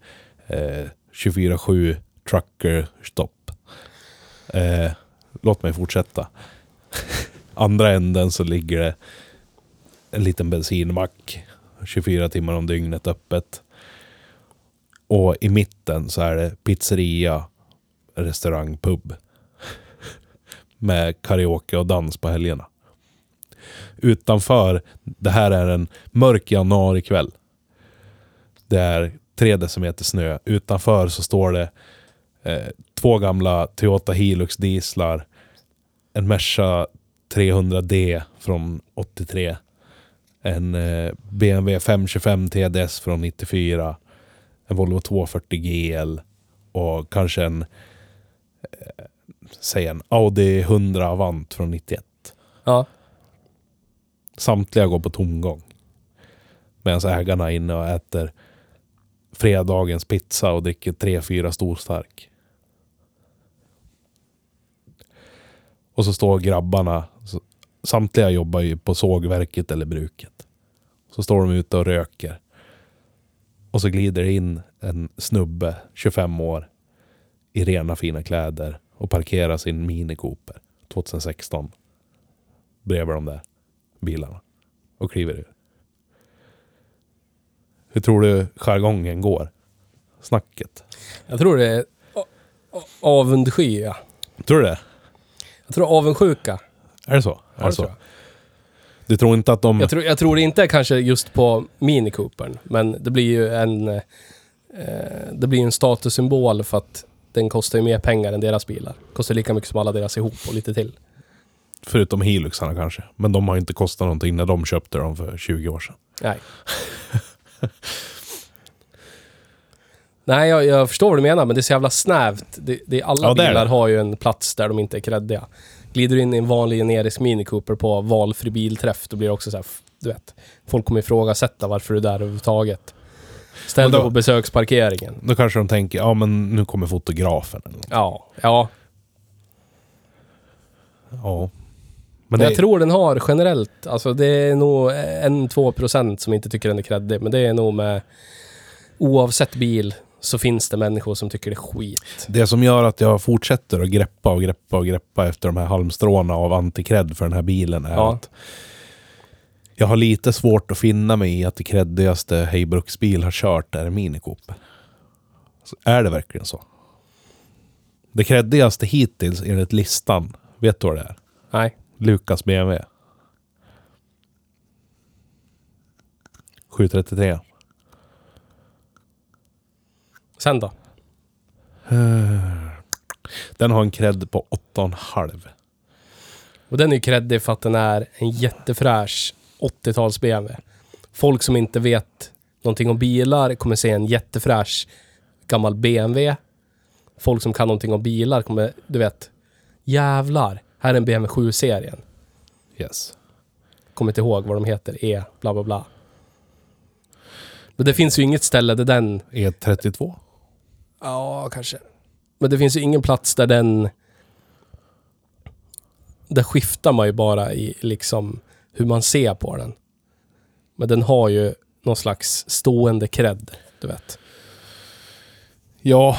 [SPEAKER 1] eh, 24-7 truckerstopp. Eh, låt mig fortsätta. Andra änden så ligger det en liten bensinmack 24 timmar om dygnet öppet. Och i mitten så är det pizzeria, restaurang, pub med karaoke och dans på helgerna. Utanför, det här är en mörk januarikväll. Det är tre decimeter snö. Utanför så står det eh, två gamla Toyota Hilux dieslar, en Merca 300D från 83, en eh, BMW 525 TDS från 94, en Volvo 240 GL och kanske en säg en Audi 100 Avant från 91.
[SPEAKER 2] Ja.
[SPEAKER 1] Samtliga går på tomgång. Medan ägarna är inne och äter fredagens pizza och dricker tre fyra storstark. Och så står grabbarna, så- samtliga jobbar ju på sågverket eller bruket. Så står de ute och röker. Och så glider det in en snubbe, 25 år, i rena fina kläder och parkerar sin Mini Cooper 2016 bredvid de där bilarna och kliver ur. Hur tror du jargongen går? Snacket.
[SPEAKER 2] Jag tror det är a- a- avundsjuka.
[SPEAKER 1] Tror du det?
[SPEAKER 2] Jag tror avundsjuka.
[SPEAKER 1] Är det så? Är
[SPEAKER 2] det
[SPEAKER 1] det
[SPEAKER 2] tror
[SPEAKER 1] så?
[SPEAKER 2] jag.
[SPEAKER 1] Du tror inte att de...
[SPEAKER 2] Jag tror, jag tror det inte är kanske just på Mini Coopern, men det blir ju en... Eh, det blir ju en statussymbol för att den kostar ju mer pengar än deras bilar. Kostar lika mycket som alla deras ihop och lite till.
[SPEAKER 1] Förutom Hiluxarna kanske. Men de har ju inte kostat någonting när de köpte dem för 20 år sedan.
[SPEAKER 2] Nej. Nej, jag, jag förstår vad du menar, men det är så jävla snävt. Det, det, alla
[SPEAKER 1] Ja, det är
[SPEAKER 2] bilar
[SPEAKER 1] det.
[SPEAKER 2] har ju en plats där de inte är kreddiga. Glider du in i en vanlig generisk Mini Cooper på valfri bilträff, då blir det också så här, f- du vet. Folk kommer ifrågasätta varför du är där överhuvudtaget. Ställ
[SPEAKER 1] Men då-
[SPEAKER 2] dig på besöksparkeringen.
[SPEAKER 1] Då kanske de tänker, ja men nu kommer fotografen eller något.
[SPEAKER 2] Ja, ja.
[SPEAKER 1] Ja.
[SPEAKER 2] Men
[SPEAKER 1] Men det,
[SPEAKER 2] jag tror den har generellt, alltså det är nog en, två procent som inte tycker den är kreddig, men det är nog med oavsett bil så finns det människor som tycker det är skit.
[SPEAKER 1] Det som gör att jag fortsätter att greppa och greppa och greppa efter de här halmstråna av antikredd för den här bilen är
[SPEAKER 2] Ja.
[SPEAKER 1] att jag har lite svårt att finna mig i att det kreddigaste Hejbruksbil har kört är en Mini Cooper. Så är det verkligen så? Det kreddigaste hittills enligt listan, vet du vad det är?
[SPEAKER 2] Nej.
[SPEAKER 1] Lukas BMW. 733.
[SPEAKER 2] Sen då?
[SPEAKER 1] Den har en kredd på 8,5.
[SPEAKER 2] Och den är ju creddig för att den är en jättefräsch 80-tals BMW. Folk som inte vet någonting om bilar kommer se en jättefräsch gammal BMW. Folk som kan någonting om bilar kommer, du vet, jävlar, här är en BMW 7-serien.
[SPEAKER 1] Yes.
[SPEAKER 2] Kommer inte ihåg vad de heter, E, bla bla bla. Men det finns ju inget ställe där den,
[SPEAKER 1] E E32.
[SPEAKER 2] ja kanske. Men det finns ju ingen plats där den, där skiftar man ju bara i liksom hur man ser på den. Men den har ju någon slags stående cred, du vet.
[SPEAKER 1] Ja,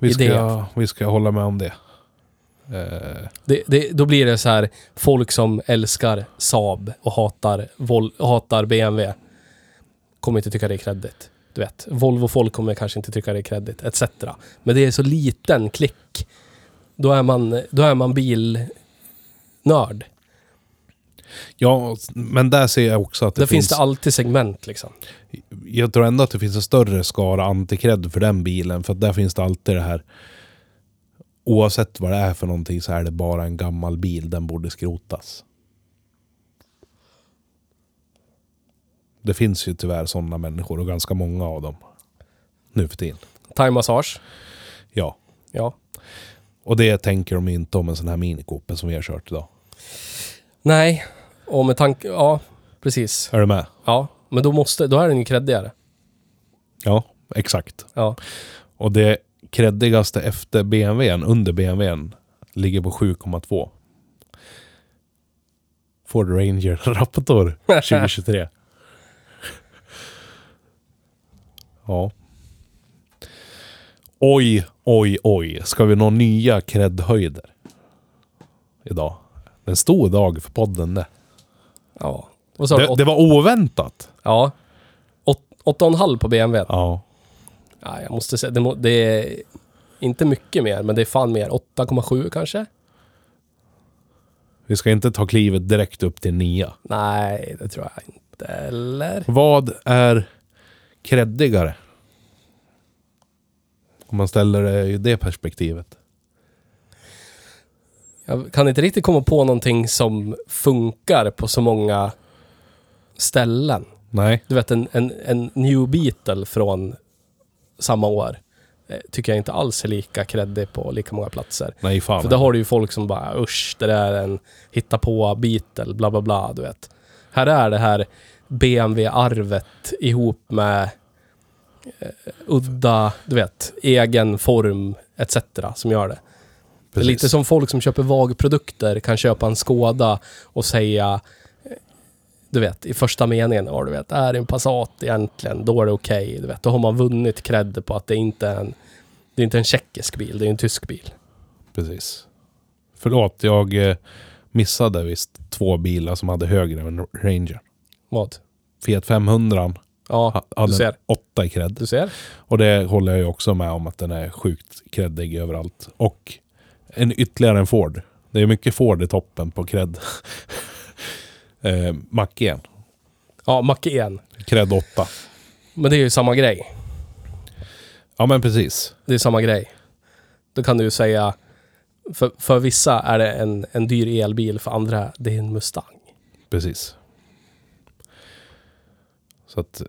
[SPEAKER 1] vi
[SPEAKER 2] Idé.
[SPEAKER 1] ska, vi ska hålla med om det. Eh,
[SPEAKER 2] Det, det, då blir det så här, folk som älskar Saab och hatar, Vol- hatar BMW kommer inte tycka det är kreddigt. Du vet, Volvo-folk kommer kanske inte tycka det är kreddigt, etc. Men det är så liten klick. Då är man, då är man bilnörd.
[SPEAKER 1] ja, men där ser jag också att det
[SPEAKER 2] Där finns
[SPEAKER 1] finns...
[SPEAKER 2] det alltid segment liksom.
[SPEAKER 1] jag tror ändå att det finns en större skara antikredd för den bilen. För att där finns det alltid det här... Oavsett vad det är för någonting så är det bara en gammal bil. Den borde skrotas. Det finns ju tyvärr sådana människor och ganska många av dem. Nu för tiden.
[SPEAKER 2] Time massage.
[SPEAKER 1] Ja.
[SPEAKER 2] Ja.
[SPEAKER 1] Och det tänker de inte om en sån här Mini Cooper som vi har kört idag.
[SPEAKER 2] Nej, och med tanke... Ja, precis.
[SPEAKER 1] Är du med?
[SPEAKER 2] Ja, men då, måste, då är den ju kreddigare.
[SPEAKER 1] Ja, exakt.
[SPEAKER 2] Ja.
[SPEAKER 1] Och det kreddigaste efter BMWn, under BMWn, ligger på 7,2. Ford Ranger Raptor 2023. ja. Oj, oj, oj. Ska vi nå nya kreddhöjder? Idag. Det är En stor dag för podden det.
[SPEAKER 2] ja. Vad sa du?
[SPEAKER 1] Det,
[SPEAKER 2] Åt-
[SPEAKER 1] det var oväntat.
[SPEAKER 2] Ja. Åt, åtta och en halv på BMW. Ja.
[SPEAKER 1] Ja.
[SPEAKER 2] jag måste säga, det, må, det är inte mycket mer, men det är fan mer. 8,7 kanske?
[SPEAKER 1] Vi ska inte ta klivet direkt upp till nia.
[SPEAKER 2] Nej, det tror jag inte. Eller?
[SPEAKER 1] Vad är kreddigare? Om man ställer det i det perspektivet.
[SPEAKER 2] Jag kan inte riktigt komma på någonting som funkar på så många ställen.
[SPEAKER 1] Nej.
[SPEAKER 2] Du vet, en, en, en New Beetle från samma år eh, tycker jag inte alls är lika kreddig på lika många platser.
[SPEAKER 1] Nej, fan.
[SPEAKER 2] För där har du ju folk som bara usch, det där är en hitta på Beetle, bla bla bla, du vet. Här är det här BMW-arvet ihop med eh, udda, du vet, egen form etc. som gör det. Det är
[SPEAKER 1] Precis.
[SPEAKER 2] lite som folk som köper VAG-produkter kan köpa en Skoda och säga, eh, du vet, i första meningen, ja du vet, är det en Passat egentligen, då är det okej, du vet. Då har man vunnit cred på att det inte är en, det är inte en tjeckisk bil, det är en tysk bil.
[SPEAKER 1] Precis. Förlåt, jag eh, missade visst två bilar som hade högre än Ranger.
[SPEAKER 2] Vad?
[SPEAKER 1] Fiat 500
[SPEAKER 2] Ja,
[SPEAKER 1] ha- hade
[SPEAKER 2] du ser.
[SPEAKER 1] 8 i cred.
[SPEAKER 2] Du ser.
[SPEAKER 1] Och det håller jag ju också med om att den är sjukt creddig överallt. Och en ytterligare en Ford. Det är mycket Ford i toppen på cred. eh, Mac igen.
[SPEAKER 2] Ja, Macke igen.
[SPEAKER 1] Cred 8.
[SPEAKER 2] Men det är ju samma grej.
[SPEAKER 1] Ja men precis.
[SPEAKER 2] Det är samma grej. Då kan du ju säga, för, för vissa är det en, en dyr elbil, för andra det är en Mustang.
[SPEAKER 1] Precis. Så att...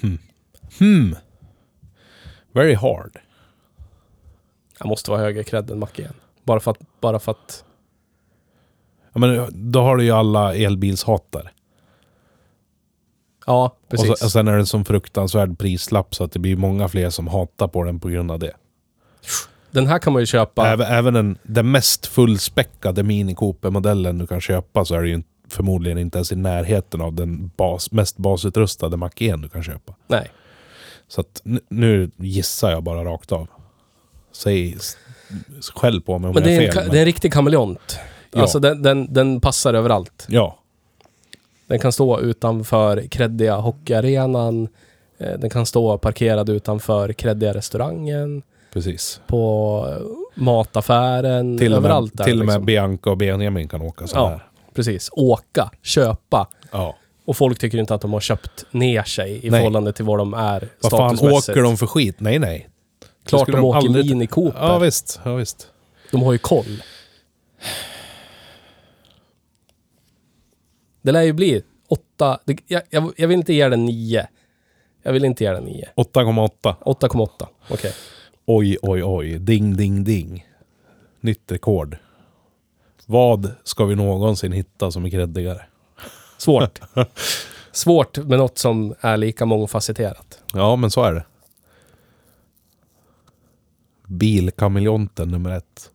[SPEAKER 1] Hmm. Hmm. Very hard.
[SPEAKER 2] Jag måste vara högre cred än Macke igen. Bara för att, bara för att,
[SPEAKER 1] Ja, men eh, då har du ju alla elbilshatare.
[SPEAKER 2] ja,
[SPEAKER 1] Och,
[SPEAKER 2] precis.
[SPEAKER 1] så, och sen är det en sån fruktansvärd prislapp så att det blir många fler som hatar på den på grund av det.
[SPEAKER 2] Den här kan man ju köpa.
[SPEAKER 1] Även, även den, den mest fullspäckade Mini Cooper-modellen du kan köpa så är det ju förmodligen inte ens i närheten av den bas, mest basutrustade Mac 1 du kan köpa.
[SPEAKER 2] Nej.
[SPEAKER 1] Så att nu, nu gissar jag bara rakt av. Säg, s- skäll på mig om
[SPEAKER 2] Men det
[SPEAKER 1] jag
[SPEAKER 2] är,
[SPEAKER 1] är
[SPEAKER 2] en,
[SPEAKER 1] fel.
[SPEAKER 2] ka-
[SPEAKER 1] men-
[SPEAKER 2] det är en riktig kameleont.
[SPEAKER 1] Ja.
[SPEAKER 2] Alltså den, den, den passar överallt.
[SPEAKER 1] Ja,
[SPEAKER 2] Den kan stå utanför creddiga hockeyarenan. Eh, Den kan stå parkerad utanför creddiga restaurangen.
[SPEAKER 1] precis.
[SPEAKER 2] på eh, mataffären,
[SPEAKER 1] Till och med,
[SPEAKER 2] överallt där.
[SPEAKER 1] till och med
[SPEAKER 2] liksom.
[SPEAKER 1] Bianca och Benjamin kan åka så
[SPEAKER 2] Ja,
[SPEAKER 1] här.
[SPEAKER 2] precis. Åka, köpa.
[SPEAKER 1] Ja.
[SPEAKER 2] Och folk tycker inte att de har köpt ner sig i
[SPEAKER 1] Nej.
[SPEAKER 2] förhållande till vad de är
[SPEAKER 1] Vad fan åker de för skit? Nej, nej. Det
[SPEAKER 2] Klart de,
[SPEAKER 1] skulle
[SPEAKER 2] åker
[SPEAKER 1] aldrig-
[SPEAKER 2] Mini Cooper.
[SPEAKER 1] Ja, visst. Ja, visst.
[SPEAKER 2] De har ju koll. Det lär ju bli åtta... Det, jag, jag, jag vill inte ge den nio. Jag vill inte ge den nio.
[SPEAKER 1] 8,8.
[SPEAKER 2] 8,8. Okej.
[SPEAKER 1] Oj, oj, oj. Ding, ding, ding. Nytt rekord. Vad ska vi någonsin hitta som är kreddigare?
[SPEAKER 2] Svårt. Svårt med något som är lika mångfacetterat.
[SPEAKER 1] Ja, men så är det. Bilkameleonten nummer ett.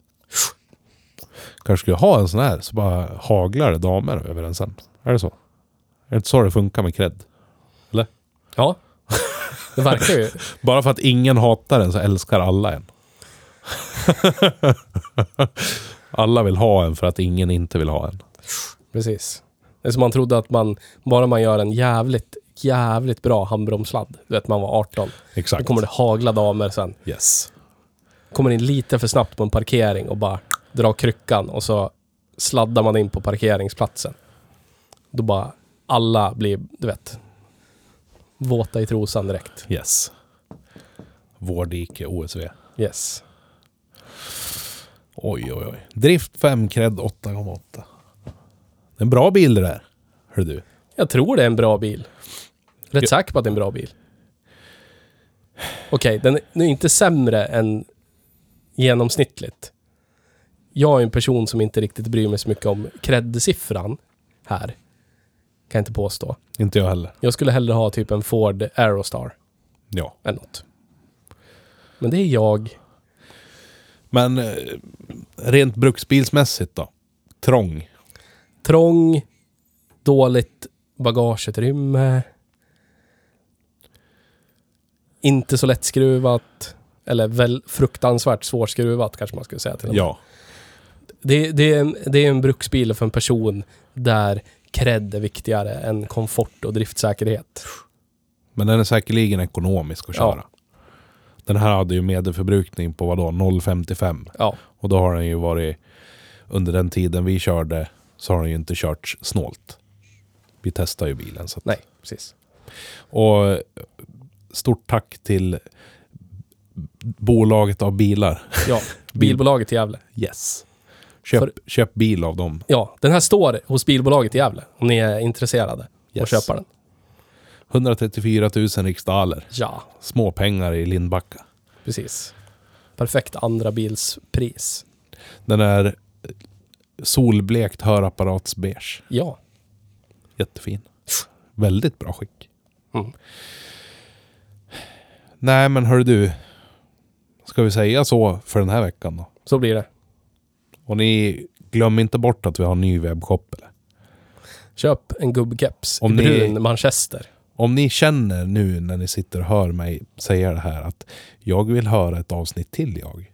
[SPEAKER 1] kanske skulle ha en sån här, så bara haglar det damer över en sen. Är det så? Är det inte så det funkar med cred?
[SPEAKER 2] Ja. Det verkar ju.
[SPEAKER 1] Bara för att ingen hatar en så älskar alla en. alla vill ha en för att ingen inte vill ha en.
[SPEAKER 2] Precis. Det är som man trodde att man, bara man gör en jävligt, jävligt bra handbromsladd. Du vet, man var 18. Då
[SPEAKER 1] Exakt.
[SPEAKER 2] kommer det hagla damer sen.
[SPEAKER 1] Yes.
[SPEAKER 2] Kommer in lite för snabbt på en parkering och bara drar kryckan och så sladdar man in på parkeringsplatsen. Då bara, alla blir, du vet, våta i trosan direkt.
[SPEAKER 1] Yes. Vårdike OSV.
[SPEAKER 2] Yes.
[SPEAKER 1] Oj, oj, oj. Drift 5, cred 8,8. Det är en bra bil det där. Hör du.
[SPEAKER 2] Jag tror det är en bra bil. Rätt
[SPEAKER 1] Ja.
[SPEAKER 2] säker på att det är en bra bil. Okej, den är inte sämre än genomsnittligt. Jag är en person som inte riktigt bryr mig så mycket om cred-siffran här. Kan jag inte påstå.
[SPEAKER 1] Inte jag heller.
[SPEAKER 2] Jag skulle hellre ha typ en Ford Aerostar
[SPEAKER 1] Ja.
[SPEAKER 2] än något. Men det är jag.
[SPEAKER 1] Men eh, rent bruksbilsmässigt då? Trång.
[SPEAKER 2] Trång, dåligt bagageutrymme. Inte så lättskruvat. Eller väl fruktansvärt svårskruvat kanske man skulle säga till och med.
[SPEAKER 1] Ja.
[SPEAKER 2] det, det, är en, det är en bruksbil för en person där cred är viktigare än komfort och driftsäkerhet.
[SPEAKER 1] Men den är säkerligen ekonomisk att köra. Den här hade ju medelförbrukning på vadå? 0,55.
[SPEAKER 2] Ja,
[SPEAKER 1] Och då har den ju varit... Under den tiden vi körde så har den ju inte kört snålt. Vi testar ju bilen. Så att,
[SPEAKER 2] nej, precis.
[SPEAKER 1] Och eh, stort tack till bolaget av bilar.
[SPEAKER 2] Ja, bilbolaget i Gävle.
[SPEAKER 1] Yes. Köp,
[SPEAKER 2] För-
[SPEAKER 1] köp bil av dem.
[SPEAKER 2] Ja, den här står hos bilbolaget i Gävle om ni är intresserade
[SPEAKER 1] Yes.
[SPEAKER 2] och köper den.
[SPEAKER 1] 134 000 riksdaler.
[SPEAKER 2] Ja,
[SPEAKER 1] Små pengar i Lindbacka.
[SPEAKER 2] precis. Perfekt andra bilspris.
[SPEAKER 1] Den är solblekt hörapparatsbeige.
[SPEAKER 2] Ja,
[SPEAKER 1] Jättefin. Väldigt bra skick.
[SPEAKER 2] Mm.
[SPEAKER 1] Nej, men hör du. Ska vi säga så för den här veckan då?
[SPEAKER 2] så blir det.
[SPEAKER 1] Och ni glöm inte bort att vi har en ny webbshop. Eller?
[SPEAKER 2] Köp en gubbkeps i
[SPEAKER 1] Om ni-
[SPEAKER 2] brun manchester.
[SPEAKER 1] Om ni känner nu när ni sitter och hör mig säga det här att jag vill höra ett avsnitt till jag.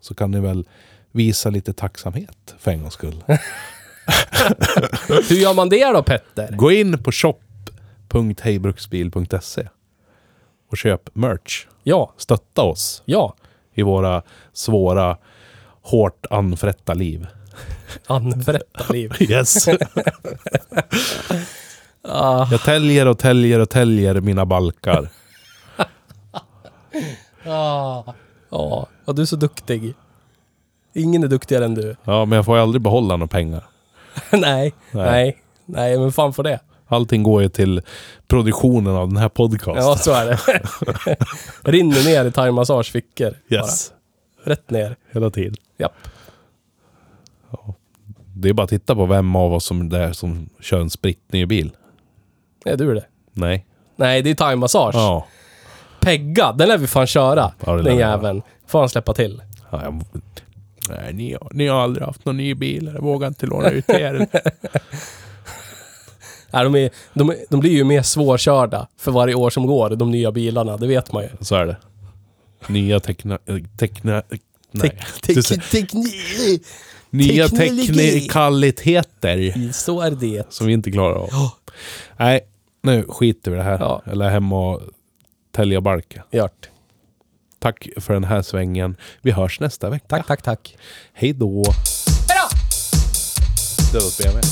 [SPEAKER 1] Så kan ni väl visa lite tacksamhet för en gångs skull.
[SPEAKER 2] Hur gör man det då Petter?
[SPEAKER 1] Gå in på shop.hejbruksbil.se och köp merch.
[SPEAKER 2] Ja,
[SPEAKER 1] Stötta oss
[SPEAKER 2] ja.
[SPEAKER 1] i våra svåra, hårt anfrätta liv.
[SPEAKER 2] Anfrätta liv.
[SPEAKER 1] Yes. Jag täljer och täljer och täljer mina balkar.
[SPEAKER 2] Ja, ja, du är så duktig. Ingen är duktigare än du.
[SPEAKER 1] Ja, men jag får ju aldrig behålla några pengar.
[SPEAKER 2] nej, nej, nej, men fan för det.
[SPEAKER 1] Allting går ju till produktionen av den här podcasten.
[SPEAKER 2] Ja, så är det. Rinner ner i thaimassage fickor.
[SPEAKER 1] yes.
[SPEAKER 2] Bara. Rätt ner.
[SPEAKER 1] Hela tiden.
[SPEAKER 2] Japp.
[SPEAKER 1] Det är bara att titta på vem av oss som det är som kör en spritt ny bil.
[SPEAKER 2] Är du det?
[SPEAKER 1] Nej.
[SPEAKER 2] Nej, det är thaimassage.
[SPEAKER 1] Ja.
[SPEAKER 2] Pegga, den lär vi fan köra.
[SPEAKER 1] Ja, det lär
[SPEAKER 2] den
[SPEAKER 1] vi
[SPEAKER 2] jäveln. Får han släppa till.
[SPEAKER 1] ja jag... Nej, ni, ni har aldrig haft någon ny bil. Jag vågar inte låna ut er.
[SPEAKER 2] Nej, de, är, de, är- de blir ju mer svårkörda för varje år som går, de nya bilarna. Det vet man ju.
[SPEAKER 1] Så är det. Nya tekna... eh, tekna nej. Du ser-
[SPEAKER 2] teknik.
[SPEAKER 1] Nya
[SPEAKER 2] teknologi.
[SPEAKER 1] teknikaliteter
[SPEAKER 2] Så är det.
[SPEAKER 1] som vi inte klarar av. Nej, nu skiter vi i det här.
[SPEAKER 2] Ja.
[SPEAKER 1] Eller hem och tälja balka.
[SPEAKER 2] Gjort.
[SPEAKER 1] Tack för den här svängen. Vi hörs nästa vecka.
[SPEAKER 2] Tack, tack, tack.
[SPEAKER 1] Hej då!
[SPEAKER 2] Hej då!
[SPEAKER 1] Dödat BMW.